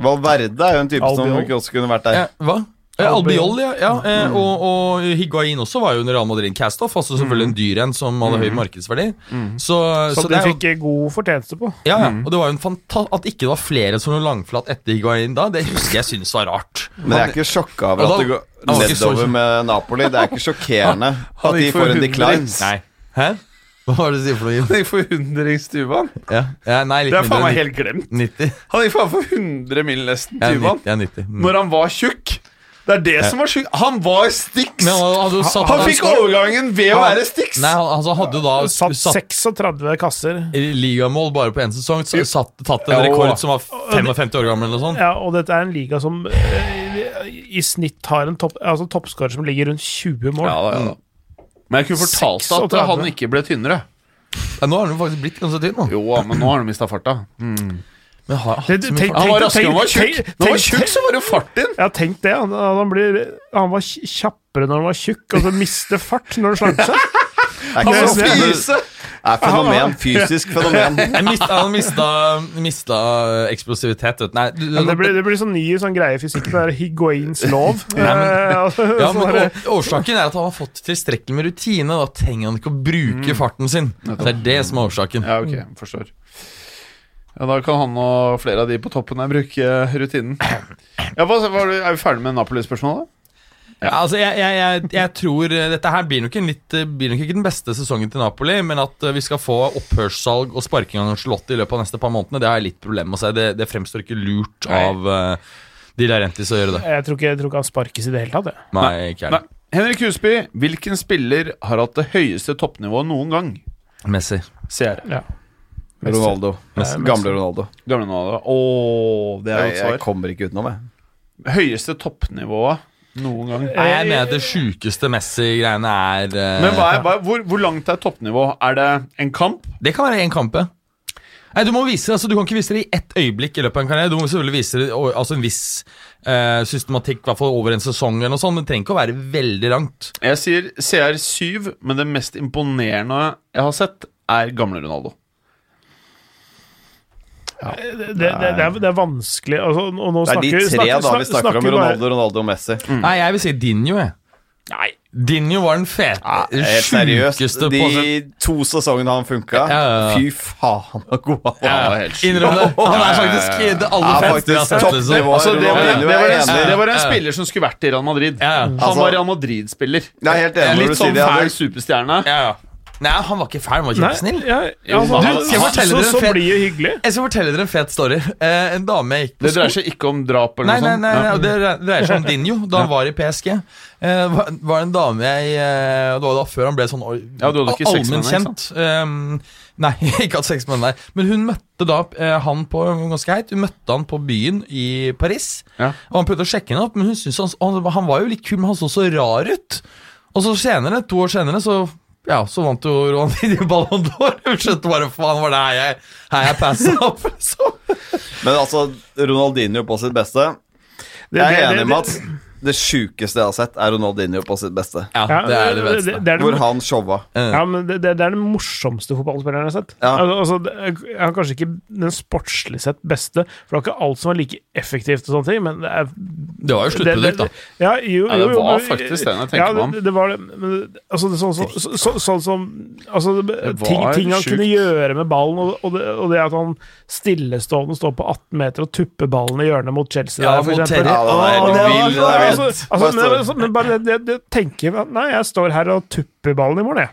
D: Valverde er jo en type som
C: Albiol.
D: ikke også kunne vært der.
E: ja, Hva? Eh, Albiol, ja. ja eh, og, og Higuain også var jo en Real Madrid-castoff. Altså selvfølgelig en dyr en som hadde høy markedsverdi. Så, Mm. så
C: Som
E: det
C: de
E: er jo
C: fikk god fortjeneste på.
E: Ja, ja. Og det var jo en fanta At ikke det var flere som lå langflat etter Higuain da, det husker jeg synes var rart.
D: Men jeg er ikke sjokka over
E: Og da-
D: at det går
E: Han var ikke så-
D: nedover med Napoli. Det er ikke sjokkerende at de
B: gikk for
D: får en
B: 100.
D: decline.
E: Nei. Hæ? Hva var det du sier for noe? Jim?
B: Det er forundrings Tuvan.
E: Ja. Ja, nei, litt
B: Det er faen meg
E: mindre.
B: helt glemt.
E: 90.
B: Han gikk faen for 100 mil nesten,
E: Ja,
B: Tuvan.
E: 90. Ja, 90. Mm.
B: Når han var tjukk. Det er det som var sjukt. Han var Stix!
E: Men han hadde jo satt
B: Han fikk overgangen ved å være Stix!
E: Nei, han altså, hadde jo da
C: Satt
E: satt
C: 36 kasser.
E: ligamål bare på én sesong, så satt, tatt en
B: Ja, og-
E: rekord som var 55 år gammel eller sånn. noe sånt.
C: Ja, og dette er en liga som eh, i snitt har en topp, altså toppskårer som ligger rundt 20 mål.
B: Ja, da, ja, da. Men jeg kunne fortalt deg at
C: 36.
B: han ikke ble tynnere.
E: Ja, nå har han jo faktisk blitt ganske tynn, nå.
B: Jo, men nå har han mista farta.
E: Men har hatt
C: Det-
E: så mye
C: tenk-
E: fart.
B: Han var raskere, han var
C: Tenk-
B: tjukk.
C: tenk-
B: Når han var
C: tenk-
B: tjukk, så var det jo fart din!
C: Jeg har tenkt det. Han, han, blir, han var kj- kjappere når han var tjukk, og så mister fart når han slanker seg.
D: Det er ikke
B: Han
D: sånn-
B: var fyse!
D: Det er fenomen. Fysisk fenomen.
E: Jeg mista, han mista, mista eksplosivitet, vet du. Nei, du,
C: Men det blir, det blir sånn ny sånn greie i fysikk. Det er Higuains lov. Eh, altså,
E: Ja,
C: så
E: men
C: er det-
E: å- Årsaken er at han har fått tilstrekkelig med rutine. Da trenger han ikke å bruke farten sin. Det er det som er årsaken.
B: Mm. Ja, ok, forstår. Ja, Da kan han og flere av de på toppen her bruke eh, rutinen. Ja, hva, var du, Er vi ferdig med Napoli-spørsmålet?
E: Ja, altså, jeg, jeg, jeg, jeg tror eh, Dette her blir nok, en litt, eh, blir nok ikke den beste sesongen til Napoli, men at eh, vi skal få opphørssalg og sparking av Charlotte i løpet av neste par månedene, det har jeg litt problemer med å se. Det, det fremstår ikke lurt av eh, De Laurentiis å gjøre det.
C: Jeg tror ikke, jeg tror ikke han sparkes i det hele tatt. jeg.
E: Nei, ikke jeg.
B: Nei. Henrik Husby, hvilken spiller har hatt det høyeste toppnivået noen gang?
E: Messi.
B: CR.
D: Ronaldo. Gamle Ronaldo.
B: Gamle nå, da. Åh, det er
D: Jeg,
B: godt
D: jeg
B: svar.
D: kommer ikke utenom, jeg.
B: Høyeste toppnivået noen gang.
E: Nei, jeg mener at det sjukeste Messi-greiene er eh,
B: Men hva er, hva, hvor, hvor langt er toppnivå? Er det en kamp?
E: Det kan være én kamp, ja. Nei, du, må vise, altså, du kan ikke vise det i ett øyeblikk i løpet av en karriere. Du må selvfølgelig vise det, og- altså, en viss eh, systematikk, i hvert fall over en sesong. eller noe sånt. Det trenger ikke å være veldig langt.
B: Jeg sier CR7, men det mest imponerende jeg har sett, er gamle Ronaldo.
C: Det, det, det, det, er, det er vanskelig altså, og nå
D: Det er de
C: snakker,
D: tre da vi snakker om
C: bare-
D: Ronaldo, Ronaldo og Messi.
E: Nei, jeg vil si Dinho, jeg.
B: Nei.
E: Dinho var den fete, den
D: Helt seriøst.
E: sjukeste på-
D: De to sesongene han funka,
E: Ja, ja, ja.
D: fy faen så god han
B: Ja,
D: var.
B: ja, helt sjukt.
E: Innrøm det. Han er faktisk det
D: Ja,
E: aller
D: faktisk
E: feteste jeg har sett.
D: toppnivå.
E: Liksom.
B: Altså, det, var- det, var en,
D: Enig.
B: det var en spiller som skulle vært i Real Madrid.
E: Ja, ja.
B: Han
D: Altså-
B: var Real Madrid-spiller.
D: Jeg er helt enig når du
B: Litt
D: sier
B: sånn
D: det.
B: fæl
D: Henrik.
B: superstjerne.
E: liksom. Ja, ja. Nei, han var ikke fæl, han var
C: Nei,
E: kjempesnill.
C: ja, ja, altså,
B: men
C: du,
B: han-
C: skal jeg fortelle dere
E: en
C: Så
E: fet-
C: blir det hyggelig.
E: Jeg skal fortelle dere en fet story. Eh, en dame jeg gikk på
B: Det dreier seg ikke om drap eller
E: Nei,
B: noe
E: nei,
B: sånt.
E: nei, altså,
B: Ja.
E: nei, det dreier seg om Dinho. Da han var i PSG, eh, var, var en dame jeg eh, Det var da før han ble sånn
B: Ja, du hadde ikke sex med
E: allmenn
B: henne,
E: kjent. Eh, nei, ikke hatt sex med henne, nei. Men hun møtte da eh, han på ganske heit. Hun møtte han på byen i Paris.
B: Ja.
E: Og han prøvde å sjekke henne opp, men hun syntes han, han, han var jo litt kul, men han så så rar ut. Og så senere, to år senere, så ja, så vant jo Ronaldinho Ballon d'Or. Hun skjønte bare faen, var det her jeg, her jeg passa opp? liksom.
D: Men altså, Ronaldinho på sitt beste.
C: det-
D: Jeg er
C: det-
D: enig, Mats. det sjukeste jeg har sett, er Ronaldinho på sitt beste.
E: Ja,
C: Ja,
E: det er det beste.
C: det er det-
D: Hvor han showa.
C: Ja, men det, det det er den morsomste fotballspilleren jeg har sett.
D: Ja.
C: Al- Altså, det er- jeg har kanskje ikke den sportslig sett beste, for det er ikke alt som er like effektivt, og sånne ting, men det er
E: Det var jo sluttprodukt, da.
C: Ja, jo,
B: Ja,
C: jo,
B: det
C: jo,
B: var
C: men-
B: faktisk den jeg tenkte meg
C: ja,
B: om.
C: det, det var det, men det- altså, det, er sånn, som- så, så, sånn som altså, det,
B: Det
C: ting,
B: var
C: ting han
B: sjukt.
C: kunne gjøre med ballen, og, og, det, og det at han stillestående står på 18 meter og tupper ballen i hjørnet mot Chelsea.
E: Ja,
C: der, for
E: mot
C: eksempel.
E: Terry.
D: Ja, det
E: Åh,
D: var helt
E: det var
D: vilt. det
E: så-
D: er vilt.
C: Altså, altså,
D: Bare
C: men,
D: stå-
C: altså, men bare det, det, det tenker jeg at, Nei, jeg står her og tupper ballen i morgen, jeg.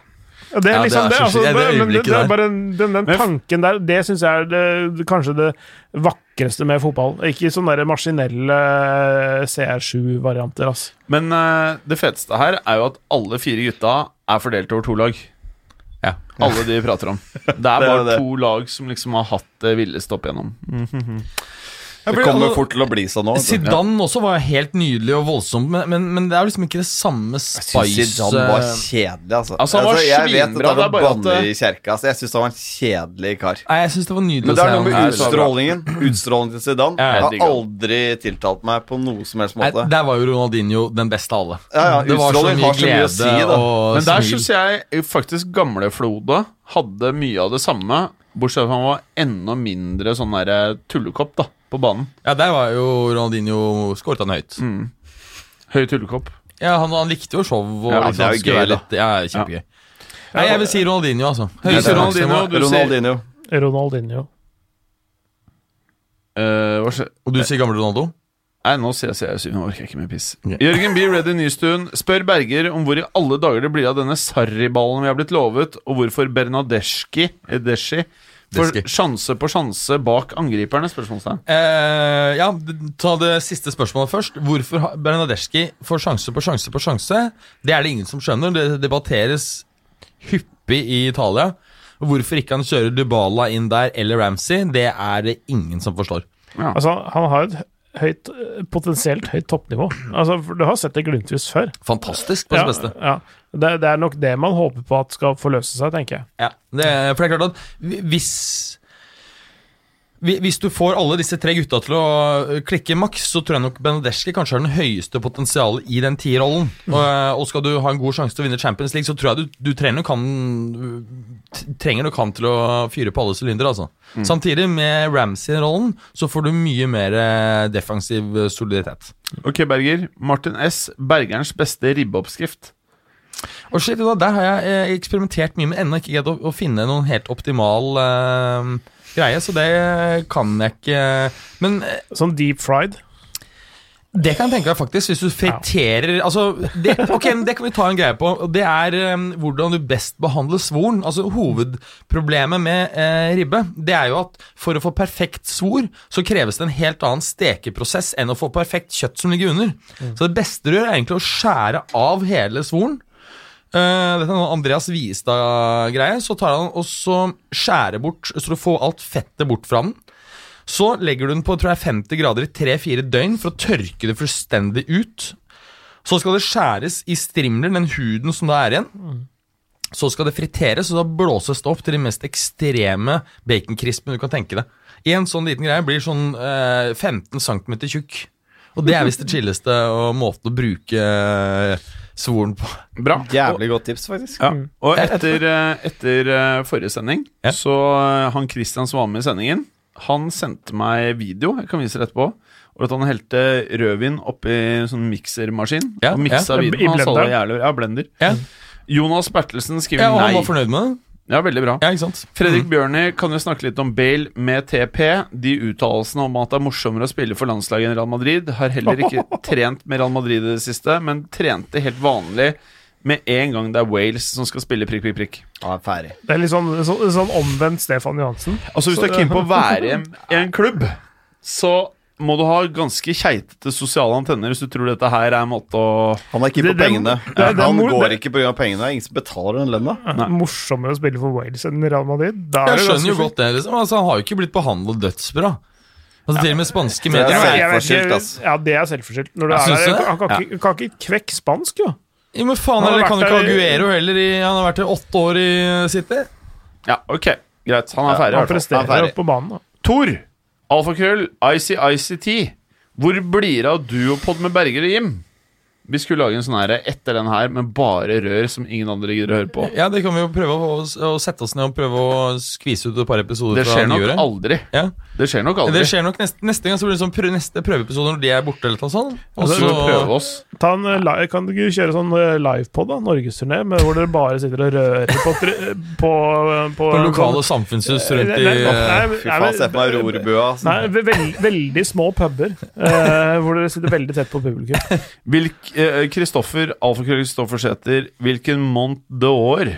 C: Ja, det er
E: Ja, det
C: liksom
E: er
C: det,
E: så
C: altså,
E: sykt. Ja,
C: det,
E: det
C: men det,
E: øyeblikket
C: det
E: der.
C: er bare den, den, den tanken der, det syns jeg er det, det- kanskje det vakreste med fotball. Ikke sånne der maskinelle eh, CR7-varianter, ass.
B: Men eh, det feteste her er jo at alle fire gutta er fordelt over to lag.
E: Ja.
B: Alle de vi prater om. Det er
D: er
B: bare
D: det.
B: to lag som liksom har hatt det villeste opp igjennom.
D: Det kommer fort til å bli sånn nå. vet du.
E: altså, Zidane også var helt nydelig og voldsom, men, men, men det er jo liksom ikke det samme spice eh,
D: Zidane var kjedelig, altså.
B: Altså, han var
D: jeg vet
B: svinbra,
D: at det
B: det
D: er
B: er bare
D: noe
B: at
D: banne i kjerka. Altså, jeg syns han var en kjedelig kar.
E: Nei, jeg syns det var nydelig
D: Men det er noe med
B: så
E: han.
B: bra.
D: utstrålingen. Utstrålingen til Zidane
E: Ja, jeg
D: har
B: digger han.
D: aldri tiltalt meg på noe som helst
E: Nei,
D: måte.
E: der var jo Ronaldinho den beste av alle.
D: Ja, ja,
E: det var så
D: utstråling
E: mye
D: har så mye
E: glede
D: å si, da.
E: og
B: Men der
E: smil.
B: syns jeg faktisk gamleflode hadde mye av det samme, bortsett fra at han var enda mindre sånn der tullekopp da, på banen.
E: Ja, der var jo Ronaldinho skåret han høyt.
D: Mm.
B: Høy tullekopp.
E: Ja, han, han likte jo show og
B: Ja,
E: liksom,
D: det er jo
E: skulle
D: gøy,
E: være litt- Ja, kjempegøy. Nei, jeg vil si Ronaldinho, altså.
B: Du sier
E: Høyeste
B: Ronaldinho,
E: maksimal.
B: du sier
D: Ronaldinho.
C: Ronaldinho.
B: Eh, hva skjer?
E: Og du sier gamle Ronaldo?
B: Nei, nå sier jeg CR7. Nå orker jeg ikke mer piss. Jørgen B. Reddy Nystuen spør Berger om hvor i alle dager det blir av denne Sarri-ballen vi har blitt lovet, og hvorfor Bernadeschi Edeschi får
E: Deski.
B: sjanse på sjanse bak angriperne? Spørsmålstegn.
E: Eh, ja, d- ta det siste spørsmålet først. Hvorfor ha- Bernadeschi får sjanse på sjanse på sjanse? Det er det ingen som skjønner. Det debatteres hyppig i Italia. Hvorfor ikke han kjører Dybala inn der, eller Ramsey, det er det ingen som forstår.
C: Altså, han har et høyt, potensielt høyt toppnivå. Altså, for du har sett det glimtvis før.
E: Fantastisk på sitt beste.
C: Ja, ja. Det, det er nok det man håper på at skal forløse seg, tenker jeg.
E: Ja, det, for det er klart at hvi- hvis hvi- hvis du får alle disse tre gutta til å øh, klikke maks, så tror jeg nok Benedeschi kanskje har den høyeste potensialet i den tierrollen. Og, og skal du ha en god sjanse til å vinne Champions League, så tror jeg du, du trenger nok han t- trenger nok han til å fyre på alle sylindere, altså. Samtidig med Ramsey-rollen så får du mye mer eh, defensiv soliditet.
B: Ok, Berger. Martin S. Bergerens beste ribbeoppskrift.
E: Og shit, da, Der har jeg eh, eksperimentert mye, men ennå ikke greid å, å finne noen helt optimal eh, greie. Så det kan jeg ikke Men eh,
C: Sånn deep fried.
E: det kan jeg tenke meg faktisk, hvis du friterer altså, det, Ok, men det kan vi ta en greie på. og Det er eh, hvordan du best behandler svoren. Altså, hovedproblemet med eh, ribbe det er jo at for å få perfekt svor, så kreves det en helt annen stekeprosess enn å få perfekt kjøtt som ligger under. Så det beste du gjør, er egentlig å skjære av hele svoren. Eh, dette er noe Andreas Viestad-greie. Så tar han og så skjærer bort, så du får alt fettet bort fra den. Så legger du den på tror jeg, 50 grader i 3-4 døgn for å tørke det fullstendig ut. Så skal det skjæres i strimler, den huden som da er igjen. Så skal det friteres, og da blåses det opp til de mest ekstreme baconkrispene du kan tenke deg. En sånn liten greie blir sånn eh, 15 cm tjukk. Og det er visst det chilleste og måten å bruke eh, svoren på.
B: Bra.
D: Jævlig godt tips, faktisk.
E: Mm.
B: Ja. Og etter, eh, etter eh, forrige sending,
E: Ja.
B: så eh, han Christian som var med i sendingen, han sendte meg video, jeg kan vise det etterpå, og at han helte rødvin oppi en sånn miksermaskin.
E: Ja,
B: og miksa
E: ja.
B: vinen.
C: I
B: Han sa det var
C: blenderen.
B: jævlig- Ja, blender.
E: Ja.
B: Jonas Bertelsen skriver
E: Ja, og han var
B: nei.
E: fornøyd med det.
B: Ja, veldig bra.
E: Ja, Mm. ikke sant?
B: Fredrik Bjørni, kan jo snakke litt om Bale med TP? De uttalelsene om at det er morsommere å spille for landslaget enn Real Madrid, har heller ikke trent med Real Madrid i det siste, men trente helt vanlig med en gang det er Wales som skal spille prikk, prikk, prikk.
D: Ja, ferdig.
C: Det er litt sånn, så, sånn omvendt Stefan Johansen.
B: Altså Hvis du er keen på å være i en klubb, så må du ha ganske keitete sosiale antenner hvis du tror dette her er en måte å
D: Han er ikke
C: Det-
D: på
C: det-
D: pengene.
C: det- det- det-
D: han
C: det-
D: går ikke pga. pengene. Ingen som betaler den lønna.
C: Morsommere å spille for Wales enn Real Madrid. Da er
E: Jeg
C: det
E: skjønner jo
C: ganske fint.
E: godt det. liksom Altså, Han har jo ikke blitt behandlet dødsbra. Altså Til og med spanske
D: Det er
E: medier
C: Jeg vet ikke-
D: Selvforskyldt, ass.
C: Ja, det er selvforskyldt. Når du
E: Jeg
C: er
E: syns
C: der,
E: det.
C: han kan, ikke- kan ikke kvekke spansk, jo.
E: Jo, Men faen,
C: Han har
E: eller kan jo
C: vært der
E: ikke
C: i-
E: Aguero heller. I, han har vært i åtte år i City.
B: Ja, ok, greit. Han er ferdig. i hvert fall.
C: Han
D: Han er ferdig.
C: presterer på banen. Da.
B: Tor, alfakrøll, ICICT. Hvor blir det av duopod med Berger og Jim? Vi skulle lage en sånn her etter den her, med bare rør som ingen andre gidder å høre på.
E: Ja, det kan vi jo prøve å, å sette oss ned og prøve å skvise ut et par episoder
B: Det skjer nok
E: nyåret.
B: aldri.
E: Ja.
B: Det skjer nok
E: Det
B: aldri.
E: skjer nok neste, neste gang så blir det sånn prø neste prøveepisode når de er borte. eller noe sånt. Og
B: Så
E: så-
B: må vi prøve oss.
C: Ta en, eh, li- kan du ikke kjøre sånn eh, livepod, da? Norgesturné, med- hvor dere bare sitter og rører på tri- på, eh, på, Eh,
E: på lokale samfunnshus rundt
C: Nei, nei,
E: i
C: nei,
D: Fy faen, se på meg rorbua. altså.
C: Nei, ve- veld, veldig små puber, eh, hvor dere sitter veldig tett på publikum.
B: Hvilk, eh, Kristoffer, alfakrøll Kristoffer Sæther, hvilken Mont d'Or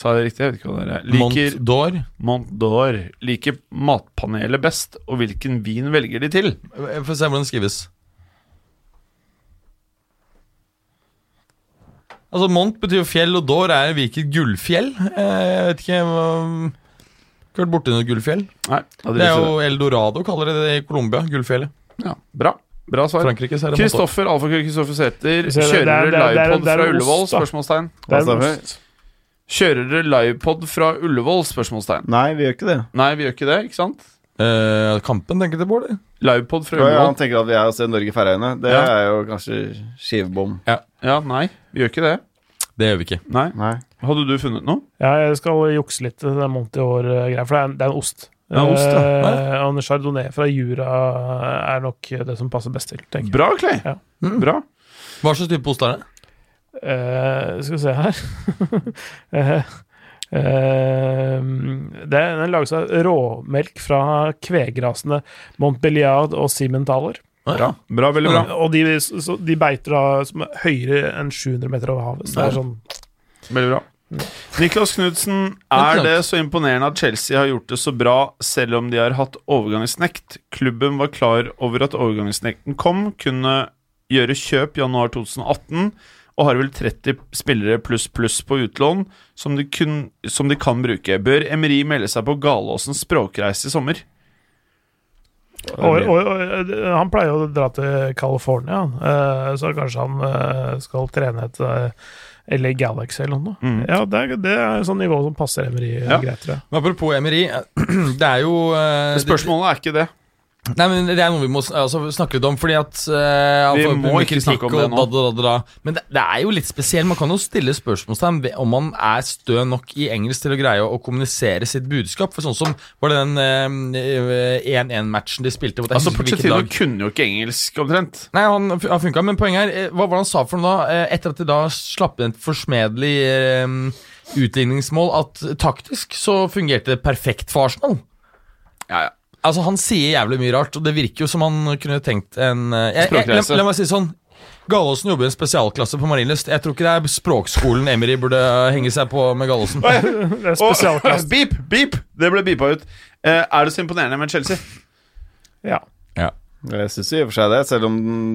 B: Sa jeg det riktig? Jeg vet ikke hva det er. Liker
E: Mont d'Or.
B: Mont d'Or liker matpanelet best, og hvilken vin velger de til?
E: Eh, Få se hvordan det skrives. Altså, Mont betyr jo fjell, og Dår er hvilket gullfjell? Eh, Jeg vet ikke hva- Ikke vært borti noe gullfjell?
B: Nei, da
E: Det er
B: driter vi i det.
E: jo El Dorado, kaller de det i Colombia. Gullfjellet.
B: ja, Bra. Bra svar.
E: Frankrike så er det Mont d'Or.
B: Kristoffer Alfakrøll Kristoffer Sæther,
C: Så
B: kjører
C: det- det er-
B: dere
C: det er- det er-
B: livepod
C: det er
B: fra
C: ost,
B: Ullevål?
C: da.
B: Spørsmålstegn.
C: Det er
D: Hva stemmer?
C: ost.
B: Kjører dere livepod fra Ullevål? Spørsmålstegn.
D: Nei, vi gjør ikke det.
B: Nei, vi gjør ikke det, ikke sant?
E: Eh, Kampen, tenker du, Bård? eller?
B: Livepod fra
D: Ja, ja,
B: Ullevål?
D: han tenker at vi er hos Norge Færøyene. Det
B: Ja.
D: er jo kanskje skivebom.
B: Ja, nei, vi gjør ikke det.
E: Det gjør vi ikke.
B: Nei.
D: Nei.
B: Hadde du funnet noe?
C: Ja, jeg skal jukse litt til den Monty År-greia, eh, for det er, en, det er en ost.
B: Det er en ost, ja.
C: Eh, og en chardonnay fra Jura er nok det som passer best til, tenker jeg.
B: Bra, Clay.
C: Ja.
B: Bra.
E: Hva slags type ost er det?
C: Eh, skal vi se her Eh, eh, Det er Den lages av råmelk fra kvegrasene Montbelliard og Simentaler.
B: Bra, bra veldig bra.
C: Og de, så de beiter da som er høyere enn 700 meter over havet. Så det er sånn
B: Veldig bra. Niklas Knudsen, er det så imponerende at Chelsea har gjort det så bra selv om de har hatt overgangsnekt? Klubben var klar over at overgangsnekten kom, kunne gjøre kjøp januar 2018 og har vel 30 spillere pluss pluss på utlån som de, kun, som de kan bruke. Bør Emery melde seg på Galåsens språkreise i sommer?
C: Og, og, og, eh, han pleier jo å dra til California, han. Eh, så kanskje han eh, skal trene et eh, LA Galaxy eller noe. Ja, det er, det er sånn nivå som passer Emery eh,
B: Ja.
C: greit, tror jeg.
E: Men Apropos Emery, eh, det er jo eh, det-
B: Spørsmålet er ikke det.
E: Nei, men Det er noe vi må sn- altså, snakke litt om. Fordi at eh,
B: Vi
E: altså,
B: må
E: mye
B: ikke
E: kritikk
B: snakke om det
E: og
B: nå.
E: Da, da, da, da. Men det, det er jo litt spesielt. Man kan jo stille spørsmålstegn ved om man er stø nok i engelsk til å greie å, å kommunisere sitt budskap. For sånn som var det den eh, 1-1-matchen de spilte mot jeg
B: Altså,
E: husker ikke
B: Pochettino
E: hvilket lag.
B: kunne jo ikke engelsk, omtrent.
E: Nei, han, f- han funka, men poenget er eh, Hva var det han sa for noe da? eh, Etter at de da slapp inn et forsmedelig eh, utligningsmål, at taktisk så fungerte det perfekt for Arsenal.
B: Ja, ja.
E: Altså, han sier jævlig mye rart, og det virker jo som han kunne tenkt en eh, jeg, jeg, la,
B: Språkreise.
E: la meg si det sånn Gallosen jobber i en spesialklasse på Marienlyst. Jeg tror ikke det er språkskolen Emery burde henge seg på med Gallosen.
C: Det er
B: Og,
C: spesialklasse.
B: beep, beep! Det ble beepa ut. Eh, er det så imponerende med Chelsea?
C: Ja.
D: Jeg syns i og for seg det. Selv om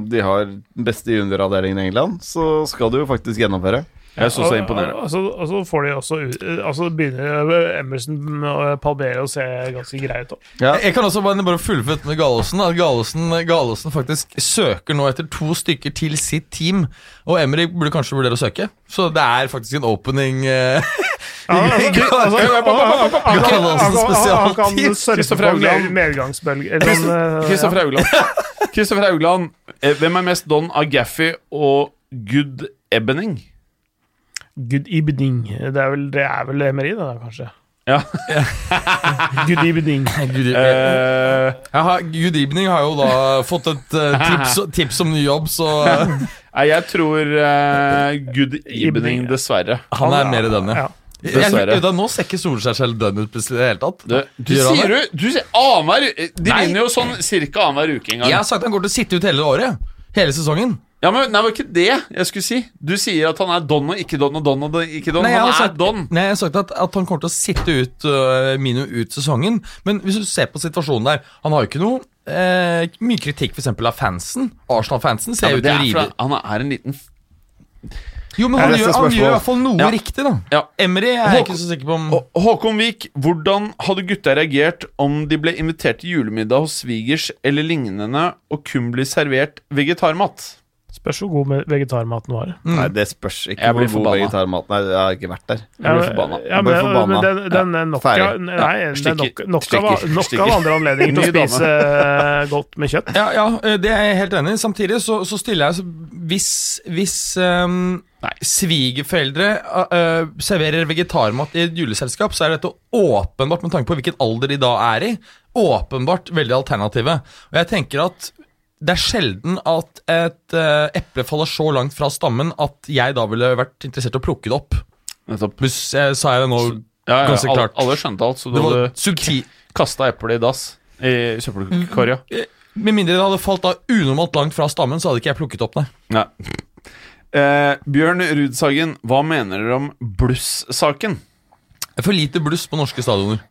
D: de har den beste junioravdelingen i England, så skal du jo faktisk gjennomføre.
B: Jeg syns det er imponerende.
C: Og, og, så- og så får de også ut Altså begynner Emerson og Palbere å se ganske greie ut òg.
D: Ja.
E: Jeg kan også bare, bare fullføre dette med Gallosen. At Gallosen, Gallosen faktisk søker nå etter to stykker til sitt team. Og Emery burde kanskje vurdere å søke. Så det er faktisk en opening eh, i Gallosen
C: Han kan
E: spesialteam.
C: sørge
B: Kristoffer
C: for
B: Haugland.
C: med- medgangsbølge eller sånn, eh,
B: Kristoffer Haugland. Kristoffer Haugland, eh, hvem er mest Don Agaffi og Good Ebbening?
C: Good evening. Det er vel, det er vel Emery, det da, kanskje.
B: Ja.
C: Good evening.
E: Gud,
B: Eh,
E: Jeg har, good evening har jo da fått et eh, tips, tips om ny jobb, så
B: nei, jeg tror eh, Good Evening,
C: Evening, ja.
B: dessverre.
E: han er mer i den, ja.
C: Ja.
E: Jeg-
B: Dessverre.
E: Da, nå ser ikke Solskjær selv dønn ut plutselig i det hele tatt.
B: Du, du
E: Gjør han
B: sier
E: det?
B: jo du sier annenhver De
E: Nei.
B: vinner jo sånn cirka annenhver uke en gang.
E: Jeg har sagt han går til å sitte ut hele året. Hele sesongen.
B: Ja, men Nei, det var ikke det jeg skulle si. Du sier at han er Don og ikke Don og Don og ikke Don.
E: Nei, jeg
B: han
E: har
B: er
E: sagt,
B: Don.
E: nei, jeg har sagt at, at han kommer til å sitte ut øh, minimum ut sesongen. Men hvis du ser på situasjonen der Han har jo ikke noe eh, mye kritikk for eksempel, av fansen. Arsenal-fansen ser
B: Ja, men
E: ut til
B: det
E: å
B: er
E: rive
B: fordi han er en liten
E: Jo, men
D: Jeg
E: han
D: leser
E: gjør, han gjør i
D: spørsmål.
E: hvert fall noe
B: Ja.
E: riktig, da.
B: Ja.
E: Emery er jeg ikke så sikker på om
B: Hå- Håkon Vik, hvordan hadde gutta reagert om de ble invitert til julemiddag hos svigers eller lignende og kun blir servert vegetarmat?
C: Spørs hvor god med- vegetarmaten var.
E: Mm.
D: Nei, det spørs ikke
B: Jeg blir
D: hvor god
B: forbanna.
D: vegetarmat Nei, jeg har ikke vært der.
C: Ja,
B: blir
C: men-
B: forbanna.
C: Ja,
D: Jeg
C: men,
D: blir forbanna.
C: men den, den er nok,
D: Ferdig.
C: av- nei, det er nok,
B: stikker.
C: nok, av,
B: Stikker.
C: nok av
B: Stikker.
C: andre anledninger til
B: Ny
C: å spise eh, godt med kjøtt.
E: Ja, ja, eh, det er jeg helt enig i. Samtidig så, så stiller jeg så Hvis, hvis ehm, svigerforeldre eh, eh, serverer vegetarmat i et juleselskap, så er dette åpenbart, med tanke på hvilken alder de da er i, åpenbart veldig alternativet. Og jeg tenker at det er sjelden at et eh, eple faller så langt fra stammen at jeg da ville vært interessert i å plukke det opp.
B: Nettopp.
E: Hvis, eh, sa jeg det nå
B: Ja, ja,
E: ganske
B: alle,
E: klart.
B: alle skjønte alt, så du
E: det var
B: hadde
E: subtil.
B: kasta eplet i dass i søppelkorga.
E: Med mindre det hadde falt da unormalt langt fra stammen, så hadde ikke jeg plukket opp det.
B: Nei. Eh, Bjørn Rudsagen, hva mener dere om bluss-saken?
E: For lite bluss på norske stadioner.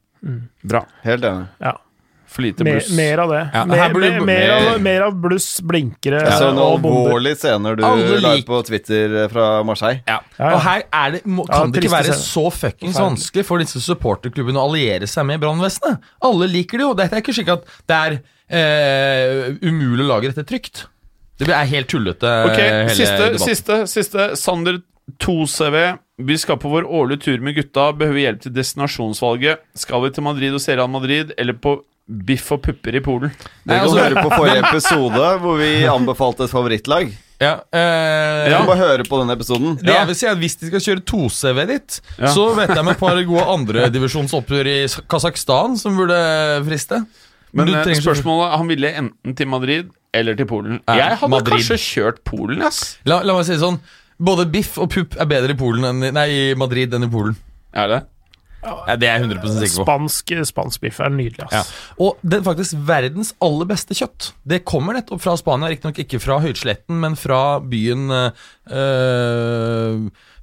B: Bra.
D: Helt enig.
B: For lite
C: Mer,
B: bluss.
C: mer av det.
E: Ja,
C: mer,
E: her burde-
C: mer, mer, av, mer av bluss, blinkere
D: Jeg så noen
C: og bomber.
D: alvorlige scener du
E: Alle
D: la
E: lik-
D: ut på Twitter eh, fra Marseille.
E: Ja.
C: Ja, ja.
E: Og her er det, må,
C: Ja,
E: kan det ikke
C: triste
E: være
C: scener.
E: så fuckings vanskelig for disse supporterklubbene å alliere seg med brannvesenet. Alle liker det jo. Det er ikke slik at det er eh, umulig å lage dette trygt. Det er helt tullete, eh,
B: Ok,
E: hele
B: siste,
E: debatten.
B: siste, siste. Sander 2CV. Vi skal på vår årlige tur med gutta. Behøver hjelp til destinasjonsvalget. Skal vi til Madrid og se Real Madrid, eller på biff og pupper i Polen?
D: Dere kan
E: altså-
D: høre på forrige episode hvor vi anbefalte et favorittlag.
E: Ja, eh,
D: Dere kan bare høre på den episoden.
E: Det jeg vil si er at Hvis de skal kjøre 2CV dit, så vet jeg om et par gode andredivisjonsoppgjør i S- Kasakhstan som burde friste.
B: Men
E: du
B: eh,
E: trenger ikke-
B: spørsmålet Han ville enten til Madrid eller til Polen.
E: Ja,
B: Jeg hadde
E: Madrid.
B: kanskje kjørt Polen, ass.
E: La, la meg si det sånn. Både biff og pupp er bedre i Polen enn, i- nei, i Madrid enn i Polen.
B: Er det?
E: Ja, det er jeg 100 sikker på.
C: Spansk, spansk biff er nydelig,
E: Ja.
C: ass.
E: Og det er faktisk verdens aller beste kjøtt. Det kommer nettopp fra Spania, riktignok ikke fra høydsletten, men fra byen eh,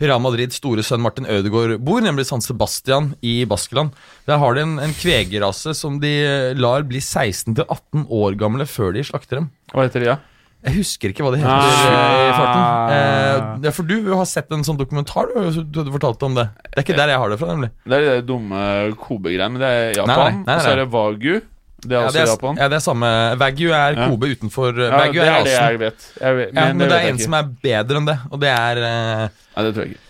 E: Real Madrids store sønn Martin Ødegaard bor, nemlig San Sebastian i Baskeland. Der har de en, en kvegerase som de lar bli 16-18 år gamle før de slakter dem.
B: Hva heter de, da?
E: Jeg husker ikke hva det heter eh,
B: Ah.
E: i farten. Eh, ja, for du har sett en sånn dokumentar, du, du hadde fortalt om det. Det er ikke der jeg har det fra, nemlig.
B: Det er de der dumme Kobe-greiene, men det er Japan.
E: Nei, nei, nei, nei.
B: Og så er det Wagu. Det er
E: Ja,
B: også
E: det er,
B: Japan.
E: ja, det er samme. Wagyu er
B: Ja.
E: Kobe utenfor eh,
B: Ja, det
E: Wagyu er
B: er det
E: rasen.
B: jeg vet. Jeg vet
E: Ja, men det
B: vet
E: er
B: jeg
E: en
B: ikke.
E: som er bedre enn det, og det er eh,
B: Nei, det tror jeg ikke.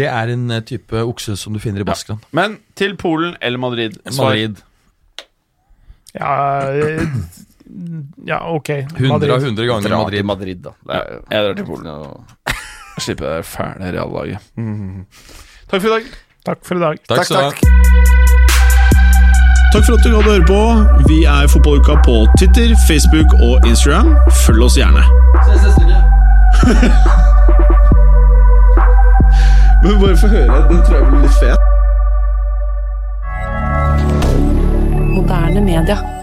E: Det er en eh, type okse som du finner i Baskeland.
B: Men til Polen eller Madrid. Svar.
E: Madrid.
C: Ja, eh, ja ok.
E: 100 av
C: Madrid.
E: 100
D: Dra
E: ganger
D: til
E: Madrid.
D: Madrid, da. Det
B: Ja,
D: er jo
B: jeg drar til
D: ikke
B: Polen.
D: noe-
B: Slippe det der fæle reallaget. Takk for i dag.
C: Takk for i dag.
E: Takk, skal du ha.
G: Takk for at du hadde høre på. Vi er Fotballuka på Twitter, Facebook og Instagram. Følg oss gjerne. Men bare få høre. Den tror jeg blir litt fet.
H: Moderne media.